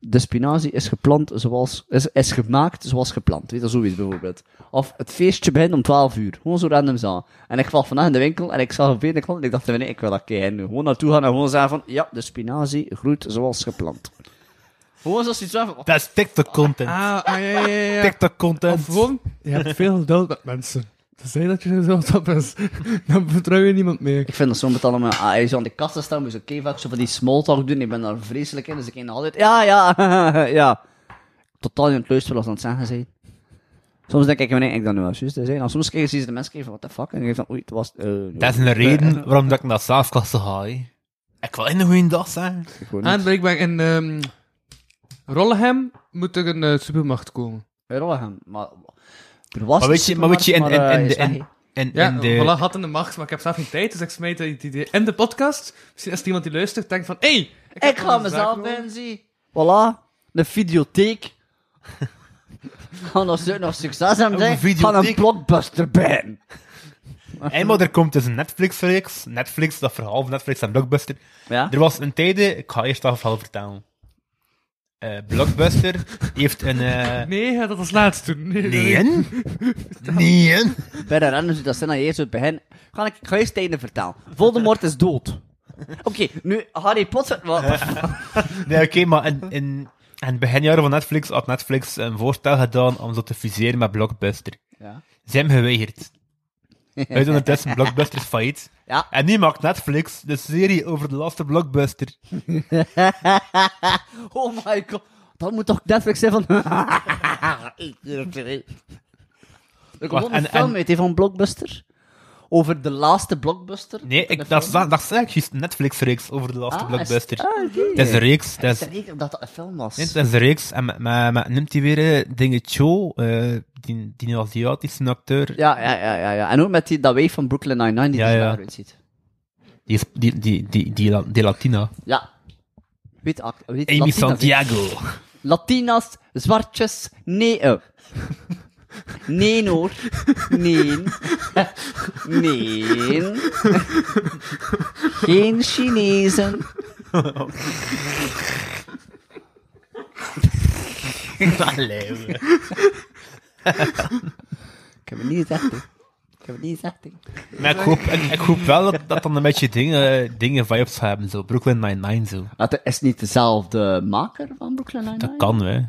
Speaker 4: De spinazie is geplant zoals... Is, is gemaakt zoals gepland. Weet je, zoiets bijvoorbeeld. Of het feestje begint om 12 uur. Gewoon zo random zo. En ik val vandaag in de winkel en ik zag een vele klant en ik dacht, nee, ik wil dat keer nu. Gewoon naartoe gaan en gewoon zeggen van... Ja, de spinazie groeit zoals geplant. Gewoon zoals iets van...
Speaker 3: Dat is TikTok-content.
Speaker 5: Ah, ah, ja, ja, ja. ja. Of
Speaker 3: TikTok-content.
Speaker 5: gewoon, je hebt veel geduld met mensen. Te zeggen dat je zo top is, dan vertrouw je niemand meer.
Speaker 4: Ik vind dat zo met allemaal... Ah, hij zou aan de kassen staan, moet zo oké vaak zo van die small talk doen. Ik ben daar vreselijk in, dus ik ging altijd... Ja, ja, ja. Totaal niet aan het luisteren als het aan het zeggen zijn. Soms denk ik, wanneer ik dat nu wel juist te zijn. En soms krijgen ze de mensen kijken van, what the fuck? En ik denk van, oei, het was... eh,
Speaker 3: Dat is een reden waarom dat ik naar slaafklasse ga. hè. Ik wil in een goede dag zijn.
Speaker 4: gewoon niet.
Speaker 5: En blijkbaar in ehm Rollenham moet er een eh, supermarkt komen.
Speaker 4: Hey, Rollegem, maar... Er was
Speaker 3: Maar weet je,
Speaker 4: een
Speaker 3: maar weet je, in, in,
Speaker 4: supermarkt, maar, eh,
Speaker 3: in,
Speaker 4: is
Speaker 3: de- in,
Speaker 4: weg, hè.
Speaker 3: in,
Speaker 5: Ja,
Speaker 3: in
Speaker 5: voilà,
Speaker 3: de...
Speaker 5: had in de macht, maar ik heb zelf geen tijd, dus ik smijt het idee in de podcast. Misschien als er iemand die luistert, denkt van, hé, hey, heb
Speaker 4: Ik
Speaker 5: nog
Speaker 4: ga
Speaker 5: een zaak
Speaker 4: mezelf
Speaker 5: nodig.
Speaker 4: in, zie. Voilà. De videotheek. Gaan nog, su- nog succes hebben,
Speaker 3: Een
Speaker 4: zeg. Van een
Speaker 3: videotheek.
Speaker 4: blockbuster ben.
Speaker 3: Hey, maar er komt dus een Netflix-reeks. Netflix, dat verhaal van Netflix en Blockbuster.
Speaker 4: Ja?
Speaker 3: Er was een tijde, ik ga eerst dat verhaal vertellen. Eh, Blockbuster heeft een... eh
Speaker 5: Nee, ja, dat was laatst toen. Nee, dat weet ik.
Speaker 3: Nee, nee.
Speaker 4: Bij de renners doet dat zijn aan eerst het begin. Ga ik, ik ga eerst het einde vertellen. Voldemort is dood. Oké, nu Harry Potter. Wat,
Speaker 3: Nee, oké, maar in, in, in het beginjaren van Netflix had Netflix een voorstel gedaan om zo te fuseren met Blockbuster.
Speaker 4: Ja.
Speaker 3: Ze hebben geweigerd. Uit ondertussen Blockbuster is failliet.
Speaker 4: Ja.
Speaker 3: En nu maakt Netflix de serie over de laatste Blockbuster.
Speaker 4: oh my god. Dat moet toch Netflix zijn van. Ik durf het niet. Er komt
Speaker 3: Wacht,
Speaker 4: ook
Speaker 3: en-
Speaker 4: een film
Speaker 3: en-
Speaker 4: uit hè, van Blockbuster. Over de laatste Blockbuster.
Speaker 3: Nee, ik, dat, is- dat, dat is eigenlijk juist een Netflix-reeks over de laatste
Speaker 4: Ah,
Speaker 3: Blockbuster.
Speaker 4: is- ah, oké.
Speaker 3: Het is een reeks. Het is,
Speaker 4: Ik weet niet dat dat een film was.
Speaker 3: Nee, het is een reeks. En met, met, met- neemt hij weer eh, dingen Cho, eh, die, die Aziatische acteur.
Speaker 4: Ja, ja, ja, ja, ja. En ook met die, dat wave van Brooklyn Nine-Nine die dus
Speaker 3: Ja,
Speaker 4: er zo
Speaker 3: ja.
Speaker 4: raar uitziet.
Speaker 3: Die, is- die, die, die, die, La- die Latina.
Speaker 4: Ja. Weet, act- weet,
Speaker 3: Amy
Speaker 4: Latina-
Speaker 3: Santiago.
Speaker 4: Latina's, zwartjes, nee. eh. Nee hoor. Nee. Nee. Geen Chinezen.
Speaker 3: Allee, hoor.
Speaker 4: Ik heb het niet gezegd. hè. Ik heb het niet gezegd. hè.
Speaker 3: Maar ik hoop, ik, ik hoop wel dat, dat dan een beetje dingen, dingen vibes hebben, zo. Brooklyn Nine-Nine, zo.
Speaker 4: Dat is niet dezelfde maker van Brooklyn
Speaker 3: Dat
Speaker 4: Nine-Nine.
Speaker 3: kan, hè.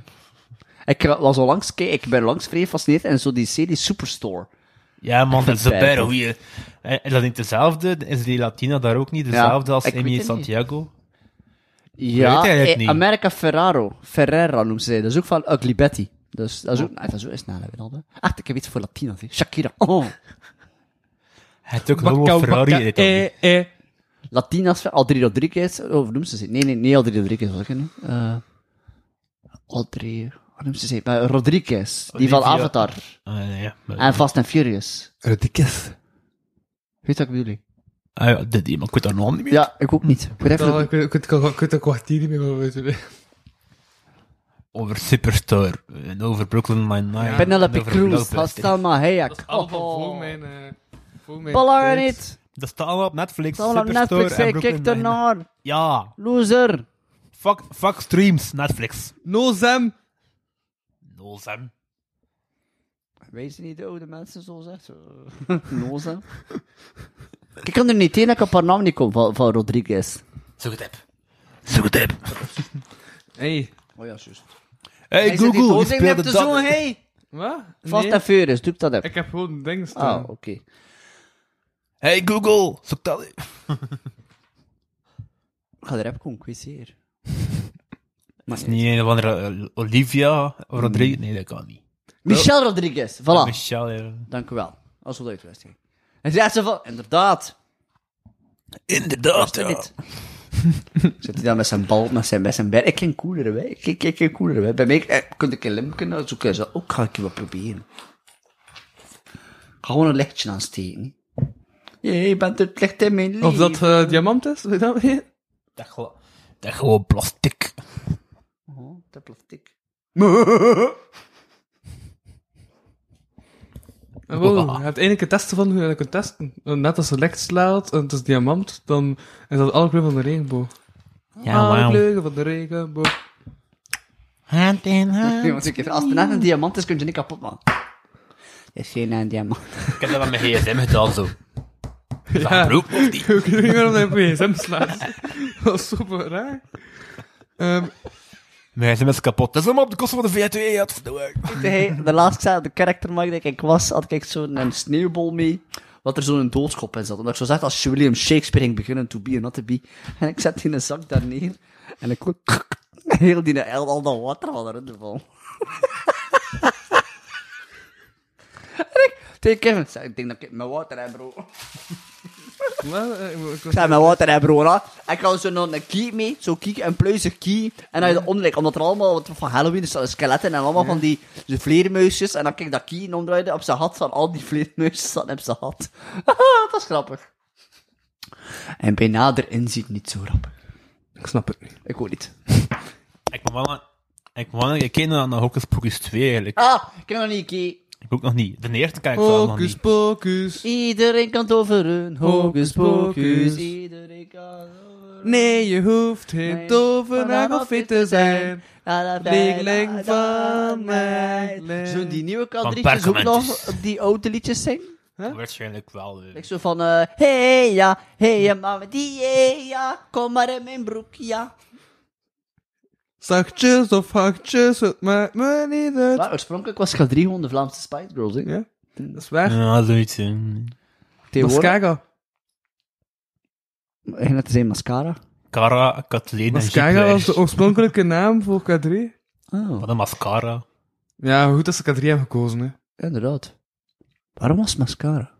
Speaker 4: Ik was al langs, ik ben langs vrij gefascineerd en zo die serie Superstore.
Speaker 3: Ja, man, dat is
Speaker 4: vind het
Speaker 3: bijna
Speaker 4: fijn,
Speaker 3: goeie. En is dat niet dezelfde? Is die Latina daar ook niet dezelfde
Speaker 4: Ja,
Speaker 3: als
Speaker 4: ik weet
Speaker 3: Amy
Speaker 4: het niet.
Speaker 3: Santiago?
Speaker 4: Ja,
Speaker 3: weet eigenlijk
Speaker 4: eh,
Speaker 3: niet.
Speaker 4: America Ferraro. Ferrera noemt ze. Dat is ook van Ugly Betty. Dus dat is ook... Nee, dat is ook snel, weet je wel. Ach, ik heb iets voor Latina. zeg. Shakira. Oh.
Speaker 3: Hij heeft ook een Loro Ferrari in Italië.
Speaker 5: eh.
Speaker 4: Latina's, Aldri Rodriguez, oh, hoe noemt ze ze? Nee, nee, nee, Aldri Rodriguez was ik er niet. Eh Aldri, hoe noemt ze ze? Maar Rodriguez, die van
Speaker 3: Olivia.
Speaker 4: Avatar.
Speaker 3: Ah, nee, maar-
Speaker 4: En Fast and Furious.
Speaker 5: Rodriguez.
Speaker 4: Weet je wat ik bedoel?
Speaker 3: Ah, ja, dit iemand, ik weet haar naam niet meer.
Speaker 4: Ja, ik ook niet. Ik weet even...
Speaker 5: Oh, Ik weet- ik weet- ik weet- ik weet een kwartier niet meer wat we doen.
Speaker 3: Over Superstar, en over Brooklyn Nine-Nine.
Speaker 4: Penelope
Speaker 3: en over
Speaker 4: Cruz,
Speaker 3: Penelope.
Speaker 4: had Salma Hayek.
Speaker 5: Allemaal
Speaker 4: Oh.
Speaker 5: voor mijn... eh, voor mijn
Speaker 4: Ballar
Speaker 5: tijd.
Speaker 4: niet!
Speaker 3: Dat staat allemaal op Netflix,
Speaker 4: Salma op
Speaker 3: Superstore
Speaker 4: Netflix,
Speaker 3: en
Speaker 4: hey,
Speaker 3: Brooklyn
Speaker 4: kijk
Speaker 3: Nine-Nine.
Speaker 4: ernaar!
Speaker 3: Ja,
Speaker 4: Loser!
Speaker 3: fuck, fuck streams, Netflix.
Speaker 5: No Zem.
Speaker 3: Nul zijn.
Speaker 4: Wees niet hoe de mensen zo zeggen. Loser. Ik kan er niet in, ik kan op haar naam niet komen van, van Rodriguez.
Speaker 3: Zoek het app. Zoek het app.
Speaker 5: Hey.
Speaker 4: Oh ja, juist.
Speaker 3: Hey Google, wie speelde dat?
Speaker 4: hey!
Speaker 5: Wat?
Speaker 4: Fast
Speaker 5: Nee,
Speaker 4: and Furious, doe ik dat even.
Speaker 5: Ik heb gewoon een ding
Speaker 4: Ah,
Speaker 5: staan.
Speaker 4: oké.
Speaker 3: Hey Google, zoek dat.
Speaker 4: Ik ga erop komen, ik weet zeer.
Speaker 3: Dat is niet een of andere eh, Olivia Rodriguez. Nee, dat kan niet.
Speaker 4: Michel Rodriguez, voilà.
Speaker 3: Michelle. eh,
Speaker 4: Dank u wel. Als we dat uitwisten. En zei ze van, inderdaad.
Speaker 3: Inderdaad, ja.
Speaker 4: Dit. Zit hij dan met zijn bal, met zijn, met zijn bed. Ik klink cooler, hè. Ik klink, ik klink cooler, hè. Bij mij eh, kun ik een limken zoeken. Zo, ook ga ik je wat proberen. Ik ga gewoon een lichtje aansteken. Je bent het licht in mijn leven.
Speaker 5: Of dat eh, diamant is? Weet je dat?
Speaker 3: Dat gewoon- Dat gewoon plastic.
Speaker 4: Oh, dat ploft ik.
Speaker 5: Oh, wow. Je hebt eindelijk een testen van hoe je dat kunt testen. Want Net als het licht slaat en het is diamant, dan is dat alle kleuren van de regenboog.
Speaker 3: Ja,
Speaker 5: alle
Speaker 3: wauw.
Speaker 5: kleuren van de regenboog.
Speaker 3: Hand in hand.
Speaker 4: Nee, want ik- als het net een diamant is, kun je niet kapot, man. Het is geen eh, diamant.
Speaker 3: Ik heb dat met mijn gsm gedaan, zo. Is dat
Speaker 5: Ja.
Speaker 3: een broek of niet?
Speaker 5: Ik weet niet waarom dat je op je gsm slaat. Dat is super raar. Ehm,
Speaker 3: Mijn gsm is kapot. Dat is allemaal op de kosten van de V2. ja, verdomme.
Speaker 4: Hey, de laatste keer op de karaktermarkt dat ik was, had ik zo'n een sneeuwbol mee. Wat er zo'n doodskop in zat. Omdat ik zo zag als William Shakespeare ging beginnen to be or not to be. En ik zet die in een zak daar neer. En ik kon heel die al, al dat water wat erin te vallen. En ik tegen Kevin, ik zeg, ik denk dat ik mijn water heb, bro.
Speaker 5: wel, eh, ik- ik was-
Speaker 4: Ik zei, mijn water heb, bro. hè. Ik had zo'n een key mee, zo'n key, een pluizig key. En dan je omlek, omdat er allemaal wat van Halloween is, skeletten en allemaal van die die vleermuisjes. En dan kijk dat key en omdraaide op zijn hat, van al die vleermuisjes zat op zijn hat. dat is grappig. En bij nader inziet niet zo grappig.
Speaker 5: Ik snap het niet.
Speaker 4: Ik ook niet.
Speaker 3: Ik moet wel... Ik moet wel... Ik ken dat naar Hocus Pocus 2, eigenlijk.
Speaker 4: Ah, ik heb nog niet key.
Speaker 3: Ik ook nog niet. De eerste kijk ik zelf nog
Speaker 5: Focus,
Speaker 3: niet.
Speaker 5: focus.
Speaker 4: Iedereen kan toveren, hocus pocus.
Speaker 5: Hocus-pocus.
Speaker 4: Iedereen kan toveren.
Speaker 5: Nee, je hoeft geen tovenaar of fit te zijn. Leerling van mij.
Speaker 4: Zo'n die nieuwe
Speaker 3: Van
Speaker 4: kadrietjes ook nog
Speaker 3: Perkamentus.
Speaker 4: die oude liedjes zingen?
Speaker 3: Waarschijnlijk wel. eh.
Speaker 4: Ik zo van, eh hey ja, hey ja, mama, die hey, ja, kom maar in mijn broek, ja.
Speaker 5: Zachtjes of hakjes, het maakt me niet uit.
Speaker 4: Maar oorspronkelijk was K3 gewoon de Vlaamse Spice Girls, hè?
Speaker 5: Ja, dat is waar.
Speaker 3: Ja, zoiets. eh.
Speaker 5: Dat is
Speaker 4: Tegenwoordig,
Speaker 5: Kaga.
Speaker 4: ging
Speaker 5: dus
Speaker 4: dat te zijn mascara?
Speaker 3: Cara, Kathleen en
Speaker 5: Mascara was de
Speaker 3: Jeep.
Speaker 5: oorspronkelijke naam voor K3.
Speaker 4: Oh,
Speaker 3: Wat een mascara.
Speaker 5: Ja, maar goed dat ze K3 hebben gekozen, hè.
Speaker 4: inderdaad. Waarom was mascara?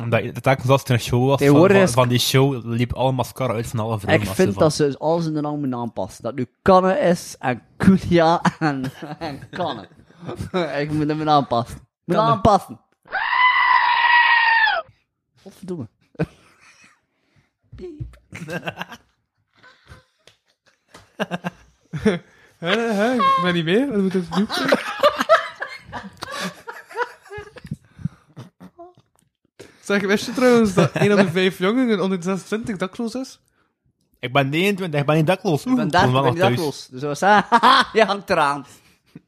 Speaker 3: Omdat dat eigenlijk zelfs een show was. Van,
Speaker 4: Tegenwoordig
Speaker 3: van,
Speaker 4: is-
Speaker 3: van die show liep alle mascara uit van alle vrouwen.
Speaker 4: ik vind dat ze alles in de naam moeten aanpassen. Dat nu Kanne is en Kulia en, en Kanne. ik moet hem aanpassen. Moet aanpassen. Godverdomme. Piep.
Speaker 5: Hè, hè, ik ben niet mee. Wat moet ik doen? Zeg, wist je trouwens dat 1 op de 5 jongen onder de 26 dakloos is?
Speaker 3: Ik ben 29, ik ben niet dakloos. Oeh,
Speaker 4: Ik ben daar,
Speaker 3: kon wel
Speaker 4: ik ben
Speaker 3: nog thuis.
Speaker 4: dakloos. Dus hij was haha, je hangt eraan.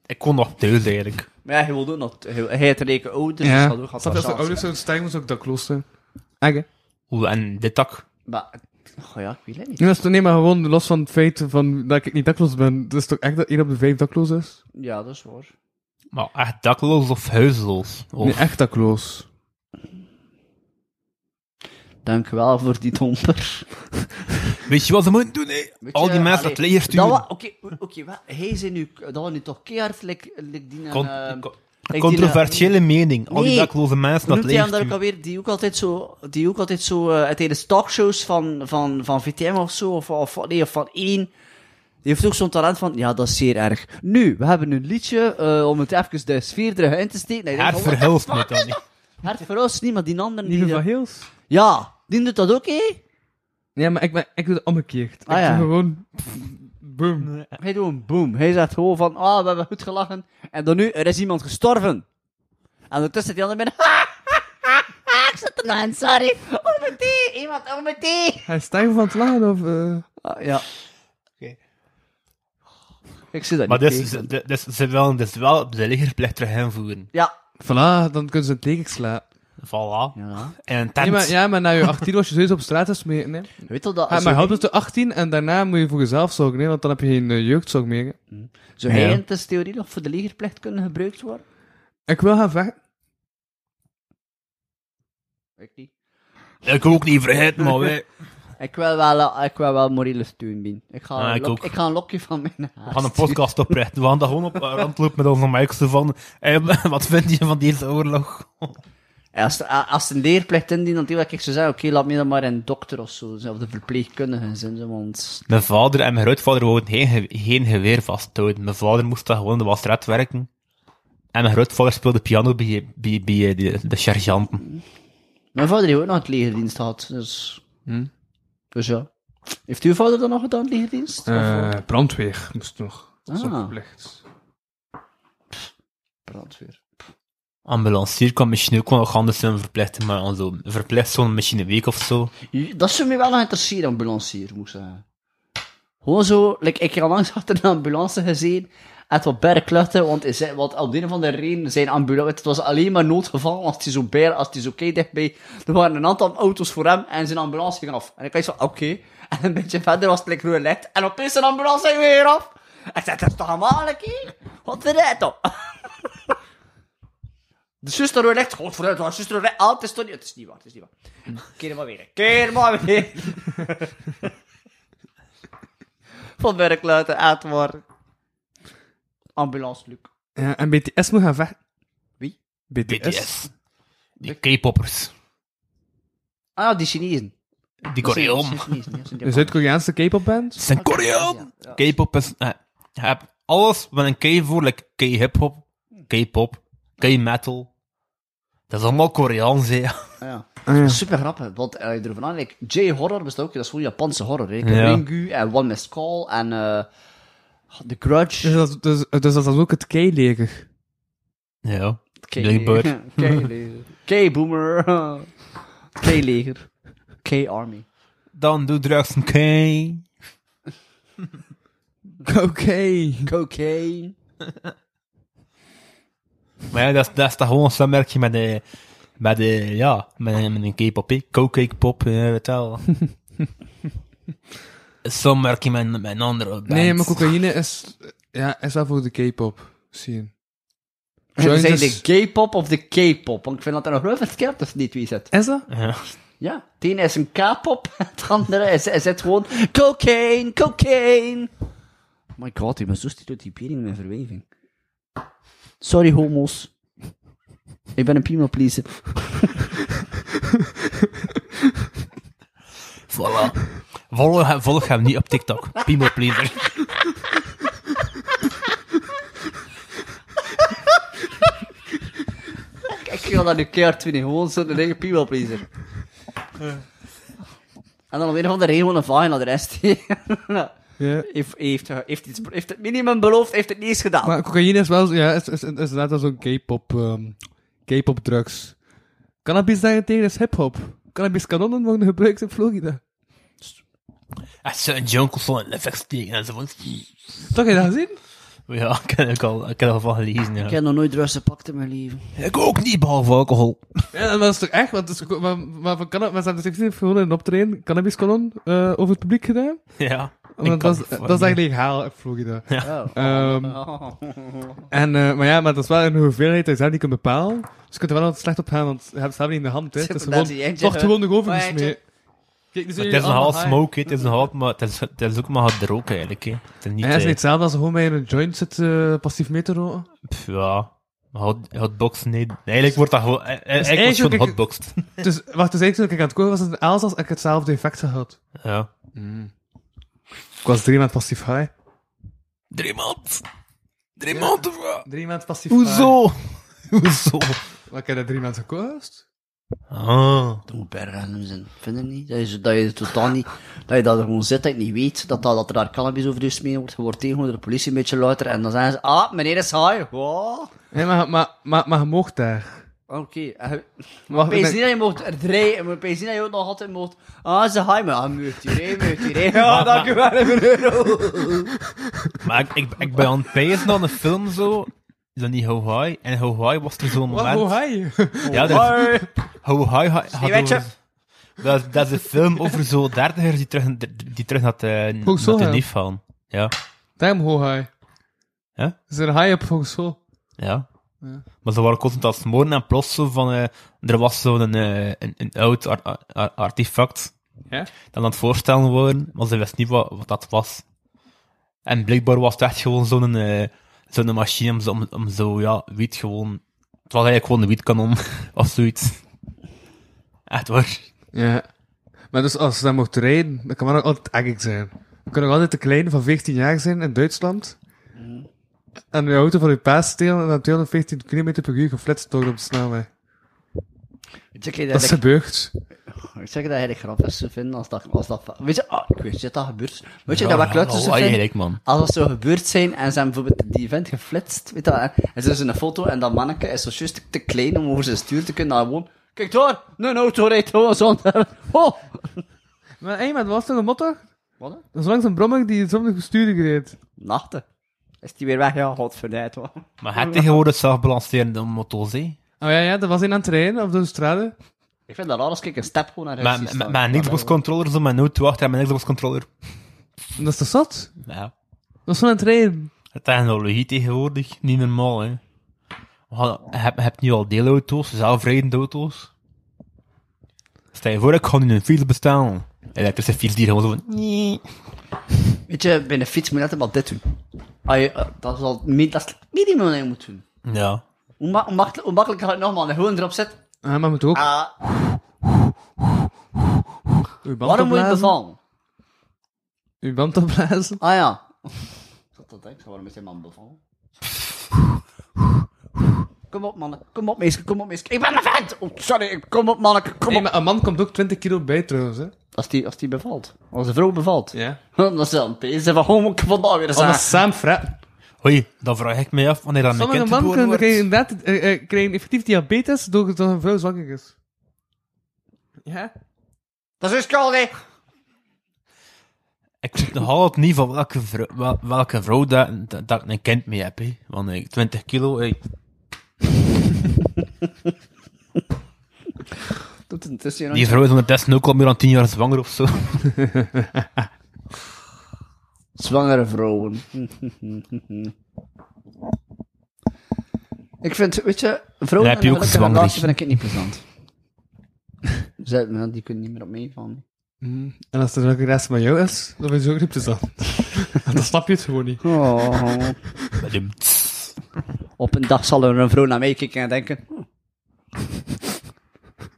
Speaker 3: Ik kon nog thuis eigenlijk.
Speaker 4: Maar ja, hij wilde ook nog, hij hij had reken ouders, dus hij had ook
Speaker 5: Ja.
Speaker 4: gehad
Speaker 5: Stel,
Speaker 4: van
Speaker 5: als de
Speaker 4: chance.
Speaker 5: ouders zouden stijgen, moeten ze ook dakloos zijn. Eigen.
Speaker 3: Oeh, en dit dak.
Speaker 4: Maar, oh ja, ik weet het niet.
Speaker 5: Nee, dat is toch- nee, maar gewoon los van het feit van dat ik niet dakloos ben. Het is toch echt dat 1 op de 5 dakloos is?
Speaker 4: Ja, dat is waar.
Speaker 3: Maar echt dakloos of huisloos? Of...
Speaker 5: Nee, echt dakloos.
Speaker 4: Dank u wel voor die domper.
Speaker 3: Weet je wat ze moeten doen, hè?
Speaker 4: Weet
Speaker 3: Al
Speaker 4: je,
Speaker 3: die mensen
Speaker 4: allee,
Speaker 3: dat players
Speaker 4: dat
Speaker 3: sturen.
Speaker 4: wa- Oké, oké, wat- hij zei nu, dat was nu toch keihard, like, like die...
Speaker 3: Con-
Speaker 4: eh,
Speaker 3: co-
Speaker 4: like die,
Speaker 3: controversiële mening. Al die
Speaker 4: Nee.
Speaker 3: dakloze mensen
Speaker 4: Hoe
Speaker 3: dat
Speaker 4: noemt hij hem
Speaker 3: players
Speaker 4: daar ook
Speaker 3: sturen.
Speaker 4: alweer? Die ook altijd zo, die ook altijd zo eh, het hele talkshows van, van, van VTM of zo, of, of, nee, of van één. Die heeft ook zo'n talent van, ja, dat is zeer erg. Nu, we hebben een liedje, eh, om het even de sfeer eruit in te steken. En ik denk
Speaker 3: Haar
Speaker 4: van, wat-
Speaker 3: verhelst met dat niet.
Speaker 4: Hart verhuist niet, maar die andere
Speaker 5: Lieve
Speaker 4: niet.
Speaker 5: van Heels?
Speaker 4: Ja, die doet dat ook, hé?
Speaker 5: Ja, maar ik, ben, ik doe het omgekeerd.
Speaker 4: Ah,
Speaker 5: ik
Speaker 4: ja.
Speaker 5: doe gewoon... Boom.
Speaker 4: Hij doet een boom. Hij zegt gewoon van, ah, we hebben goed gelachen. En dan nu, er is iemand gestorven. En ondertussen die andere binnen, ik zat er nog aan, sorry. Oh, mijn thee, iemand, oh, mijn thee.
Speaker 5: Hij is stijf van het lachen of... eh,
Speaker 4: Ah, ja.
Speaker 3: Oké.
Speaker 4: Ik zie dat
Speaker 3: Maar
Speaker 4: niet.
Speaker 3: dus,
Speaker 4: tegen.
Speaker 3: ze- dus ze willen dus wel op de legerplicht invoeren.
Speaker 4: Ja.
Speaker 5: Voilà, dan kunnen ze het tegen slaan.
Speaker 3: Voilà.
Speaker 4: ja.
Speaker 3: En een tent.
Speaker 5: Nee, maar, ja, maar na je 18 was je sowieso op straat, dus moet je... Nee.
Speaker 4: Weet je dat?
Speaker 5: Ja,
Speaker 4: zo
Speaker 5: maar houdt het de 18 en daarna moet je voor jezelf zorgen, nee, want dan heb je geen eh, jeugdzorg meer. hè.
Speaker 4: zou
Speaker 3: Ja.
Speaker 4: hij in de theorie nog voor de legerplicht kunnen gebruikt worden?
Speaker 5: Ik wil gaan vechten.
Speaker 4: Ik niet.
Speaker 3: Ik ook niet vergeten, maar wij
Speaker 4: Ik wil wel, eh, ik wil wel morele steun bieden. Ik ga,
Speaker 3: Ah,
Speaker 4: een
Speaker 3: ik
Speaker 4: lok-
Speaker 3: ook.
Speaker 4: ik ga een lokje van mijn haar
Speaker 3: we gaan een podcast oprichten. We gaan daar gewoon op eh, rondlopen met onze mics van... eh, wat vind je van deze oorlog?
Speaker 4: sturen. Als, er- a- als er een leerplicht indient, dan denk ik ik zou zeggen, oké, laat me dan maar een dokter of zo, zijn, of de verpleegkundige zijn, zo, want...
Speaker 3: Mijn vader en mijn grootvader wouden geen, ge- geen geweer vasthouden. Mijn vader moest dan gewoon in de wasstraat werken. En mijn grootvader speelde piano bij, bij, bij eh, de, de sergeanten.
Speaker 4: Mijn vader heeft ook nog het legerdienst gehad, dus...
Speaker 3: Hm?
Speaker 4: Dus ja. Heeft uw vader dan nog gedaan, legerdienst? Of-
Speaker 5: Eh, brandweer moest nog. Dat is
Speaker 4: Ah.
Speaker 5: nog verplicht.
Speaker 4: brandweer.
Speaker 3: Ambulancier kwam misschien ook wel nog anders zijn verplicht, maar dan zo verplicht zo'n machine week of zo.
Speaker 4: Dat zou mij wel nog interesseren, ambulancier, moet ik zeggen. Gewoon zo, like, ik heb langs achter een ambulance gezien, en wat bergkluchten, want, is hij- want op de een of andere reden zijn ambulance, het was alleen maar noodgevallen als die zo bij, als die zo kei dichtbij. Er waren een aantal auto's voor hem en zijn ambulance ging af. En ik was van, oké. En een beetje verder was het like rood licht, en opeens zijn ambulance ging weer af. En zei, dat is toch amalijk hier? Wat de rijdt toch? De zuster rood licht, god vooruit, de zuster rood licht, ah, het is toch niet, het is niet waar, het is niet waar. Keer maar weer. Keer maar weer. Van werk laten uitwoorden. Ambulance, Luc.
Speaker 5: Ja, en BTS moet gaan vechten.
Speaker 4: Wie?
Speaker 5: BTS.
Speaker 3: BTS. Die K-poppers.
Speaker 4: Ah, ja, die Chinezen.
Speaker 3: Die
Speaker 4: Dat zijn- dat
Speaker 3: Koreaan.
Speaker 4: zijn Chinezen, ja, dat zijn
Speaker 5: Een
Speaker 4: Japan.
Speaker 5: Zuid-Koreaanse K-pop band.
Speaker 3: Het zijn
Speaker 4: Ja,
Speaker 3: Koreaan!
Speaker 4: ja.
Speaker 3: K-pop is... eh, Je hebt alles met een K voor, like K-hip-hop, K-pop, K-metal. Dat is allemaal Koreaans, hè.
Speaker 4: Ah, ja.
Speaker 5: Ah, ja.
Speaker 4: Super grappig, want eh, je erover nadenkt. J-horror bestaat ook, dat is gewoon Japanse horror. Hè. Ik heb
Speaker 3: Ja.
Speaker 4: Ringu en One Missed Call en eh, The Grudge.
Speaker 5: Dus dat, dus, dus dat is ook het K-leger.
Speaker 3: Ja.
Speaker 4: K-leger. K-leger. K-boomer. K-leger. K-army.
Speaker 3: Dan doe drugs een K.
Speaker 5: Oké.
Speaker 4: Cocaine.
Speaker 3: Maar ja, dat is, dat is toch gewoon een samenwerking met de... Met de, ja, met, een- met een K-pop, hè. K-cake-pop, eh, weet je wel. Een samenwerking met, met een andere band.
Speaker 5: Nee, maar cocaïne is, ja, is wel voor de K-pop. Zie je.
Speaker 4: Zijn
Speaker 5: Join
Speaker 4: de
Speaker 5: dus-
Speaker 4: K-pop of de K-pop? Want ik vind dat er nog wel wat geld of niet wie zit.
Speaker 5: Is dat?
Speaker 3: Ja.
Speaker 4: Ja, het ene is een K-pop, het andere is, is het gewoon cocaine, cocaine. Oh my god, ik ben zo stereotypering in mijn verweving. Sorry homo's. Ik ben een people pleaser.
Speaker 3: Voilà. Volg, hem- volg hem niet op TikTok. People pleaser.
Speaker 4: Ik ga dat nu keihard winnen, gewoon zo'n eigen people pleaser. En dan op een of andere reden gewoon een vagina de rest.
Speaker 5: Ja.
Speaker 4: heeft, heeft, heeft, iets, heeft het minimum beloofd, heeft het niet eens gedaan.
Speaker 5: Maar cocaïne is wel, ja, is, is, is inderdaad wel zo'n K-pop, ehm, K-pop drugs. Cannabis daarentegen is hip-hop. Cannabis kanonnen worden gebruikt in Florida.
Speaker 3: En zo'n jonkel zo'n live steken enzovoort.
Speaker 5: Toch, heb je dat gezien?
Speaker 3: Ja, ik heb ik al, ik heb er al van gelezen, ja.
Speaker 4: Ik heb nog nooit drugs gepakt in mijn leven.
Speaker 3: Ik ook niet, behalve alcohol.
Speaker 5: Ja, dat is toch echt, want het is, maar, maar, van canna- maar ze hebben het effectief gewoon in een optreden, cannabis kanon, eh, over het publiek gedaan.
Speaker 3: Ja.
Speaker 5: want
Speaker 3: In
Speaker 5: dat, is-
Speaker 3: Californië.
Speaker 5: dat is echt legaal in Florida.
Speaker 4: Oh.
Speaker 5: Ehm, en, eh, maar ja, maar dat is wel een hoeveelheid die je zelf niet kunt bepalen. Dus je kunt er wel altijd slecht op gaan, want je hebt het zelf niet in de hand. Hè. Het is
Speaker 4: Dat is
Speaker 5: gewoon,
Speaker 4: die eentje,
Speaker 5: toch
Speaker 4: hè.
Speaker 5: gewoon de
Speaker 4: Oh,
Speaker 5: ovens
Speaker 4: eentje.
Speaker 5: mee. Kijk, dus
Speaker 3: Het is een half smoke, hè. het is een half, maar het is, het is ook maar gedroken eigenlijk. Hè. Het is niet,
Speaker 5: Ja, het is
Speaker 3: eh,
Speaker 5: niet hetzelfde als gewoon bij een joint zit eh, passief mee te roken.
Speaker 3: pff, ja, hot, hotbox, nee. Eigenlijk wordt dat gewoon, eh, eh, eigenlijk
Speaker 5: eigenlijk
Speaker 3: wordt gewoon
Speaker 5: ook-
Speaker 3: hotboxed.
Speaker 5: Dus wacht, dus eigenlijk toen ik aan het koken was, was het in Elzas en ik hetzelfde effect gehad.
Speaker 3: ja.
Speaker 5: Ik was drie maanden passief high.
Speaker 3: Drie maanden. Drie maanden, bro.
Speaker 5: Drie maanden passief high.
Speaker 3: Hoezo? Hoezo?
Speaker 5: Maar ik heb dat drie maanden gekozen.
Speaker 3: Ah.
Speaker 4: Dat moet bergen zijn. Vind je niet? Dat je, zo- dat je totaal niet, dat je dat er gewoon zit, dat je niet weet, dat, dat, dat er daar cannabis over je smeren wordt. Je wordt tegen door de politie een beetje later en dan zeggen ze, ah, meneer is high. Wow.
Speaker 5: Nee, maar, maar, maar, maar je mocht daar.
Speaker 4: Oké. eh, en je-
Speaker 5: Maar
Speaker 4: Maar je
Speaker 5: ik
Speaker 4: ziet
Speaker 5: ben-
Speaker 4: dat je mocht er drie, en je ziet dat je ook nog altijd mocht, ah, ze high, maar ah, meurt hier, hè, meurt hier, hè. Ja, dank u wel, een euro.
Speaker 3: Maar ik, ik, ik ben aan het pezen aan een film zo. Is dat niet How High? En How High was er zo'n
Speaker 5: Wat,
Speaker 3: moment.
Speaker 5: hoe high?
Speaker 3: Ja, dat is, How High ha- had
Speaker 4: weet je.
Speaker 3: over- dat, is- dat is een film over zo'n dertigers die terug, die terug naar de,
Speaker 5: Ook zo,
Speaker 3: naar de
Speaker 5: ja.
Speaker 3: neef gaan. Ja.
Speaker 5: Damn, hoe high.
Speaker 3: Ja?
Speaker 5: Is er een high op volgens zo?
Speaker 3: Ja. Maar ze waren constant aan het smoren en plots zo van... eh, er was zo'n eh, een, een oud ar- ar- ar- artefact
Speaker 5: Ja?
Speaker 3: dat aan het voorstellen worden, maar ze wist niet wat, wat dat was. En blijkbaar was het echt gewoon zo'n eh, zo'n machine om, zo- om, om zo, ja, wiet gewoon... Het was eigenlijk gewoon een wietkanon of zoiets. Echt waar.
Speaker 5: Ja. Maar dus als ze dan mocht rijden, dan kan dat nog altijd eigenlijk zijn. Dan kan nog altijd de kleine van 14 jaar zijn in Duitsland. Mhm. En de auto van uw paas stelen en dan 214 km per uur geflitst worden op de snelweg.
Speaker 4: Ik zeg je
Speaker 5: Dat
Speaker 4: dat eigenlijk-
Speaker 5: is gebeurd.
Speaker 4: ik zeg je dat eigenlijk grappig is te vinden als dat, als dat, weet je, ah, ik weet dat dat gebeurt. Weet je,
Speaker 3: Ja,
Speaker 4: dat wat ik
Speaker 3: ja,
Speaker 4: leuk zou
Speaker 3: ja,
Speaker 4: vinden?
Speaker 3: eigenlijk, man.
Speaker 4: Als dat zou gebeurd zijn en ze hebben bijvoorbeeld die event geflitst, weet je, wel, en en ze is een foto en dat manneke is zo juist te klein om over zijn stuur te kunnen, dan gewoon, kijk daar, een auto rijdt gewoon zonder, oh!
Speaker 5: Maar hé, maar dat was toch een motto?
Speaker 4: Wat? hè?
Speaker 5: Dat is langs een brommer die het zonder bestuurder reed.
Speaker 4: Nachten. Is die weer weg? Ja, godverdijd, hoor.
Speaker 3: Maar het tegenwoordig zelf balancerende motos, hè.
Speaker 5: Oh ja, ja, dat was een aan het rijden op de straten.
Speaker 4: Ik vind dat raar als ik een step gewoon naar huis zie
Speaker 3: Met, met,
Speaker 4: staan.
Speaker 3: met een Xbox-controller, zo met nooit wachten en met een Xbox-controller.
Speaker 5: Dat is toch zat?
Speaker 3: Ja.
Speaker 5: Dat was van aan het rijden.
Speaker 3: De technologie tegenwoordig, niet normaal, hè. We gaan- Je hebt, je hebt nu al deelauto's, zelfrijdende auto's. Stel je voor, ik ga nu een fiets bestellen. Elektrische fiets die gewoon zo van...
Speaker 4: Weet je, bij een fiets moet je altijd wel dit doen. Ah, je, eh, dat is al het mi- dat is het minimum dat je moet doen.
Speaker 3: Ja.
Speaker 4: Hoe, ma- hoe makkelijk, hoe makkelijk gaat het nogmaals? Gewoon erop zetten.
Speaker 5: Ah, maar moet ook.
Speaker 4: Ah,
Speaker 5: uw band
Speaker 4: waarom moet je het
Speaker 5: opblazen.
Speaker 4: bevallen?
Speaker 5: Uw band opblazen.
Speaker 4: Ah ja. Dat dat denk ik, waarom is die man bevallen? Kom op, mannen. Kom op, meisje. Kom op, meisje. Ik ben een vent! Oh, sorry. ik- Kom op, manneke. Kom
Speaker 5: Nee,
Speaker 4: op.
Speaker 5: maar een man komt ook 20 kilo bij trouwens, hè.
Speaker 4: Als die, als die bevalt. Als een vrouw bevalt.
Speaker 5: Ja.
Speaker 4: Dan is dat een pees. Van, hoe moet ik vandaag weer zijn?
Speaker 5: Anders samen fra-
Speaker 3: Hoi, dan vraag ik mij af wanneer dat een
Speaker 5: Sommige
Speaker 3: kind
Speaker 5: mannen
Speaker 3: geboren
Speaker 5: kunnen
Speaker 3: wordt.
Speaker 5: krijgen, inderdaad, eh, eh, krijgen effectief diabetes doordat een vrouw zwanger is. Ja?
Speaker 4: Dat is uw schuld, hè.
Speaker 3: Ik weet nog altijd niet van welke vrouw, wel- welke vrouw dat, dat, dat ik een kind mee heb, hè. Want eh, 20 kilo, hey.
Speaker 4: Doet het intussen hier
Speaker 3: die
Speaker 4: nog
Speaker 3: vrouw is ondertussen ook al meer dan 10 jaar zwanger of zo.
Speaker 4: niet? Zwangere vrouwen. ik vind, weet je, vrouwen
Speaker 3: Dan heb je
Speaker 4: in
Speaker 3: ook
Speaker 4: een gelukkige
Speaker 3: zwanger.
Speaker 4: relatie vind ik het niet plezant. Zij, nou, die kunnen niet meer op meevallen.
Speaker 5: En als er ook een rest van jou is, dan ben je ook niet plezant. En dan snap je het gewoon niet.
Speaker 4: Oh.
Speaker 3: Met een tss.
Speaker 4: Op een dag zal er een vrouw naar mij kijken en denken... "Hm."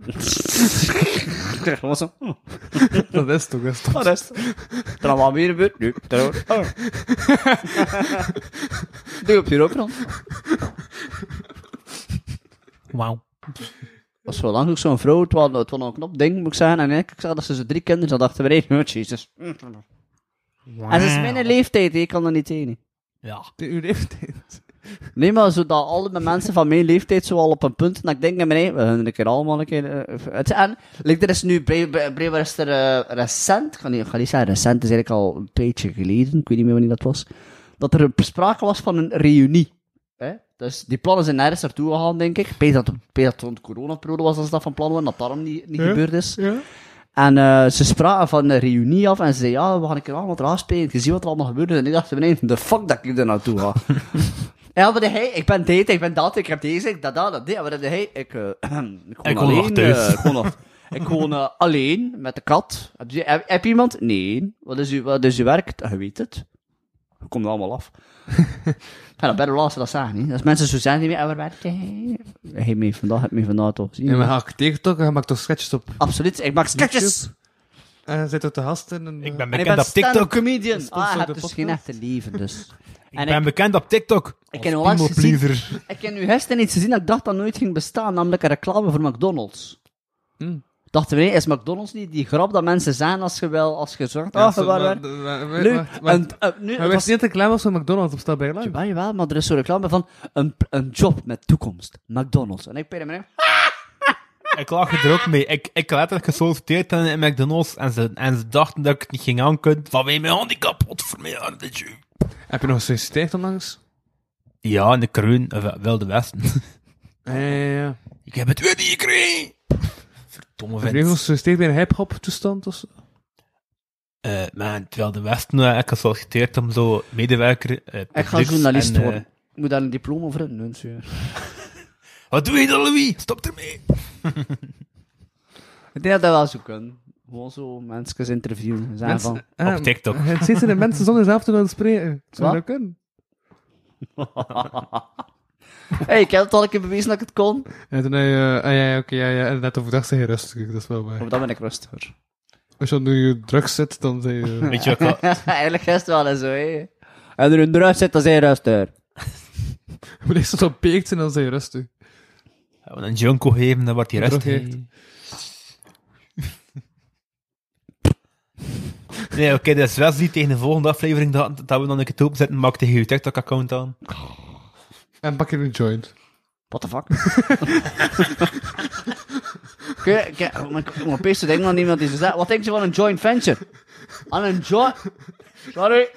Speaker 4: Ik dacht gewoon zo... "Hm,
Speaker 5: Dat is toch, Oh, dat is toch.
Speaker 4: Wat is het? Is er allemaal meer gebeurd? Nu, terror. Oh. Doe op je rookgrond.
Speaker 3: Wauw.
Speaker 4: was wel lang ook zo'n vrouw, het was, het was een knop ding, moet ik zeggen. En ik zag dat ze zo drie kinderen had dachten we even, oh, jezus. En ze is mijn leeftijd, hè, ik kan dat niet tegen.
Speaker 3: Ja.
Speaker 5: De- Uw leeftijd.
Speaker 4: Nee, maar zo dat alle mensen van mijn leeftijd zo al op een punt, dat ik denk, nee, nee, we gaan een keer allemaal een keer... eh, eh, het, en, like, er is nu, bij- bij- blijkbaar is er eh, recent, ik ga, niet, ik ga niet zeggen recent, het is eigenlijk al een tijdje geleden, ik weet niet meer wanneer dat was, dat er sprake was van een reunie. Hè? Dus die plannen zijn nergens naartoe gegaan, denk ik. Ik weet dat- Ik weet dat het rond coronaperiode was als dat van plan was, dat daarom niet, niet
Speaker 5: Ja.
Speaker 4: gebeurd is.
Speaker 5: Ja?
Speaker 4: En eh, ze spraken van een reunie af en ze zeiden, ja, we gaan een keer allemaal eraan spelen. Je ziet wat er allemaal gebeurde. En ik dacht beneden, de fuck dat ik er naartoe ga. ja, maar de hey, ik ben dit, ik ben dat, ik heb deze, ik dat, dat, dat, dit. Maar de hey, ik, eh, ik woon
Speaker 3: Ik woon nog
Speaker 4: alleen.
Speaker 3: thuis.
Speaker 4: eh, ik woon, nog- ik woon eh, alleen, met de kat. Heb je, heb, heb je iemand? Nee. Wat is, uw, wat is uw werk? Je weet het. Je komt er allemaal af. Ja, dat better laatste dat zeggen, niet? Als mensen zo zijn die mee over werken. Hey, mee vandaag, heb me vandaag toch gezien.
Speaker 5: En we gaan TikTok en maak toch sketches op.
Speaker 4: Absoluut, ik maak sketches!
Speaker 5: En Eh, zit er te gast in. eh, En,
Speaker 3: Ik ben
Speaker 4: En ik
Speaker 3: bekend
Speaker 4: ben
Speaker 3: op
Speaker 4: stand-up
Speaker 3: TikTok.
Speaker 4: comedian.
Speaker 5: Sponsor
Speaker 4: Ah, je
Speaker 5: de
Speaker 4: hebt dus
Speaker 5: podcast.
Speaker 4: geen echte leven, dus.
Speaker 3: Ik
Speaker 4: en
Speaker 3: ben
Speaker 4: ik,
Speaker 3: bekend op TikTok.
Speaker 4: ik heb
Speaker 3: Als
Speaker 4: onlangs
Speaker 3: people
Speaker 4: gezien-
Speaker 3: pleaser.
Speaker 4: ik heb nu gisteren iets gezien dat ik dacht dat nooit ging bestaan, namelijk een reclame voor McDonald's.
Speaker 5: Hmm.
Speaker 4: Dachten we, nee, is McDonald's niet die grap dat mensen zijn als je wel, als je zorgt,
Speaker 5: Oh,
Speaker 4: ah, je waar, waar. Leuk. En eh, nu,
Speaker 5: Maar
Speaker 4: het
Speaker 5: wist
Speaker 4: was,
Speaker 5: niet dat ik klaar was voor McDonald's op staat bij Lime.
Speaker 4: Jawel, jawel, maar er is zo'n reclame van een, een job met toekomst, McDonald's. En ik ben hem
Speaker 3: Ik lag er ook mee. Ik, ik had letterlijk gesolliciteerd in, in McDonald's en ze, en ze dachten dat ik het niet ging aankunnen vanwege mijn handicap. Wat voor mij aan dit je?
Speaker 5: Heb je nog gesolliciteerd onlangs?
Speaker 3: Ja, in de kroon, eh, Wilde Westen.
Speaker 5: Ja, ja, ja.
Speaker 3: ik heb het weer niet gekregen. Verdomme
Speaker 5: Heb je nog
Speaker 3: vent.
Speaker 5: gesolliciteerd bij een hip-hop toestand of zo?
Speaker 3: Eh man, het Wilde Westen, eh, ik gesolliciteerd om zo medewerker... eh,
Speaker 4: Ik ga
Speaker 3: publieks
Speaker 4: journalist
Speaker 3: en, eh,
Speaker 4: worden. Ik moet daar een diploma voor hebben, dus, eh. nee, serieus.
Speaker 3: wat doe je dan, Louis? Stop ermee.
Speaker 4: Ik denk dat dat wel zo kan. Gewoon zo mensen interviewen. Zijn
Speaker 5: Mensen-
Speaker 4: van.
Speaker 5: Ah,
Speaker 3: Op TikTok.
Speaker 5: Het zitten de mensen zonder zelf te willen spreken. Het zou
Speaker 4: Wat?
Speaker 5: dat kunnen.
Speaker 4: hey, ik heb het al een keer bewezen dat ik het kon.
Speaker 5: En toen, eh, ah, ja, ja, oké, ja, ja. En net overdag zijn je rustig, dat is wel waar.
Speaker 4: Op dat ben ik rustiger.
Speaker 5: Als je nu drugs zit, dan zijn je...
Speaker 3: Weet je wat ik-
Speaker 4: Eigenlijk is het wel eens zo, hé. En er een rust zit, dan zijn je rustiger.
Speaker 5: Maar eerst als het beekt zijn, dan zijn je rustig.
Speaker 3: Ja, want een junko geven, dan wordt hij
Speaker 5: Een
Speaker 3: rest.
Speaker 5: drog
Speaker 3: nee, oké, dat is Wesley tegen de volgende aflevering dat, dat we dan een keer toe opzetten. Maak tegen je TikTok-account aan.
Speaker 5: En pak je een joint.
Speaker 4: What the fuck? Kun je, kun je, oh, maar ik- maar opeens te denken aan iemand die zo zegt, wat denk je van een joint venture? Aan een joint... Sorry.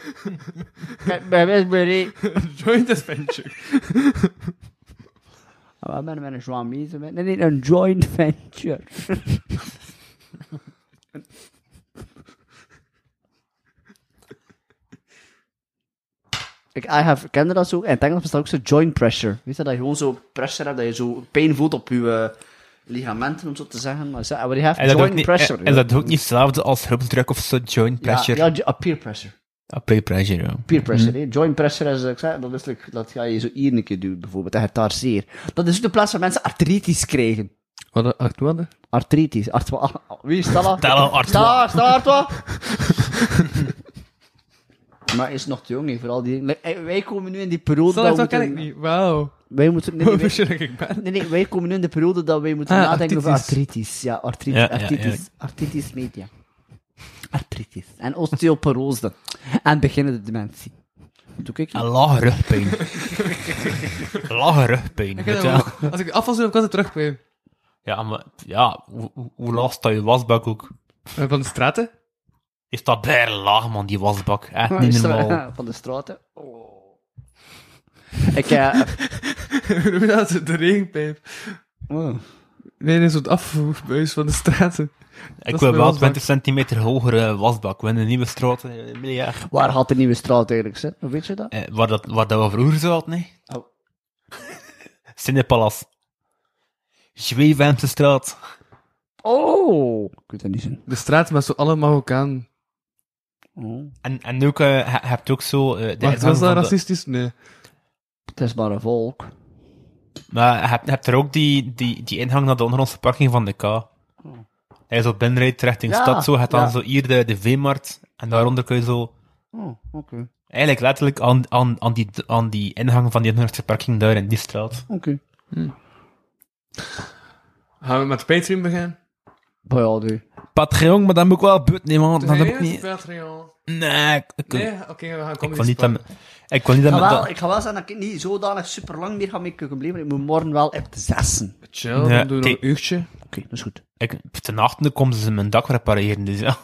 Speaker 4: Ik ben Westbury.
Speaker 5: joint is ventje.
Speaker 4: Ah, Ik ben met een Joan bezig. Nee, nee, een joint venture. Ik I have, kende dat zo? In het Engels bestaat ook zo joint pressure. Weet je dat je gewoon zo pressure hebt, dat je zo pijn voelt op je eh, ligamenten, om zo te zeggen. Maar ze- we have
Speaker 3: En dat, ook
Speaker 4: joint
Speaker 3: niet,
Speaker 4: pressure.
Speaker 3: en, en dat ook niet hetzelfde als groepsdruk of zo, joint
Speaker 4: ja.
Speaker 3: pressure.
Speaker 4: Ja, ja, a peer pressure.
Speaker 3: Ah, peer pressure, ja.
Speaker 4: Peer pressure,
Speaker 3: Mhm.
Speaker 4: hè. Joint pressure, is, eh, ik zei, dat is like, dat ga je zo hier een keer doen, bijvoorbeeld. Dat je het daar zeer. Dat is ook de plaats waar mensen artritis krijgen.
Speaker 5: Wat een acht maanden?
Speaker 4: Artritis. Artwa. ah, Wie is Stella?
Speaker 3: Stella Artois.
Speaker 4: Stella, Stella Artois. maar is nog te jong, hè, vooral die... Like, eh, Wij komen nu in die periode
Speaker 5: Stel, dat
Speaker 4: dat we
Speaker 5: ken ik
Speaker 4: moeten...
Speaker 5: niet. Wauw.
Speaker 4: Wij moeten... Nee,
Speaker 5: Hoe
Speaker 4: nee, wij,
Speaker 5: verschil ik ben.
Speaker 4: nee, nee, wij komen nu in de periode dat wij moeten
Speaker 5: Ah,
Speaker 4: nadenken over
Speaker 5: artritis.
Speaker 4: artritis. Ja, artritis.
Speaker 3: Ja, ja,
Speaker 4: artritis.
Speaker 3: ja.
Speaker 4: Artritis media. Artritis. En osteoporose. en beginnende dementie. Doe ik
Speaker 3: En lage rugpijn. lage rugpijn. weet je wel.
Speaker 5: Als ik afval doe, dan kan ik terug bij.
Speaker 3: Ja, maar ja, hoe, hoe- hoe laag staat je wasbak ook?
Speaker 5: Eh, Van de straten?
Speaker 3: Is dat bij laag, man, die wasbak? Echt
Speaker 4: Maar
Speaker 3: niet
Speaker 4: is er-
Speaker 3: normaal.
Speaker 4: Van de straten. Oh. Ik, eh...
Speaker 5: Hoe noem je dat? De regenpijp.
Speaker 4: oh.
Speaker 5: Nee, nee, zo'n afvoerbuis van de straten.
Speaker 3: Ik
Speaker 5: is
Speaker 3: wil
Speaker 5: bij
Speaker 3: wel
Speaker 5: wasbak.
Speaker 3: 20 centimeter hogere wasbak. We in een nieuwe straat, eh, ja,
Speaker 4: Waar gaat de nieuwe straat eigenlijk zitten? Weet je dat?
Speaker 3: eh, waar, dat, waar dat we vroeger zaten, nee?
Speaker 4: Oh.
Speaker 3: Cinepalas. Zweefemse straat.
Speaker 4: Oh! Ik weet dat niet zien.
Speaker 5: De straten met zo alle Marokkaan.
Speaker 4: Oh.
Speaker 3: En, en ook, eh, he- hebt ook zo... eh, de
Speaker 5: Wacht,
Speaker 3: ingang
Speaker 5: was dat
Speaker 3: van de-
Speaker 5: racistisch? Nee.
Speaker 4: Het is maar een volk.
Speaker 3: Maar je hebt, je hebt er ook die, die, die ingang naar de ondergrondse parking van de K. Hij zo binnenrijdt richting
Speaker 4: Ja,
Speaker 3: stad, zo. Je hebt dan
Speaker 4: ja.
Speaker 3: zo hier de, de veemarkt. En daaronder kun je zo...
Speaker 4: Oh, oké.
Speaker 3: Eigenlijk letterlijk aan, aan, aan, die, aan die ingang van die ondergrondse parking daar in die straat.
Speaker 4: Oké.
Speaker 5: Gaan we met Patreon beginnen?
Speaker 4: Maar ja, nee.
Speaker 3: Patreon, maar dat moet ik wel buiten nemen, want dat heb ik
Speaker 5: Nee,
Speaker 3: niet...
Speaker 5: Patreon.
Speaker 3: Nee, ik, ik,
Speaker 5: Nee, oké, we gaan
Speaker 3: ik
Speaker 5: komen.
Speaker 3: wil niet dat... me- Ik wil niet dat...
Speaker 4: Ga
Speaker 3: me
Speaker 4: wel,
Speaker 3: dat-
Speaker 4: ik ga wel zeggen dat ik niet zodanig super lang meer ga mee kunnen blijven. Ik moet morgen wel op de zessen.
Speaker 5: Chill,
Speaker 3: Ja,
Speaker 5: dan doen we nog
Speaker 3: die-
Speaker 5: een uurtje.
Speaker 4: Oké, dat is goed.
Speaker 3: Ik, ten achtende komen ze mijn dak repareren, dus ja.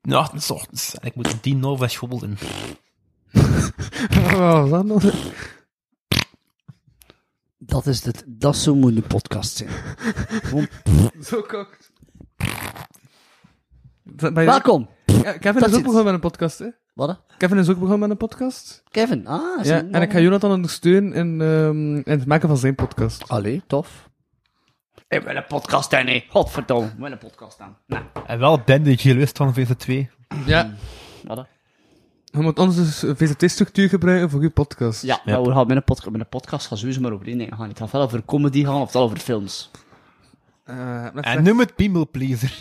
Speaker 3: Ten achtende 's ochtends. En ik moet om tien over school zijn.
Speaker 5: Wat was dat nog?
Speaker 4: Dat is, het, dat is zo moet een podcast zijn. Gewoon
Speaker 5: Zo kookt. dat- bij-
Speaker 4: Welkom.
Speaker 5: Ja, Kevin is
Speaker 4: iets.
Speaker 5: ook begonnen met een podcast, hè?
Speaker 4: Wat?
Speaker 5: Kevin is ook begonnen met een podcast.
Speaker 4: Kevin. Ah, is
Speaker 5: Ja,
Speaker 4: een-
Speaker 5: en ik ga Jonathan ondersteunen in, ehm, in het maken van zijn podcast.
Speaker 4: Allee, tof. Ik wil een podcast aan, nee. Godverdomme. Ik wil een podcast aan. Nou,
Speaker 3: En wel ben de jurist van VZ2.
Speaker 5: Ja.
Speaker 4: wat?
Speaker 5: Je moet dus onze VZT-structuur gebruiken voor je podcast.
Speaker 4: Ja, nou, we gaan met een podcast, met een podcast gaan sowieso maar over één ding gaan. Het gaat wel over comedy gaan of wel over films.
Speaker 5: Eh, met
Speaker 3: En noem het People Pleaser.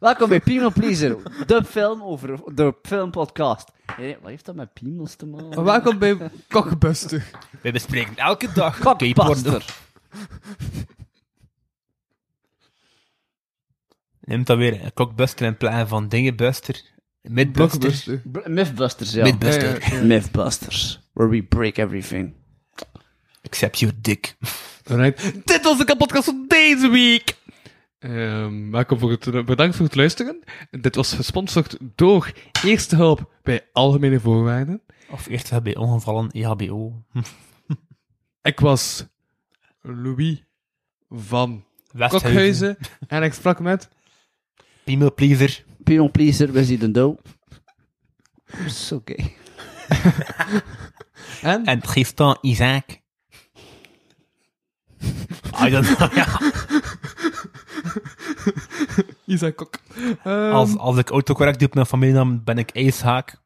Speaker 4: Welkom bij Piemel Pleaser, de film over de filmpodcast. Hey, wat heeft dat met piemels te maken?
Speaker 5: Welkom bij Kokbuster.
Speaker 3: Wij bespreken elke dag
Speaker 4: Kakpaster.
Speaker 3: Neemt dan weer een kokbuster in plaats van dingenbuster. Midbuster.
Speaker 5: Blockbuster.
Speaker 4: Br- Mythbusters, ja.
Speaker 5: Ja,
Speaker 3: Midbuster.
Speaker 5: ja, ja.
Speaker 4: Mythbusters, where we break everything.
Speaker 3: Except your dick.
Speaker 5: Alright. Dit was de podcast van deze week. Ehm, welkom voor het, bedankt voor het luisteren. Dit was gesponsord door Eerste Hulp bij Algemene Voorwaarden.
Speaker 3: Of eerst heb je ongevallen E EHBO.
Speaker 5: Ik was Louis van
Speaker 3: Westhuizen.
Speaker 5: Kokhuizen en ik sprak met
Speaker 3: People Pleaser.
Speaker 4: Piemel Pleaser, we zien de dood. Is oké.
Speaker 5: en,
Speaker 3: En Tristan Isaac. I don't know, Ah, ja.
Speaker 5: Isaac Kok. Ehm,
Speaker 3: als, als ik autocorrect doe op mijn familienaam, ben ik Ijshaak.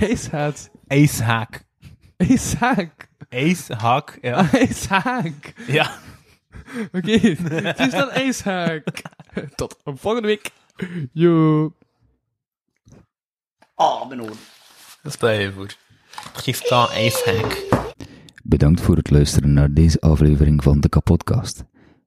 Speaker 5: Isaac.
Speaker 3: Ijshaak.
Speaker 5: Isaac.
Speaker 3: Ijshaak, ja.
Speaker 5: Isaac.
Speaker 3: ja.
Speaker 5: Oké, het is dan Isaac. Tot volgende week. Yo.
Speaker 4: Oh, mijn oor.
Speaker 3: Stel je voor. Tristan Ijshaak.
Speaker 7: Bedankt voor het luisteren naar deze aflevering van de Kapodcast.